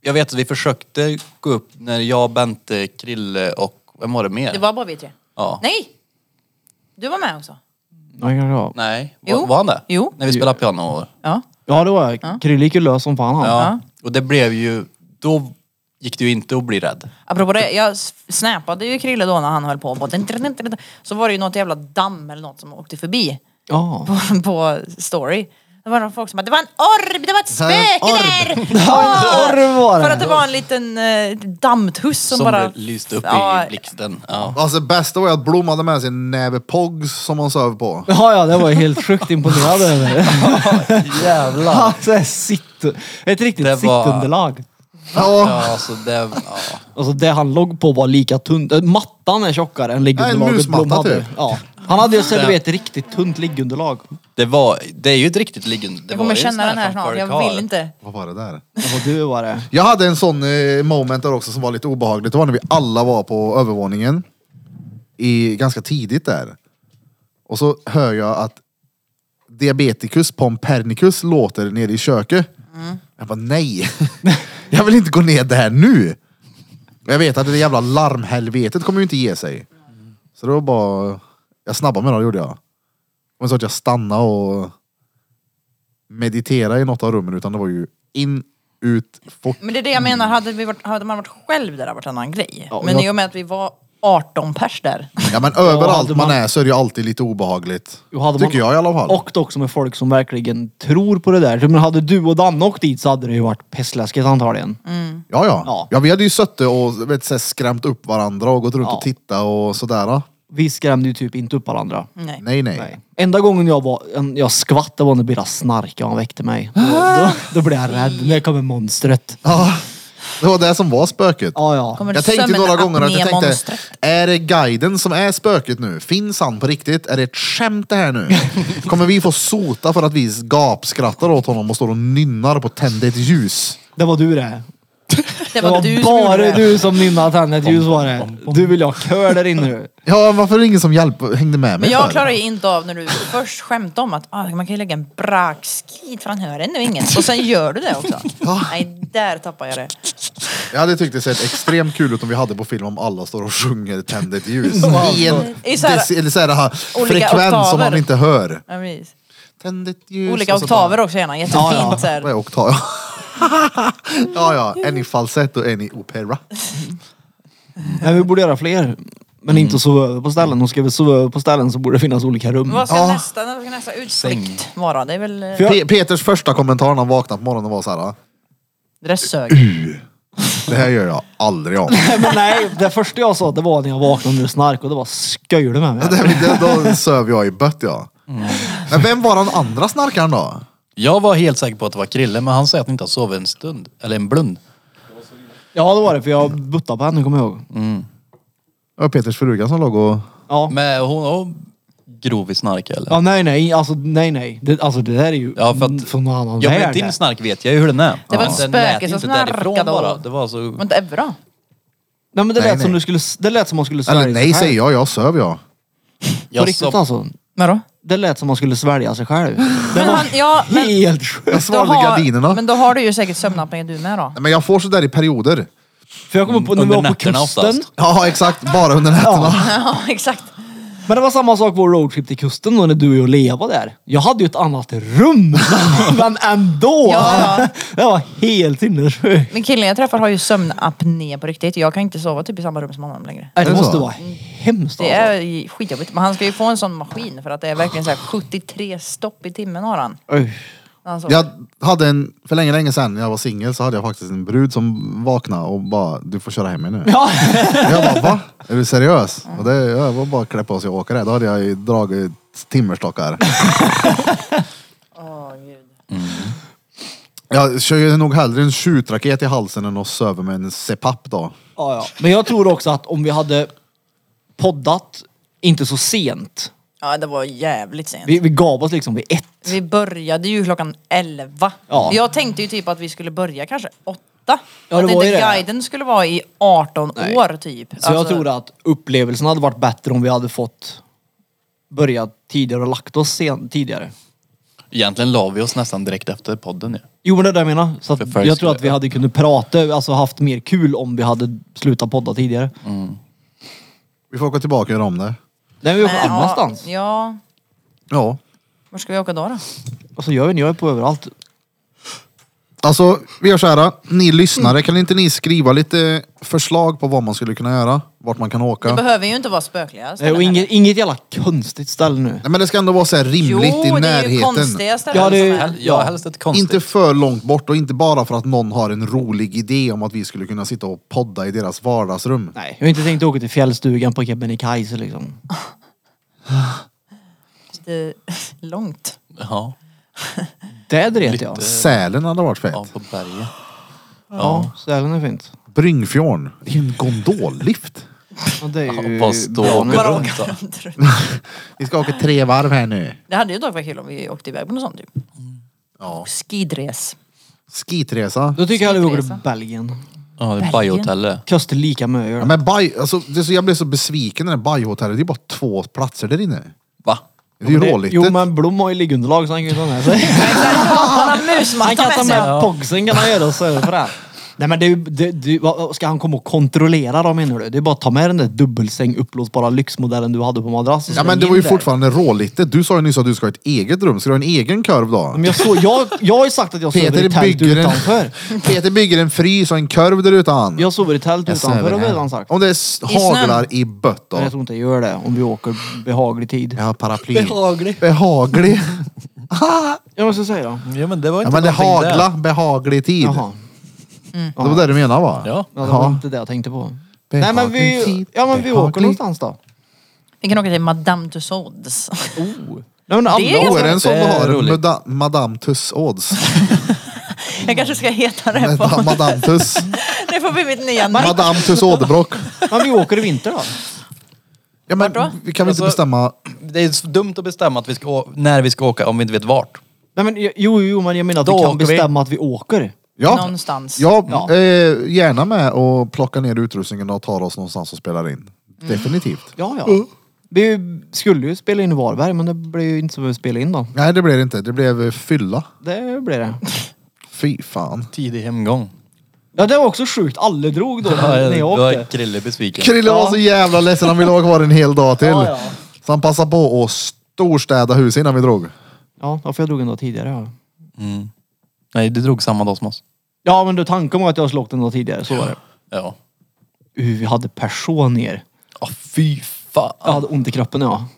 Jag vet att vi försökte gå upp när jag, Bente, Krille och... Vem var det mer?
Det var bara vi tre.
Ja.
Nej! Du var med också.
Ja, ja, ja.
Nej.
Jo.
Var, var han det?
Jo.
När vi spelade piano.
Ja.
ja det var jag. Krille gick ju lös som fan han.
Ja. Och det blev ju... Då gick det ju inte att bli rädd.
Apropå det, jag s- snappade ju Krille då när han höll på. Bara, Så var det ju något jävla damm eller något som åkte förbi
Ja.
på, på story. Det var några folk som bara, det var en orb, det var ett
var en
Spöke
orb.
där!
Ja, det var
För att
det.
det var en liten eh, dammtuss som,
Som
bara...
lyste upp
Ja,
i blixten. Ja.
Alltså bästa var ju att Blom hade med sig en näve pogs som han söv på.
Ja, ja, det var jag helt sjukt imponerad över.
Jävlar.
Alltså, ett sitt, ett riktigt
Det var-
sittunderlag.
Ja.
Ja, alltså det... Ja.
Alltså det han låg på var lika tunt. eh, Mattan är tjockare än
Ja, en
liggunderlaget
musmatta
Blom hade.
typ.
Ja. Han hade ju själv ett riktigt tunt liggunderlag.
Det var... Det är ju ett riktigt liggande... Det
Jag
var
kommer
ju en sån
känna den här
som
snart,
folk
jag
har.
vill inte.
Vad var det där?
Och du var det.
Jag hade en sån eh, moment där också som var lite obehagligt. Det var när vi alla var på övervåningen. I, ganska tidigt där. Och så hör jag att Diabeticus Pompernicus låter nere i köket. Jag bara nej. jag vill inte gå ner där nu. Jag vet att det jävla larmhelvetet kommer ju inte ge sig. Så då bara... Jag snabbade mig då, gjorde jag. Det var så att jag stannade och mediterade i något av rummen. Utan det var ju in, ut, fort.
Men det är det
Mm.
jag menar, hade, vi varit, hade man varit själv där hade det varit en annan grej.
Ja,
men
jag-
i och med att vi var 18 pers där.
Ja men
hade
överallt man
man-
är så är det ju alltid lite obehagligt.
Jo, hade
Tycker
man-
jag i alla fall.
Och också med folk som verkligen tror på det där. Men hade du och Danne åkt dit så hade det ju varit pestläskigt antagligen.
ja, ja
Ja.
ja. vi hade ju suttit och vet, så här, skrämt upp varandra och gått runt
Ja.
och tittat och sådär.
Vi skrämde ju typ inte upp varandra.
Nej.
Mm. Nej, nej.
Nej. Enda gången jag, var, en- jag skvatt det var när Birra snarkade och han väckte mig. Då, då, då blev jag rädd. När kommer monstret.
Ja, det var det som var spöket.
Ja, ja.
Kommer
Jag tänkte ju några gånger att jag tänkte,
sömnapnémonstret?
är det guiden som är spöket nu? Finns han på riktigt? Är det ett skämt det här nu? Kommer vi få sota för att vi gapskrattar åt honom och står och nynnar på tänd ett ljus?
Det var du det. Det
Det var,
var
du som gjorde
bara
det.
du som nynnade tändet ljus var det. Du vill ha kör där inne nu.
Ja, varför är det ingen som hjälp, hängde med mig
Men
för?
jag klarar ju inte av när du först skämtade om att ah, man kan ju lägga en brakskit för han hör ändå inget. Och sen gör du det också. Nej, där tappar jag det.
Jag hade tyckt det sett extremt kul ut om vi hade på film om alla står och sjunger Tänd ett ljus. I en
I så här-
deci- eller så här, här,
Olika
frekvens som
oktaver.
man inte hör.
Ja, precis.
Tänd ett ljus.
Olika
och så
oktaver också gärna, jättefint
Ja, ja.
så
Bara, vad
här.
är oktav? ja, ja. En i falsett och en i opera.
Nej, vi borde göra fler. Men inte att sova över på ställen. Och ska vi sova över på ställen så borde det finnas olika rum.
Vad ska
Ja.
nästa, vad ska nästa utflykt vara? Det är väl... eh,
För jag-
Pe- Peters första kommentar när han vaknade på morgonen var så här. "Ah,
Det där sög.
Det här gör jag aldrig om.
Nej, men nej, det första jag sa det var när jag vaknade under snark och det var sköjde med mig.
det, det, då söv jag i bött ja.
Mm.
Men vem var den andra snarkaren då?
Jag var helt säker på att det var Krille, men han säger att han inte har sovit en stund. Eller en blund.
Ja det var det för jag buttade på henne kommer jag ihåg.
Det var Peters fruga som låg och...
Ja.
Men hon var grov i snark eller?
ja nej nej, alltså nej nej. Det, alltså det där är ju
Ja, för att-
från någon annan
Ja,
värld.
men din snark vet jag ju hur den är.
Det var
Ja.
ett
Den lät
spöke
inte
som
därifrån
snarkade
bara.
och-
Det var så...
Men inte Evra.
nej men det
Nej,
lät som
nej.
du skulle, s- det lät som man skulle svälja
Eller nej säger jag, jag söv jag.
På
Jag
riktigt
sov...
alltså.
Vadå?
Det lät som man skulle svälja sig själv. Det
Men
var
han, ja, men,
helt sjukt.
Jag svalde gardinerna.
men då har du ju säkert sömnapné du med då.
Nej, Men jag får sådär i perioder.
För jag kommer på när vi
Under
var på
nätterna
kusten.
oftast.
Ja exakt, bara under nätterna.
Ja, exakt.
Men det var samma sak vår roadtrip till kusten då när du och jag Lea var där. Jag hade ju ett annat rum. men ändå.
Ja, ja.
Det var helt sinnessjukt.
Men killen jag träffar har ju sömnapné på riktigt. Jag kan inte sova typ i samma rum som honom längre.
Nej, Det
Är det
måste
så?
vara hemskt
Det
alltså.
är skitjobbigt. Men han ska ju få en sån maskin för att det är verkligen så här 73 stopp i timmen har han.
Usch.
Alltså,
Jag hade en, för länge länge sedan när jag var singel så hade jag faktiskt en brud som vaknade och bara, du får köra hem mig nu.
Ja.
Jag bara, va? Är du seriös? Och det, jag var bara klä på sig och åka där. Då hade jag ju dragit timmerstockar.
åh, gud.
Jag kör ju nog hellre en skjutraket i halsen än att söva med en CPAP då.
Ja, ja. Men jag tror också att om vi hade poddat inte så sent
Ja, det var jävligt sent.
Vi, vi gav oss liksom vid ett.
Vi började ju klockan 11.
Ja.
Jag tänkte ju typ att vi skulle börja kanske 8.
Ja, det
att
var
inte
ju det.
guiden skulle vara i 18
Nej.
år typ.
Så jag tror att upplevelsen hade varit bättre om vi hade fått börja tidigare och lagt oss sen, tidigare.
Egentligen la vi oss nästan direkt efter podden ju.
Jo men det är det jag menar. Så
För
att
förr
jag tror att vi
skulle-
hade kunnat prata, alltså haft mer kul om vi hade slutat podda tidigare.
Mm.
Vi får åka tillbaka och göra om det.
Nej vi åker
Men, ja,
annanstans.
Ja,
Ja.
var ska vi åka då då?
Alltså jag vet inte, jag är på överallt.
Alltså, vi gör så här. Ni lyssnare, kan inte ni skriva lite förslag på vad man skulle kunna göra? Vart man kan åka?
Det behöver ju inte vara spökliga
Nej,
ställen
och
heller.
inget, inget jävla konstigt ställe nu.
Nej, men det ska ändå vara så här rimligt
Jo,
i
det är ju
närheten.
konstiga ställen
Ja, det är-
som helst.
Hel- ja, helst ett konstigt.
Inte för långt bort och inte bara för att någon har en rolig idé om att vi skulle kunna sitta och podda i deras vardagsrum.
Nej, jag har inte tänkt åka till fjällstugan på Kebnekaise liksom.
lite långt.
Ja,
Det dret
Lite-
jag.
Sälen hade varit fett.
ja, på berget.
Ja, Sälen är fint.
Bryngfjorn i en gondollift.
Ja, det är ju
Bara stå
bra
och
nu.
gå
Bara
runt
åka
då.
runt.
Vi ska åka tre varv här nu.
Det hade ju dock varit kul om vi åkte iväg på något sånt typ.
Ja.
Skidres.
Skitresa.
Då tycker jag att vi åker till
Skitresa.
Belgien.
Ja, det är bajhotellet.
Kostar lika mycket.
Ja, men baj, alltså, det är så, jag blev så besviken när det bajhotellet. Det är bara två platser där inne.
Va?
Det är ju råligt.
Jo men Blom har ju liggunderlag så han kan ju ta med sig.
Han har
Han
musmatta
Ah! kan ta
med sig.
med pogsen kan han göra och serva för det. Nej men det, är ju- det, det vad- vad- ska han komma och kontrollera dem menar du? Det är bara att ta med den där dubbelsäng upplåsbara lyxmodellen du hade på madrassen.
Ja, men det var ju fortfarande rålite. Du sa ju nyss att du ska ha ett eget rum. Ska du ha en egen korv då?
Men jag, så, jag, jag har ju sagt att jag sover i
Peter
tält
bygger, en,
utanför.
Peter bygger en frys och en korv där utan.
Jag sover i tält
Jag
utanför
söver
har vi
här.
redan sagt.
Om det s-
snön.
haglar i bött
Men jag
då.
tror inte jag gör det om vi åker behaglig tid.
Jag har paraply.
Behaglig.
Behaglig.
Jag måste säga då.
Ja men det var
Ja
inte
men det
någonting där.
hagla, behaglig tid.
Jaha.
Det var det du menade va?
Ja.
Ja, det var
Ja.
inte det jag tänkte på. Nej
Behaglig
men vi,
tid,
ja, men vi åker
behaglig.
någonstans då.
Vi kan åka till Madame Tussauds.
Oh.
Nej, men
Det är
andra
Då
året.
är det en sån du
Det är
har.
roligt.
Mada- Madame Tussauds.
Jag kanske ska heta det
Madame-
på...
Madame Tuss.
Det får bli mitt nya namn.
Madame Tuss Åderbrock.
Men vi åker i vinter då.
Ja, men,
Vart
vi kan väl
Alltså-
inte bestämma.
Det är så dumt att bestämma att vi ska, å- när vi ska åka om vi inte vet vart.
Nej men jo, jo, jo men jag menar att
Då
vi kan
åker vi.
bestämma att vi åker.
Ja,
Någonstans.
ja,
Ja.
Eh, gärna med och plocka ner utrustningen och ta oss någonstans och spela in.
Mm.
Definitivt.
Ja, ja.
Mm.
Vi skulle ju spela in i Varberg men det blev ju inte som vi spelade in då.
Nej, det blev det inte. Det blev eh, fylla.
Det blev det.
Fy fan.
Tidig hemgång.
Ja det var också sjukt, alla drog då när jag
då är
åkte.
Krille besviken.
Krille var så jävla ledsen. Han ville vara kvar en hel dag till.
Ja, ja.
Så han passade på att storstäda huset innan vi drog.
Ja, därför jag drog en dag tidigare. Ja,
Nej, du drog samma dag som oss.
ja men du tanken var att jag skulle åkt en dag tidigare, så var det.
Ja.
Uh, vi hade personer.
Ja, fy fan.
Jag hade ont i kroppen ja.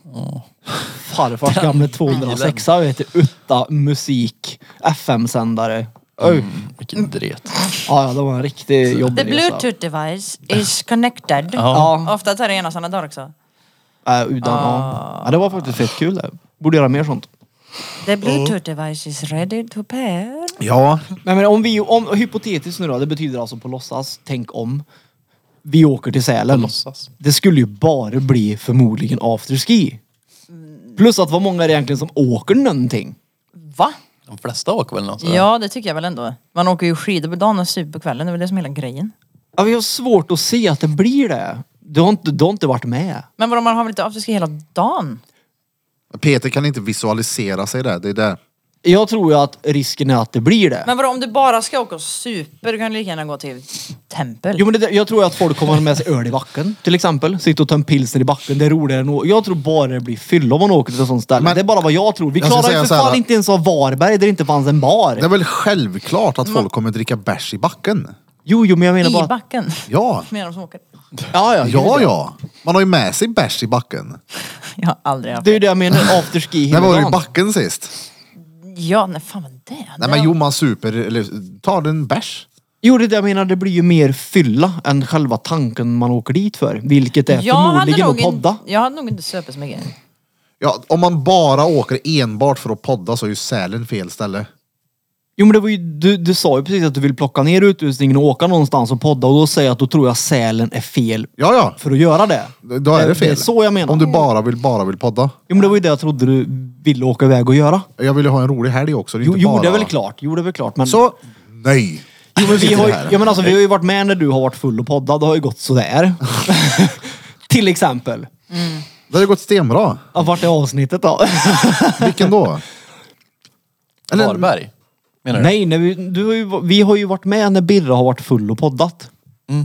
Farfars gamla 206 vet du, utta musik, FM-sändare. Oj.
Vilken dret.
Ja, ja, det var en riktig jobbig
The
resa.
bluetooth device is connected.
Ja.
Ofta tar det ena sådana dagar också.
Äh, utan, ja. ja, det var faktiskt fett kul det. Borde göra mer sånt.
The bluetooth device is ready to pair.
Ja.
Nej men om vi, om, hypotetiskt nu då, det betyder alltså på låtsas, tänk om. Vi åker till Sälen.
Låtsas.
Det skulle ju bara bli förmodligen afterski.
Mm.
Plus att vad många är det egentligen som åker någonting?
Va?
De flesta åker väl någonstans?
Ja, det tycker jag väl ändå. Man åker ju skidor på dagen och super på kvällen. Det är väl det som är hela grejen.
Ja, vi har svårt att se att det blir det. Du har inte, du har inte varit med.
Men vadå, man har väl inte afterski hela dagen?
Peter kan inte visualisera sig där. Det är det.
Jag tror ju att risken är att det blir det.
Men vadå, om du bara ska åka och super, du kan du lika gärna gå till tempel.
Jo men det, jag tror att folk kommer med sig öl i backen till exempel. Sitta och ta en pilsner i backen, det är roligare än att- Jag tror bara det blir fylla om man åker till ett sånt ställe.
Men-
det är bara vad jag tror. Vi
Jag ska
klarar ju
säga
för
så här,
fan
va?
inte ens av Varberg där det inte fanns en bar.
Det är väl självklart att folk kommer dricka bärs i backen.
Jo, jo men jag menar
I
bara...
backen.
Ja.
Menar de som åker.
Ja, ja. gud,
Ja, ja. Man har ju med sig bärs i backen.
Jag har aldrig haft
Det är ju det jag menar, afterski
När
hela
var du i
dagen.
backen sist?
Ja, nej fan vad det?
Nej men jo, man super, eller tar en bärs.
Jo, det är det jag menar, det blir ju mer fylla än själva tanken man åker dit för. Vilket är
jag hade
förmodligen
nog
att podda.
inte- Jag hade nog inte supit så mycket.
Ja, om man bara åker enbart för att podda så är ju Sälen fel ställe.
Jo men det var ju, du, du sa ju precis att du vill plocka ner utrustningen och åka någonstans och podda och då säger jag att då tror jag sälen är fel
Ja, ja.
för att göra det.
Då är det fel.
Det är så jag menar.
Om du bara vill, bara vill podda.
Jo men det var ju det jag trodde du ville åka iväg och göra.
Jag vill ju ha en rolig helg också. det är
Jo,
inte
jo
bara...
det är väl klart. Jo det är väl klart. Men...
Så, nej.
Jo, men vi,
sitter
har ju,
här.
ja, men alltså, vi har ju varit med när du har varit full och poddat. Det har ju gått sådär. Till exempel.
Det har ju gått stenbra.
Ja, vart är avsnittet då?
Vilken då? Eller-
Varberg? Menar du?
Nej, nej vi, du har ju, vi har ju varit med när Birra har varit full och poddat.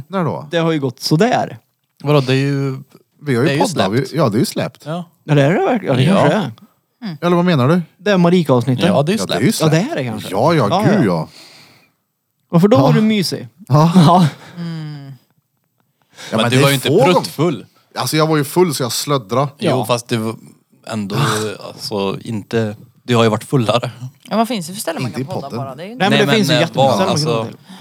När då?
Det har ju gått sådär.
Vadå, det är ju...
Vi har
Det är
ju
ju
poddat.
släppt.
Vi- Ja, det är ju släppt.
Ja,
Ja, det är det verkligen. Ja, det
Ja.
kanske är.
Eller vad menar du?
Det är Marika-avsnittet.
ja det är ju
Ja, det är ju
släppt.
Ja,
släppt.
det är det kanske.
Ja, ja,
Ja,
gud
ja.
ja.
Varför då var du mysig?
Ja.
Ja.
Ja,
men
det
du
är
var ju inte
få gånger.
pruttfull.
Alltså jag var ju full så jag slöddra.
Jo, fast det var ändå alltså inte... Du har ju varit fullare.
Ja, vad finns det för ställen man
Inte
kan
i
podda
podden.
bara? Det är ju
Nej, men det
men,
finns ju
eh,
jättemånga
vad,
ställen man kan
alltså-
gå till.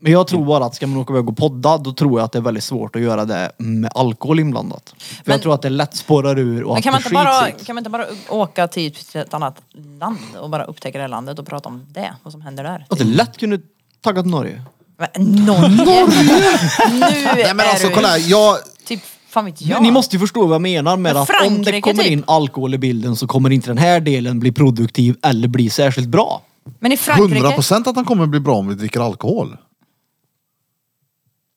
Men jag tror bara att ska man åka iväg och podda, då tror jag att det är väldigt svårt att göra det med alkohol inblandat. För jag
Men-
tror att det lätt spårar ur och
Men
att
kan man, inte
det skits
bara,
i.
kan man inte bara åka till typ ett annat land och bara upptäcka det landet och prata om det, vad som händer där?
Att det lätt kunde taggat Norge.
Men, Norge! nu
Nej men
är
alltså
du
kolla här, jag...
typ, fan vet jag.
Ni måste ju förstå vad jag menar med
Men
att om det
Frankrike
kommer
typ.
in alkohol i bilden så kommer inte den här delen bli produktiv eller bli särskilt bra.
Men i Frankrike,
100% att han kommer bli bra om vi dricker alkohol.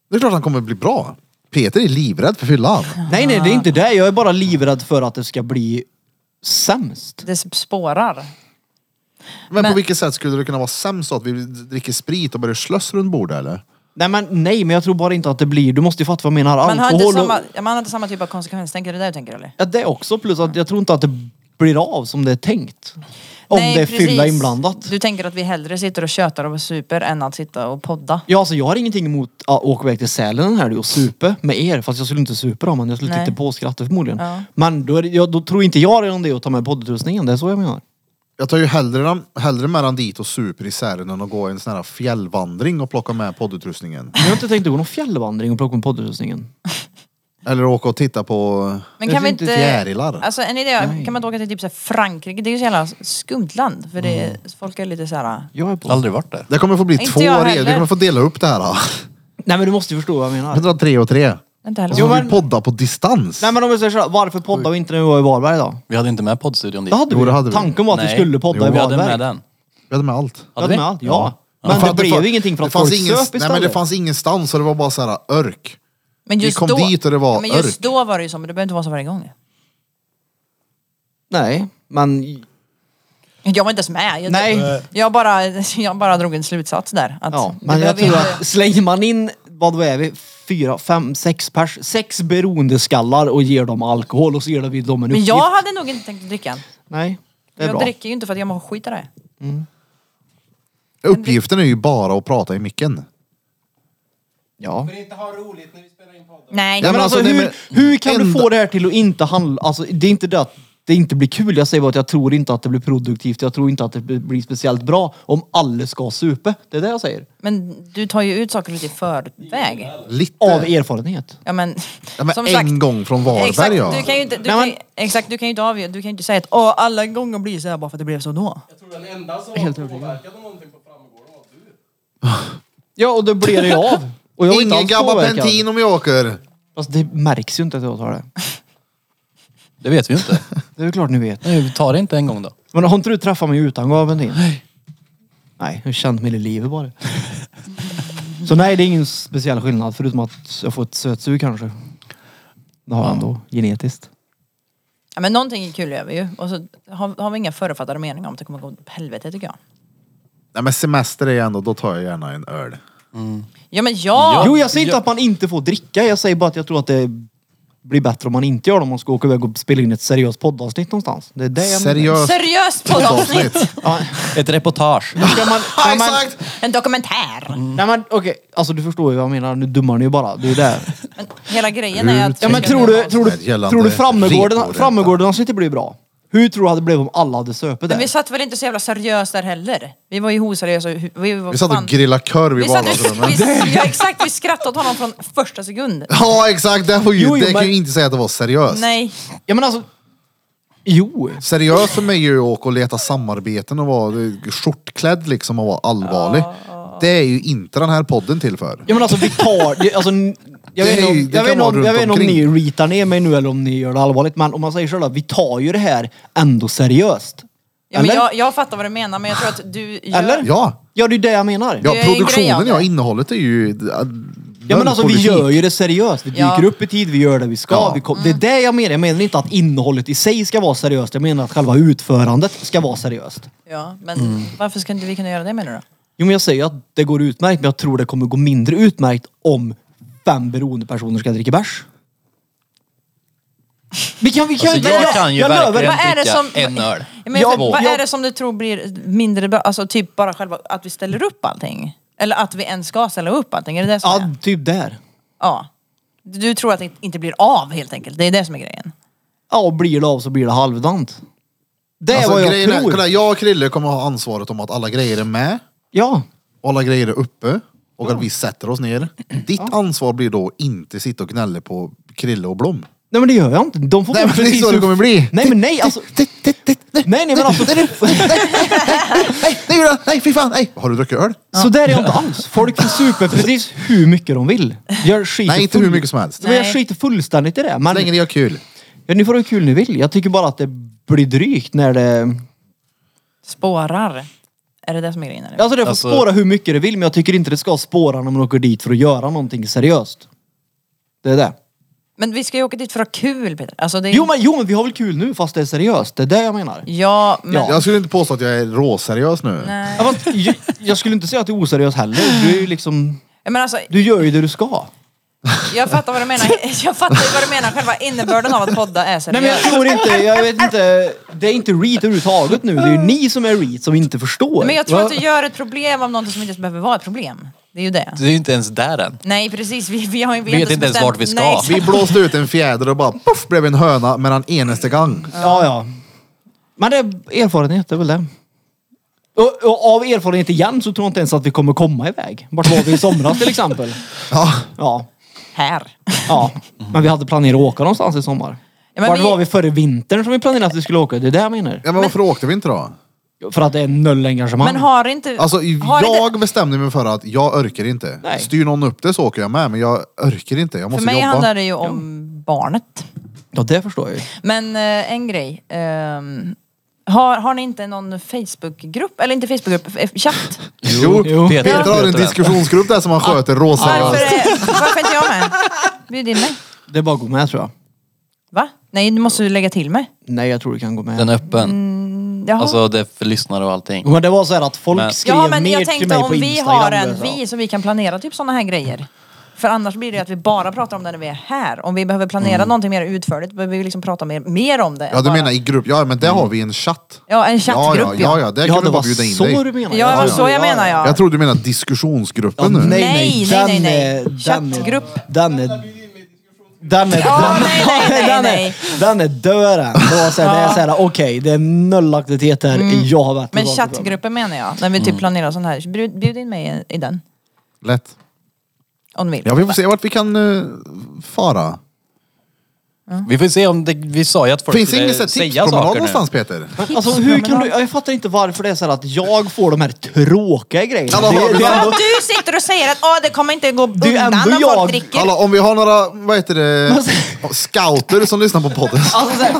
Det är klart han kommer bli bra. Peter är livrädd för fyllan.
Nej, nej, det
Ah.
är inte det. Jag är bara livrädd för att det ska bli sämst.
det spårar.
Men,
Men-
på vilket sätt skulle det kunna vara sämst då? Att vi dricker sprit och börjar slöss runt bordet eller?
Nej men, nej, men jag tror bara inte att det blir... Du måste ju fatta vad jag menar.
Man har, inte
Alkohol och...
samma, man har inte samma typ av konsekvenstänkande där du tänker eller?
Ja, det också. Plus att jag tror inte att det blir av som det är tänkt. Om
Nej,
det är
precis.
fylla inblandat.
Du tänker att vi hellre sitter och tjötar och super än att sitta och podda.
Ja, alltså jag har ingenting emot att åka iväg till Sälen här nu och supa med er. Fast jag skulle inte supa då, men jag skulle
Nej.
titta på och skratta förmodligen.
Ja.
Men då, är det, ja, då tror inte jag redan det att ta med poddutrustningen. Det är så jag menar.
Jag tar ju hellre, dem- hellre med han dit och super i Sälen än att gå en sån här fjällvandring och plocka med poddutrustningen.
Jag har inte tänkt att gå någon fjällvandring och plocka med poddutrustningen.
Eller åka och titta på
Men
Det
kan vi
finns
inte...
inte
fjärilar.
Alltså en idé, kan man inte åka till typ så här Frankrike? Det är ju så jävla skumt land. För det är,
Mm.
folk är lite så här... "Äh,
Jag är på.
Aldrig varit där.
Det kommer få bli
Inte
två
jag
resor. Vi
heller.
kommer få dela upp det här. Då.
Nej men du måste ju förstå vad jag menar.
Vi drar tre och tre.
Inte
Och
heller.
så får
men-
vi podda på distans.
Nej men om vi säger såhär, varför poddar vi inte när vi var i Varberg då?
Vi hade inte med poddstudion dit.
Det hade
Jo,
vi.
det hade vi.
Tanken var att vi
Nej.
skulle podda i
Vi
Varberg.
hade med den.
Vi hade med allt.
Vi hade med allt, ja. Men
För
det
att
blev
fa-
ju ingenting för
det
att
fanns
folk
ingen-
söp istället.
Nej men det fanns ingenstans så det var bara så här örk.
Men
Vi kom dit och det var
Ja, Men just
örk.
då var det ju så, men det behöver inte vara så varje gång.
Nej, men
Jag var inte ens med. Jag,
Nej.
Jag, bara, jag bara drog en slutsats där. Att
Ja,
det
men jag
behöver
tror
inte-
att slänger man in, vad då är vi, fyra, fem, sex pers, sex beroendeskallar och ger dem alkohol och så ger vi dem en
Men
uppgift.
jag hade nog inte tänkt att dricka än.
Nej, det är
Jag
bra.
dricker ju inte för att jag mår skit av det.
Uppgiften är ju bara att prata i micken.
Ja.
För inte ha roligt när vi spelar in podden.
Nej.
Ja,
Men
men
alltså,
alltså, nej,
hur, hur kan du
enda-
få det här till att inte handla, alltså det är inte det att det inte blir kul, jag säger bara att jag tror inte att det blir produktivt, jag tror inte att det blir speciellt bra om alla ska supa. Det är det jag säger.
alltså- Men du tar ju ut saker och ting i förväg.
Lite.
Av erfarenhet.
Alltså,
Ja men,
ja, men
som
en
sagt.
gång från
Exakt,
Varberg ja.
du kan ju inte, du
Nej, men-
kan, ju- exakt, du kan ju inte avgöra, du kan ju inte säga att Åh, alla gånger blir så här bara för att det blev så då.
Jag tror den enda som
Helt
var
övertygad.
påverkad av någonting på framgården var du.
Ja, och då blir det ju av. Och jag var inte
Ingen
alls
gabapentin
påverkad.
om jag åker.
Fast det märks ju inte att jag tar det.
Det vet vi ju inte.
Det är väl klart ni vet.
Nej, vi tar det inte en gång då.
Men har inte du träffat mig utan gaveln Nej. Nej, jag har känt mig i livet bara. Så nej, det är ingen speciell skillnad förutom att jag får ett sötsug kanske. Det har jag ändå, genetiskt.
Ja, men någonting kul gör vi ju. Och så har, har vi inga förutfattade meningar om att det kommer gå åt helvete tycker jag.
Nej men semester är jag ändå, då tar jag gärna en öl.
Ja men ja!
jo, jag säger inte
ja.
att man inte får dricka. Jag säger bara att jag tror att det blir bättre om man inte gör det. Om man ska åka iväg och spela in ett seriöst poddavsnitt någonstans. Det är det jag menar.
Seriöst
Seriöst poddavsnitt!
avsnitt.
Ja,
Ett reportage.
ska man,
Ja,
nej, men-
exakt!
En dokumentär!
Nej men okej, alltså du förstår ju vad jag menar. Nu dummar ni ju bara. Det är ju det.
Men hela grejen är att...
Mm. Ja men tror du, tror du,
Med gällande
tror du Frammegården,
reporänta.
Frammegården-avsnittet blir bra? Hur tror du att det blev om alla hade söpit
Men vi
där?
satt väl inte så jävla seriöst där heller? Vi var ju oseriösa. Vi, vi, var
Vi satt
fan-
och grillade korv i
vi satt och,
vardagsrummet.
vi, ja, exakt, vi skrattade åt honom från första sekund.
Ja exakt, det, var ju,
Jo, jo, men-
det kan ju inte säga att det var seriöst.
Nej.
Ja men alltså, Jo.
Seriöst för mig är ju att åka och leta samarbeten och vara skjortklädd liksom och vara allvarlig. Det är ju inte den här podden till för.
Ja men alltså vi tar det, alltså, n- jag
Det
vet
är
inte
ju-
om,
det
jag vet
kan
inte om,
vara
jag vet inte om
runt
ni ritar ner mig nu eller om ni gör det allvarligt men om man säger så då, vi tar ju det här ändå seriöst.
Ja, men
eller?
jag, jag fattar vad du menar men jag tror att du gör...
Eller?
Ja,
Ja det är det jag menar.
ja
Det är en grej av
produktionen,
det.
ja innehållet är ju... Ja
Ja men alltså vi gör ju det seriöst. Vi
Ja. Mm.
dyker upp i tid, vi gör det vi ska.
Ja.
Vi kom, Det är det jag menar. Jag menar inte att innehållet i sig ska vara seriöst. Jag menar att själva utförandet ska vara seriöst.
Ja, men varför ska inte vi kunna göra det menar du?
Jo men jag säger att det går utmärkt men jag tror det kommer gå mindre utmärkt om fem beroendepersoner ska dricka bärs. Vi kan, vi kan,
Alltså, jag, kan ju
lovar-
verkligen
Vad är det
dricka
som-
en öl.
Jag menar,
Ja,
för, vad
ja.
är det som du tror blir mindre bra? Alltså typ bara själva att vi ställer upp allting? Eller att vi ens ska ställa upp allting? Är det det som
Ja,
är?
typ där.
Ja. Du tror att det inte blir av helt enkelt? Det är det som är grejen.
Ja, och blir det av så blir det halvdant. Det är
Alltså,
vad jag
grejen är,
tror.
kolla, jag och Krille kommer ha ansvaret om att alla grejer är med,
Ja.
och alla grejer är uppe och att vi sätter oss ner. Ditt ansvar blir då att inte sitta och gnälla på Krille och Blom.
Nej men det gör jag inte. De får
Nej,
gå
men det är
precis
så det
hur-
kommer bli.
Nej men nej alltså. Nej nej men alltså.
Nej, nej, Julia, nej, fy fan, nej. Har du druckit öl?
Så där är jag inte alls. Folk får super precis hur mycket de vill. Jag skiter
Nej, inte
full-
hur mycket som helst.
Men jag
Nej.
skiter fullständigt i det.
Så länge
Men
ni har kul.
ja, ni får ha hur kul ni vill. Jag tycker bara att det blir drygt när det...
Spårar. Är det det som är grejen? eller?
Alltså det får
Alltså-
spåra hur mycket det vill men jag tycker inte det ska spåra när man åker dit för att göra någonting seriöst. Det är det.
Men vi ska ju åka dit för att ha kul Peter. Alltså, det är...
Jo men, jo men vi har väl kul nu fast det är seriöst. Det är det jag menar.
Ja, men...
Ja.
Jag skulle inte påstå att jag är råseriös nu.
Nej.
Ja, fast jag, jag skulle inte säga att du är oseriös heller. Du är ju liksom...
Men alltså,
Du gör ju det du ska.
jag fattar vad du menar. Jag fattar ju vad du menar, själva innebörden av att podda är
Nej men jag
seriös.
tror inte, jag vet inte. Det är inte reet överhuvudtaget nu. Det är ju ni som är reet som inte förstår.
Men jag tror att du gör ett problem av någonting som inte ens behöver vara ett problem. Det är ju det.
Det är ju inte ens där än.
Nej precis, vi, vi har ju vi
Vet inte
har
ens
bestämt-
vart vi ska.
Nej, exakt.
Vi blåste ut en fjäder och bara poff blev en höna med en eneste gång.
Ja, ja. Men det är erfarenhet, det är väl det. Och, och av erfarenhet igen så tror jag inte ens att vi kommer komma iväg. Vart var vi i somras till exempel?
Ja,
Ja.
Här.
ja. Men vi hade planerat att åka någonstans i sommar.
Ja, men
Vart
vi-
var vi före vintern som vi planerade att vi skulle åka? Det är det jag menar.
ja men varför åkte vi inte då?
För att det är noll engagemang.
Men har inte...
Alltså
har
jag
Inte,
bestämde mig för att jag orkar inte.
Nej.
Styr någon upp det så åker jag med men jag orkar inte. Jag
för
måste
mig
jobba.
handlar det ju om barnet.
Ja, det förstår jag ju.
Men eh, en grej. ehm, har, har ni inte någon Facebookgrupp? Eller inte Facebookgrupp, eh, chatt?
Jo,
Jo.
Peter har en diskussionsgrupp där som han sköter
Varför,
råseriöst.
är, varför är inte jag med? Bjud in mig.
Det är bara att gå med tror jag.
Va? Nej, du måste ju lägga till mig.
Nej, jag tror du kan gå med.
Den är öppen.
Jaha.
Alltså det är för lyssnare och allting.
Men det var så här att folk
Men-
skrev
ja, men
mer
jag
till
tänkte
mig
om
på
vi
Instagram.
har en
så här.
vi så vi kan planera typ sådana här grejer. För annars blir det ju att vi bara pratar om det när vi är här. Om vi behöver planera
Mm.
någonting mer utförligt behöver vi liksom prata mer, mer om det.
Ja du
Bara-
menar i grupp, ja men där har vi en chatt.
Ja, en
Ja, ja,
chattgrupp
ja, ja, där
Ja,
kan
det
du bara
var
bjuda in
så du
dig.
menar.
Ja, det var så jag menar ja.
Jag tror du menar diskussionsgruppen nu.
nej,
Nej,
nej, den
nej, nej, nej.
är- Den
Chattgrupp.
är... Den är... Den är,
Ja,
den,
nej, nej, nej,
den,
nej.
är, den är döden. Det var så här, det är så här, okej, det är noll aktivitet här. Jag har varit
Mm. Men chattgruppen menar jag. När vi
Mm.
typ planerar sån här. Bjud, bjud in mig i, i den.
Lätt.
Om du vill.
Ja vi får se vart vi kan eh, fara.
Vi får se om det, vi sa ju att folk
Finns det
skulle
inget så här
säga
tipspromenad
saker
någonstans
nu.
Peter?
Alltså hur kan du, jag fattar inte varför det är så här att jag får de här tråkiga grejerna.
Ja, vad
det,
har vi
det,
då?
är ändå,
Du sitter och säger att ah, det kommer inte gå
är ju
undan
ändå
när
jag.
folk dricker.
Hallå, om vi har några, vad heter det, scouter som lyssnar på podden.
alltså, så här,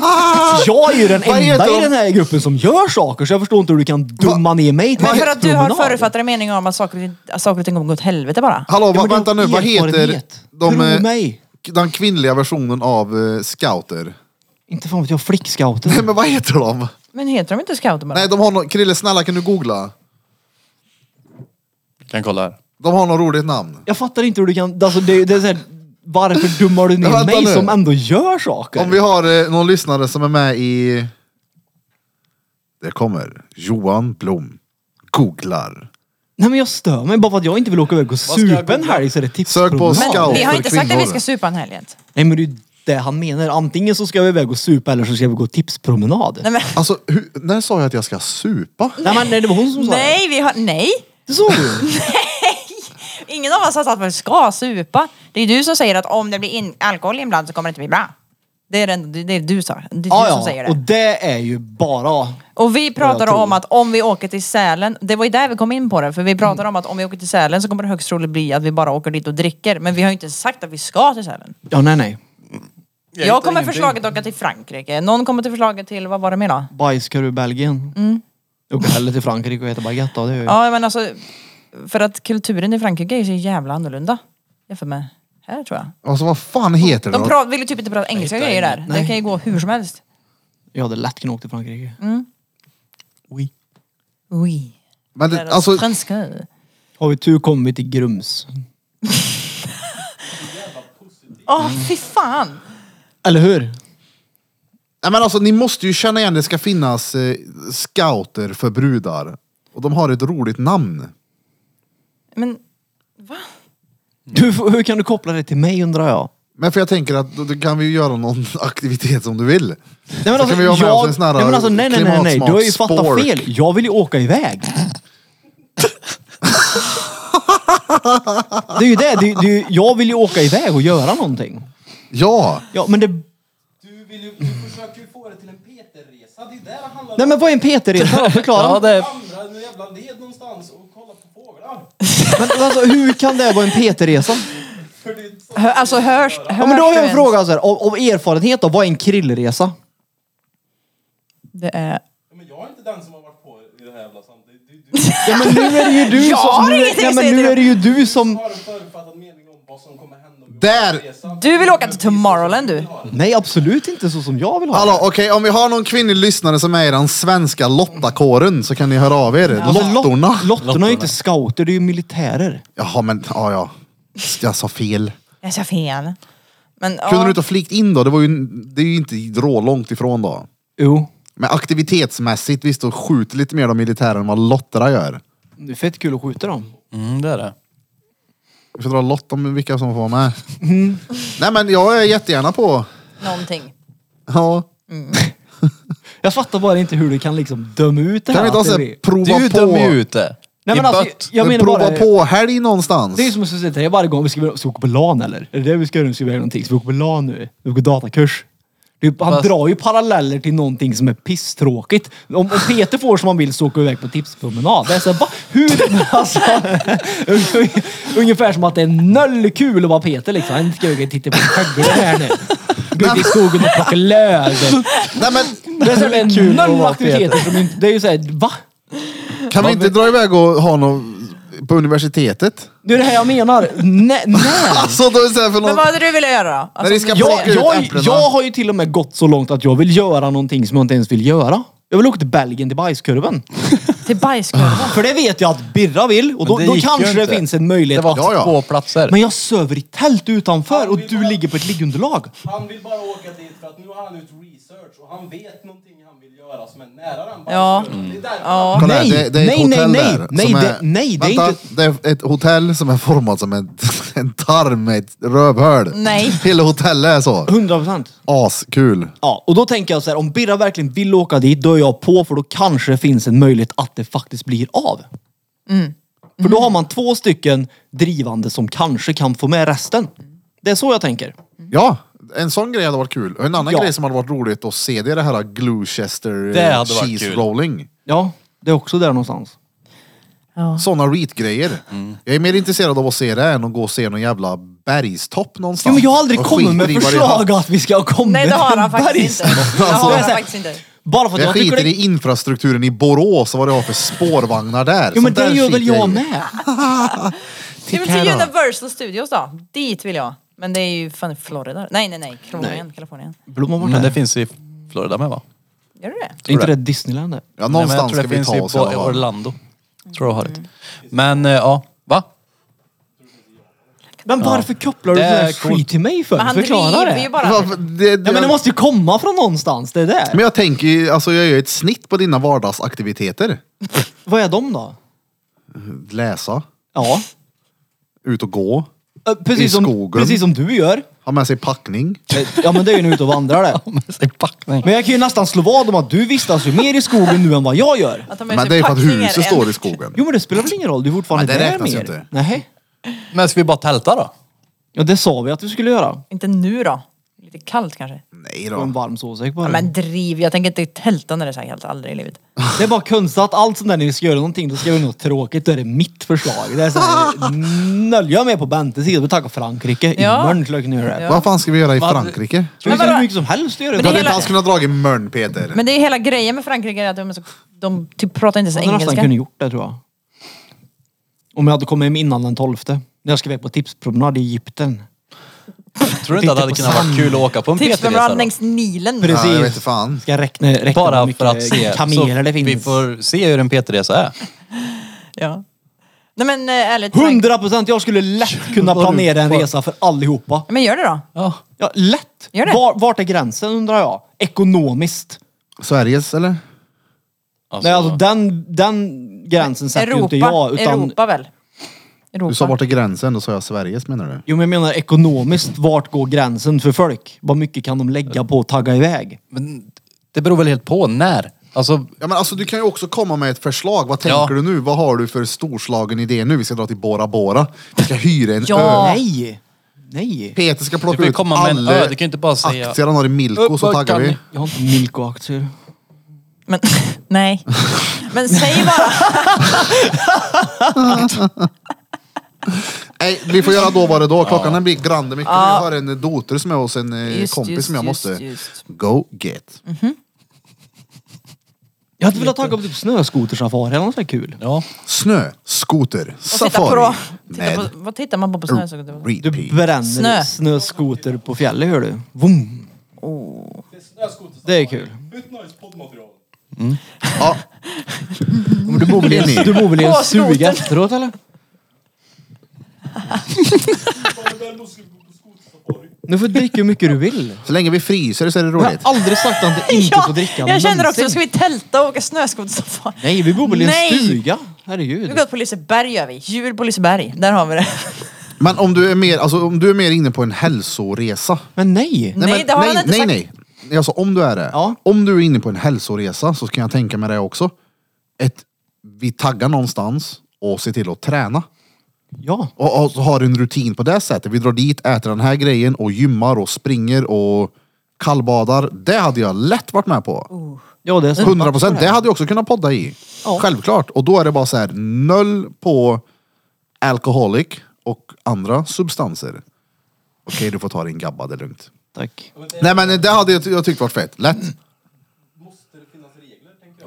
jag är ju den
Vad heter
enda i
de?
den här gruppen som gör saker så jag förstår inte hur du kan dumma ner mig till
Men för
en
att du har
promenad.
förutfattade meningar om att saker, att saker och ting kommer gå åt helvete bara.
Hallå,
Ja,
va,
men det är
vänta nu, vad heter
erfarenhet.
de,
Tro
eh,
mig.
k- den kvinnliga versionen av eh, scouter?
Inte fan vet jag, flickscouter.
Nej men vad heter de?
Men heter de inte scouter bara?
Nej de har någon, Krille snälla kan du googla?
Kan kolla här.
De har något roligt namn.
Jag fattar inte hur du kan... Alltså det, det är så här, varför dummar du
Men
ner
vänta
mig
nu.
som ändå gör saker?
Om vi har eh, någon lyssnare som är med i... Det kommer. Johan Blom. Googlar.
Nej men jag stör mig bara för att jag inte vill åka iväg och
ska jag
supa en helg så är det
Sök på
tipspromenad.
scout.
Men vi har
för
inte sagt att
kvinnor.
vi ska supa en helg. inte.
Nej men det är ju det han menar. Antingen så ska vi iväg och supa eller så ska vi gå tipspromenad.
Nej,
Nej
men,
Alltså, hur, när sa jag att jag ska supa?
men nej, det var hon som sa
nej, vi har, nej.
det. Det sa du.
Ingen av oss har sagt att vi ska supa. Det är du som säger att om det blir in, alkohol inblandat så kommer det inte bli bra. Det är, den, det är du sa.
Ja,
Det är du
ja.
som säger det.
Och det är ju bara...
Och vi
Och jag
pratar
tror- Mm.
om att om vi åker till Sälen, det var ju där vi kom in på det, för vi pratar om att om vi åker till Sälen så kommer det högst troligt bli att vi bara åker dit och dricker. Men vi har ju inte sagt att vi ska till Sälen.
Ja, nej, nej.
Jag
Jag
hittar
kommer
ingenting.
förslaget att åka till Frankrike, någon kommer till förslaget till, vad var det mer då?
Bajskar ur Belgien. Mm. Jag åker hellre till Frankrike och äter baguette. ja, Det gör jag.
Ja men alltså, för att kulturen i Frankrike är ju så jävla annorlunda jämfört med här tror jag.
Alltså vad fan heter det?
De
då?
pra- vill ju typ inte prata engelska
hittar
grejer där.
Nej.
Det kan ju gå hur som helst.
Jag hade lätt kunnat åka till Frankrike.
Mm.
Oui.
Oui.
Men det,
Deras
alltså,
franska.
Har vi tur kommer vi till Grums.
Åh fy fan!
Eller hur?
nej, men alltså, ni måste ju känna igen, det ska finnas eh, scouter för brudar. Och de har ett roligt namn.
Men
Du, hur kan du koppla det till mig undrar jag?
Men för jag tänker att då, då kan vi ju göra någon aktivitet som du vill.
Nej men
Så kan vi ha med oss en sån här
nej, men alltså, nej, nej, nej, nej. Du har ju fattat
klimatsmart
fel. Jag vill ju åka iväg. det är ju det. det, är- det är, ju- jag vill ju åka iväg och göra någonting.
Ja,
Ja, men det...
Du, vill ju, du försöker ju få det till en Peterresa. Det är där det handlar
Nej men vad är en PT-resa då? Förklara.
Ja, det är...
Vandra en jävla led någonstans och kolla på fåglar.
Men alltså, hur kan det vara en PT-resa?
För det är så-
hör, alltså hörs, hörs
Ja, men då har
du
jag en
ens?
fråga så här, av, av erfarenhet då, vad är en krillresa?
Det är...
Men jag är inte den som har varit på i det här jävla samtidigt. Du, du
Ja men nu är det ju du som... Nu, är- nej, men nu är det ju du som...
har en förutfattad mening om vad som kommer hända om vi
Där!
åker på resan.
Du vill åka till Tomorrowland du?
Nej absolut inte så som jag vill ha
hallå okej om vi har någon kvinnlig lyssnare som är i den svenska lottakåren så kan ni höra av er.
Alltså, lot-
Lottorna.
Lottorna är ju inte scouter, det är ju militärer.
Jaha men, ja ja. Jag sa fel.
Jag sa fel. Men, ja.
Kunde du inte ha flikt in då? Det, var ju, det är ju inte rålångt ifrån då.
Jo.
Men aktivitetsmässigt, visst då skjuter lite mer de militära än vad lottarna gör.
Det är fett kul att skjuta dem.
Mm, det är det.
Vi får dra lott om vilka som får vara med.
Mm.
Nej men jag är jättegärna på.
Någonting.
Ja.
Jag fattar bara inte hur du kan liksom döma ut det
Kan
här.
vi inte
att det
alltså
blir-
prova
Du
på?
dömer ju ut det.
Nej, men
I
alltså,
bött.
jag
Men
menar
prova
bara, det-
på helg någonstans.
det är som att säga till varje gång vi ska, ska åka på LAN eller? Är det det vi ska göra nu? Ska vi göra någonting? Ska vi åka på LAN nu? Vi går datakurs. Det är- Han
Fast-
drar ju paralleller till någonting som är pisstråkigt. Om, om Peter får som han vill så åker vi iväg på tipspromenad. Det är så här, va? Hur? Alltså, ungefär som att det är noll kul att vara Peter liksom. Han ska ju titta på skäggor här nu. Gå ut i skogen och plocka löv.
Nej, men,
Det är, så här, det är
Kul att
noll
vara
aktiviteter som inte... Det är ju såhär, va?
kan vi inte dra iväg och ha något på universitetet?
Det är det här jag menar. Nej, nej.
Alltså då är det så här för
Men
någon...
vad hade du velat göra då?
När
Alltså,
vi ska
jag,
plocka ut
jag,
äpplena.
jag har ju till och med gått så långt att jag vill göra någonting som jag inte ens vill göra. Jag vill åka till Belgien till bajskurven.
till
Ah,
bajskorven?
För det vet jag att Birra vill och då,
Men det
då
gick ju
kanske det
inte.
finns en
Det
möjlighet.
var
Ja, ja.
två platser.
Men jag söver i tält utanför och du ligger på ett liggunderlag.
Han vill bara åka dit för att nu har han gjort research och han vet någonting han vill göra som är nära den
Ja.
bajskurvan. Det är därför
Ja.
Kolla här,
Nej,
det, det är
nej,
ett
nej,
hotell
nej.
där
Nej,
som
det- nej, det är
vänta,
inte-
det är ett hotell som är format som en, en tarm med ett rövhål.
Nej.
Hela hotellet är så.
100 procent.
Askul.
Ja, och då tänker jag så här, om Birra verkligen vill åka dit, då är jag på för då kanske det finns en möjlighet att det faktiskt blir av. För då har man två stycken drivande som kanske kan få med resten. Det är så jag tänker.
Ja, en sån grej hade varit kul. Och en annan
Ja.
grej som hade varit roligt att se det är det här Gloucester eh,
Det hade varit
cheese
kul.
rolling.
Ja, det är också där någonstans.
Såna reat-grejer.
Mm.
Jag är mer intresserad av att se det än att gå och se någon jävla bergstopp någonstans.
Jo, men jag har aldrig
Och
kommit med
skitdrivar i
förslag
hav.
att vi ska komma
Nej det har han faktiskt inte. Det
Alltså,
har han
så här-
faktiskt inte.
Bara för att jag,
Jag
tycker
skiter
det...
i infrastrukturen i Borås och vad det har för spårvagnar där.
Jo men
Sånt där
det gör väl
skiter
jag
i.
med.
Ja, men
här
till
då.
Universal Studios då. Dit vill jag. Men det är ju fan Florida. Nej nej nej. Kalifornien. Kalifornien.
Blomman vart
Men det
det?
finns i Florida med va?
Gör du det?
Är inte det Disneyland det?
Nej, men
Ja,
jag
någonstans
tror
ska
det
vi
finns
ta
i
oss i alla
Bo-
fall.
Orlando.
Mm.
Tror jag har det. Men eh, ja, va?
Men varför kopplar du
Det
sån här
är coolt.
skit till mig för?
Men han
Förklara
driver ju
det.
bara.
Varför- det-
Ja, men det måste ju komma från någonstans, det är det.
Men jag tänker ju, alltså jag gör ett snitt på dina vardagsaktiviteter.
Vad är de då?
Läsa,
Ja,
ut och gå,
eh,
I
precis som,
skogen.
precis som du gör.
ha med sig packning.
Eh, Ja men det är ju nu ute och vandrar det.
Med sig packning.
Men jag kan ju nästan slå vad om att du vistas ju mer i skogen nu än vad jag gör.
Att de
Men det är ju för att
packningar
huset
än-
står i skogen.
Jo men det spelar väl ingen roll, du är fortfarande
Ja, det
där
räknas ju
mer.
inte.
Nej.
Men ska vi bara tälta då?
Ja det sa vi att vi skulle göra.
Inte nu då.
Lite kallt kanske.
Nej
Och en
då.
varm såsäck på
Ja,
det.
men driv, jag tänker inte tälta när det är så här kallt. Aldrig i livet.
Det är bara konstigt att allt sånt där när vi ska göra någonting, då ska vi göra något tråkigt. Då är det mitt förslag. Det är så här, noll. Jag är med på Bentes sida. Vi tackar Frankrike.
Ja.
Imorgon skulle jag kunna göra det.
Vad fan ska vi göra i
Vad-
Frankrike?
Ska vi säga hur
vadå?
mycket som helst att göra
Men
det.
Du
det
hade
är
inte
hela-
alls kunnat dra i Mörn Peter.
Men det är hela grejen med Frankrike är att de, är så, de typ pratar inte ens
Jag hade nästan
engelska.
kunnat gjort det tror jag. Om jag hade kommit hem innan den 12. När jag ska iväg på tipspromenad i Egypten.
Tror du inte att det hade
Titta
kunnat
på
vara kul att åka på en
Tips om
PT-resa
rad
då?
längs Typ Nilen.
Precis.
Ja, jag vet inte fan.
Ska räkna, räkna hur
Bara
mycket
för att se. Så
kameler det
vi
finns.
får se hur en PT-resa är.
Alltså-
Ja. Nej men eh, ärligt. Frank-
100 procent! Jag skulle lätt kunna planera en resa för allihopa.
Men gör det då.
Ja.
Ja, lätt!
Gör det.
Var, vart är gränsen undrar jag? Ekonomiskt.
Sveriges eller?
Alltså,
Nej, alltså den, den gränsen sätter ju
Europa,
inte jag. Utan,
Europa väl? Europa.
Du sa vart är gränsen, då sa jag Sveriges menar du?
Jo, men jag menar ekonomiskt, vart går gränsen för folk? Vad mycket kan de lägga på att tagga iväg?
men det beror väl helt på när. Alltså,
Ja men alltså du kan ju också komma med ett förslag. Vad tänker
Ja.
du nu? Vad har du för storslagen idé nu? Vi ska dra till Bora Bora. Vi ska hyra en
Ja.
ö.
Nej! Nej!
Peter ska
Du får
plocka
ju
ut
komma med en
alla
ö, du kan ju inte bara säga-
aktier han har i Milko så taggar vi.
Jag har inte Milko-aktier.
Men, nej. Men säg bara.
Nej, vi får göra då vad det då. Klockan den blir grande mycket. Jag har en dotter som är hos en eh,
Just,
kompis
just,
som jag
just,
måste
just.
go get.
Jag hade velat tagga på typ snöskotersafari eller något sånt där kul.
ja.
Snö, skoter,
Och titta på då.
safari
Titta på,
med
vad tittar man på på snöskoter?
Du
repeat.
bränner
Snö.
snöskoter på fjället hör du. Vroom. Oh.
Det är snöskoter.
Det är kul.
Ut nice poddmaterial.
Ja.
Du bor väl i en, du bor väl i en
På skotern.
suga efteråt eller?
Kommer däremot ska vi gå på skotersafari.
Nu får du dricka hur mycket du vill.
Så länge vi fryser så är det
Jag har
roligt.
aldrig sagt att det inte får dricka
jag känner också,
någonsin.
ska vi tälta och åka snöskotersafari?
Nej, vi bor väl i en
Nej!
stuga?
Vi
Herregud.
går på Liseberg gör vi. Jul på Liseberg. Där har vi det.
Men om du är mer, alltså, om du är mer inne på en hälsoresa.
Men nej.
Nej,
men,
det har
nej,
han inte
nej,
sagt.
nej. Alltså om du är det.
Ja.
Om du är inne på en hälsoresa så kan jag tänka mig det också. Ett, vi taggar någonstans och ser till att träna.
Ja.
Och, och så har en rutin på det sättet. Vi drar dit, äter den här grejen och gymmar och springer och kallbadar. Det hade jag lätt varit med på.
Ja, det är så.
100 procent. Det hade jag också kunnat podda i.
Ja.
Självklart. Och då är det bara så här, noll på alcoholic och andra substanser. Okej, du får ta din gabba, det är lugnt.
Tack.
Nej men det hade jag, jag tyckt varit fett lätt.
Måste det finnas regler, tänker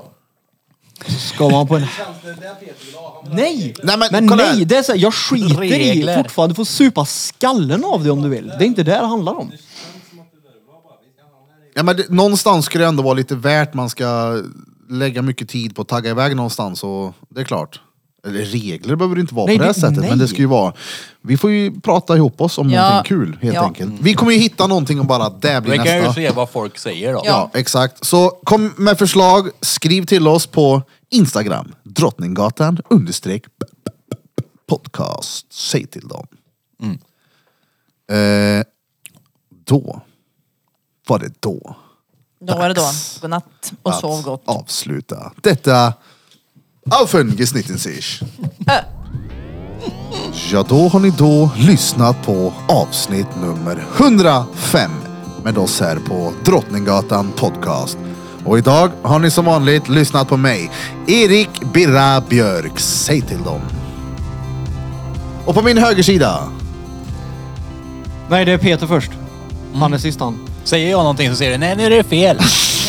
jag.
Ska man på en...
Känns det där Peter vill ha? Han vill ha
Nej!
Nej men,
Men
kolla här.
nej, det är så här, jag skiter i
Regler.
fortfarande. Du får supa skallen av dig om du vill. Det är inte det det handlar om.
Ja, men det, någonstans skulle det ändå vara lite värt man ska lägga mycket tid på att tagga iväg någonstans och det är klart. Eller regler behöver det inte vara
Nej,
på det här
det-
sättet
nej.
men det ska ju vara. Vi får ju prata ihop oss om
Ja.
någonting kul helt
Ja.
enkelt. Vi kommer ju hitta någonting och bara det blir
Vi kan ju
nästa.
se vad folk säger då.
Ja exakt. Så kom med förslag, skriv till oss på Instagram, Drottninggatan understreck p- p- p- podcast. Säg till dem.
Mm.
Eh, då var det då
Då var det då.
Dags.
Godnatt och
att
sov gott.
avsluta detta avföngesnitten sich. Ja, då har ni då lyssnat på avsnitt nummer 105 med oss här på Drottninggatan Podcast. Och idag har ni som vanligt lyssnat på mig, Erik Birra Björk. Säg till dem. Och på min högersida,
Nej, det är Peter först. Han är sist han.
Säger jag någonting så säger du nej nu är det fel.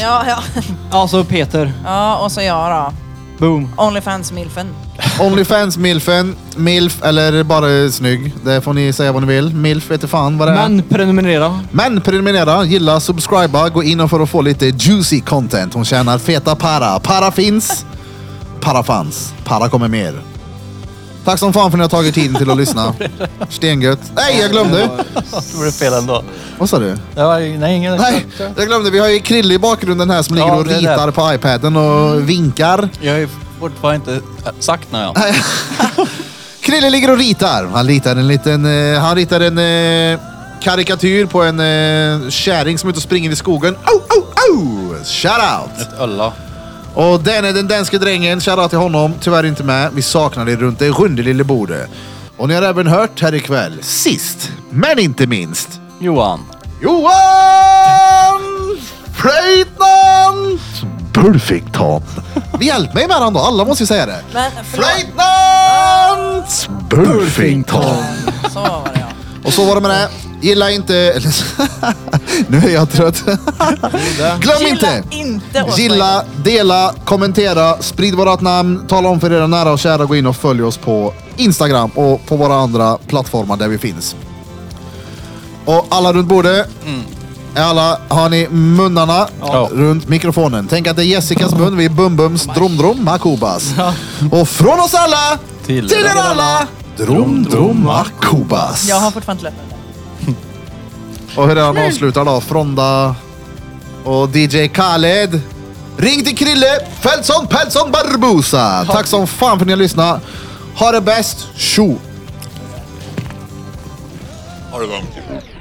Ja, ja.
Alltså Peter.
ja, och så jag
Boom.
då. Onlyfans-milfen.
Onlyfans Milfen, Milf eller bara snygg. Det får ni säga vad ni vill. Milf vet fan vad det är.
Men prenumerera.
Men prenumerera, gilla, subscriba, gå in och för att få lite juicy content. Hon tjänar feta para. Para finns, para fanns, para kommer mer. Tack som fan för att ni har tagit tiden till att lyssna. Stengött. Nej, jag glömde.
Då är det fel ändå.
Vad sa du?
Det var, ju- nej, ingen...
Nej, jag glömde. Vi har ju Krille i bakgrunden här som ligger
Ja,
och
det är
ritar
det.
på iPaden och vinkar.
Jag har ju fortfarande inte äh, sagt något. ja.
Krille ligger och ritar. Han ritar en liten... eh, han ritar en eh, karikatyr på en eh, kärring som är ute och springer i skogen. Oh, oh, oh! Shout out!
Ett ölla.
Och den är den danske drängen. Shoutout till honom. Tyvärr inte med. Vi saknar dig runt det runde lille bordet. Och ni har även hört här ikväll, sist men inte minst,
Johan.
Johan Flöjtnant Perfektan. Hjälp mig med den då, alla måste ju säga det.
Men förlåt.
Flöjtnant Perfektan.
Så var det ja.
Och så var det med det. Gilla inte... Eller, nu är jag trött. Glöm inte.
Gilla inte oss.
Gilla, dela, kommentera, sprid vårat namn, tala om för era nära och kära, gå in och följ oss på Instagram och på våra andra plattformar där vi finns. Och alla runt bordet,
Mm.
är alla, har ni munnarna runt mikrofonen? Tänk att det är Jessicas mun, vi är Bumbums Dromdrom Makobas. Och från oss alla, till,
Till
er
er
alla, Dromdrom Makobas.
Jag har fortfarande inte löpt.
Och hur är han avslutar då? Fronda och DJ Khaled. Ring till Krille Fältson Pältson Barbosa. Tack som fan för att ni har lyssnat. Ha det bäst. Tjo!
Ha det bra.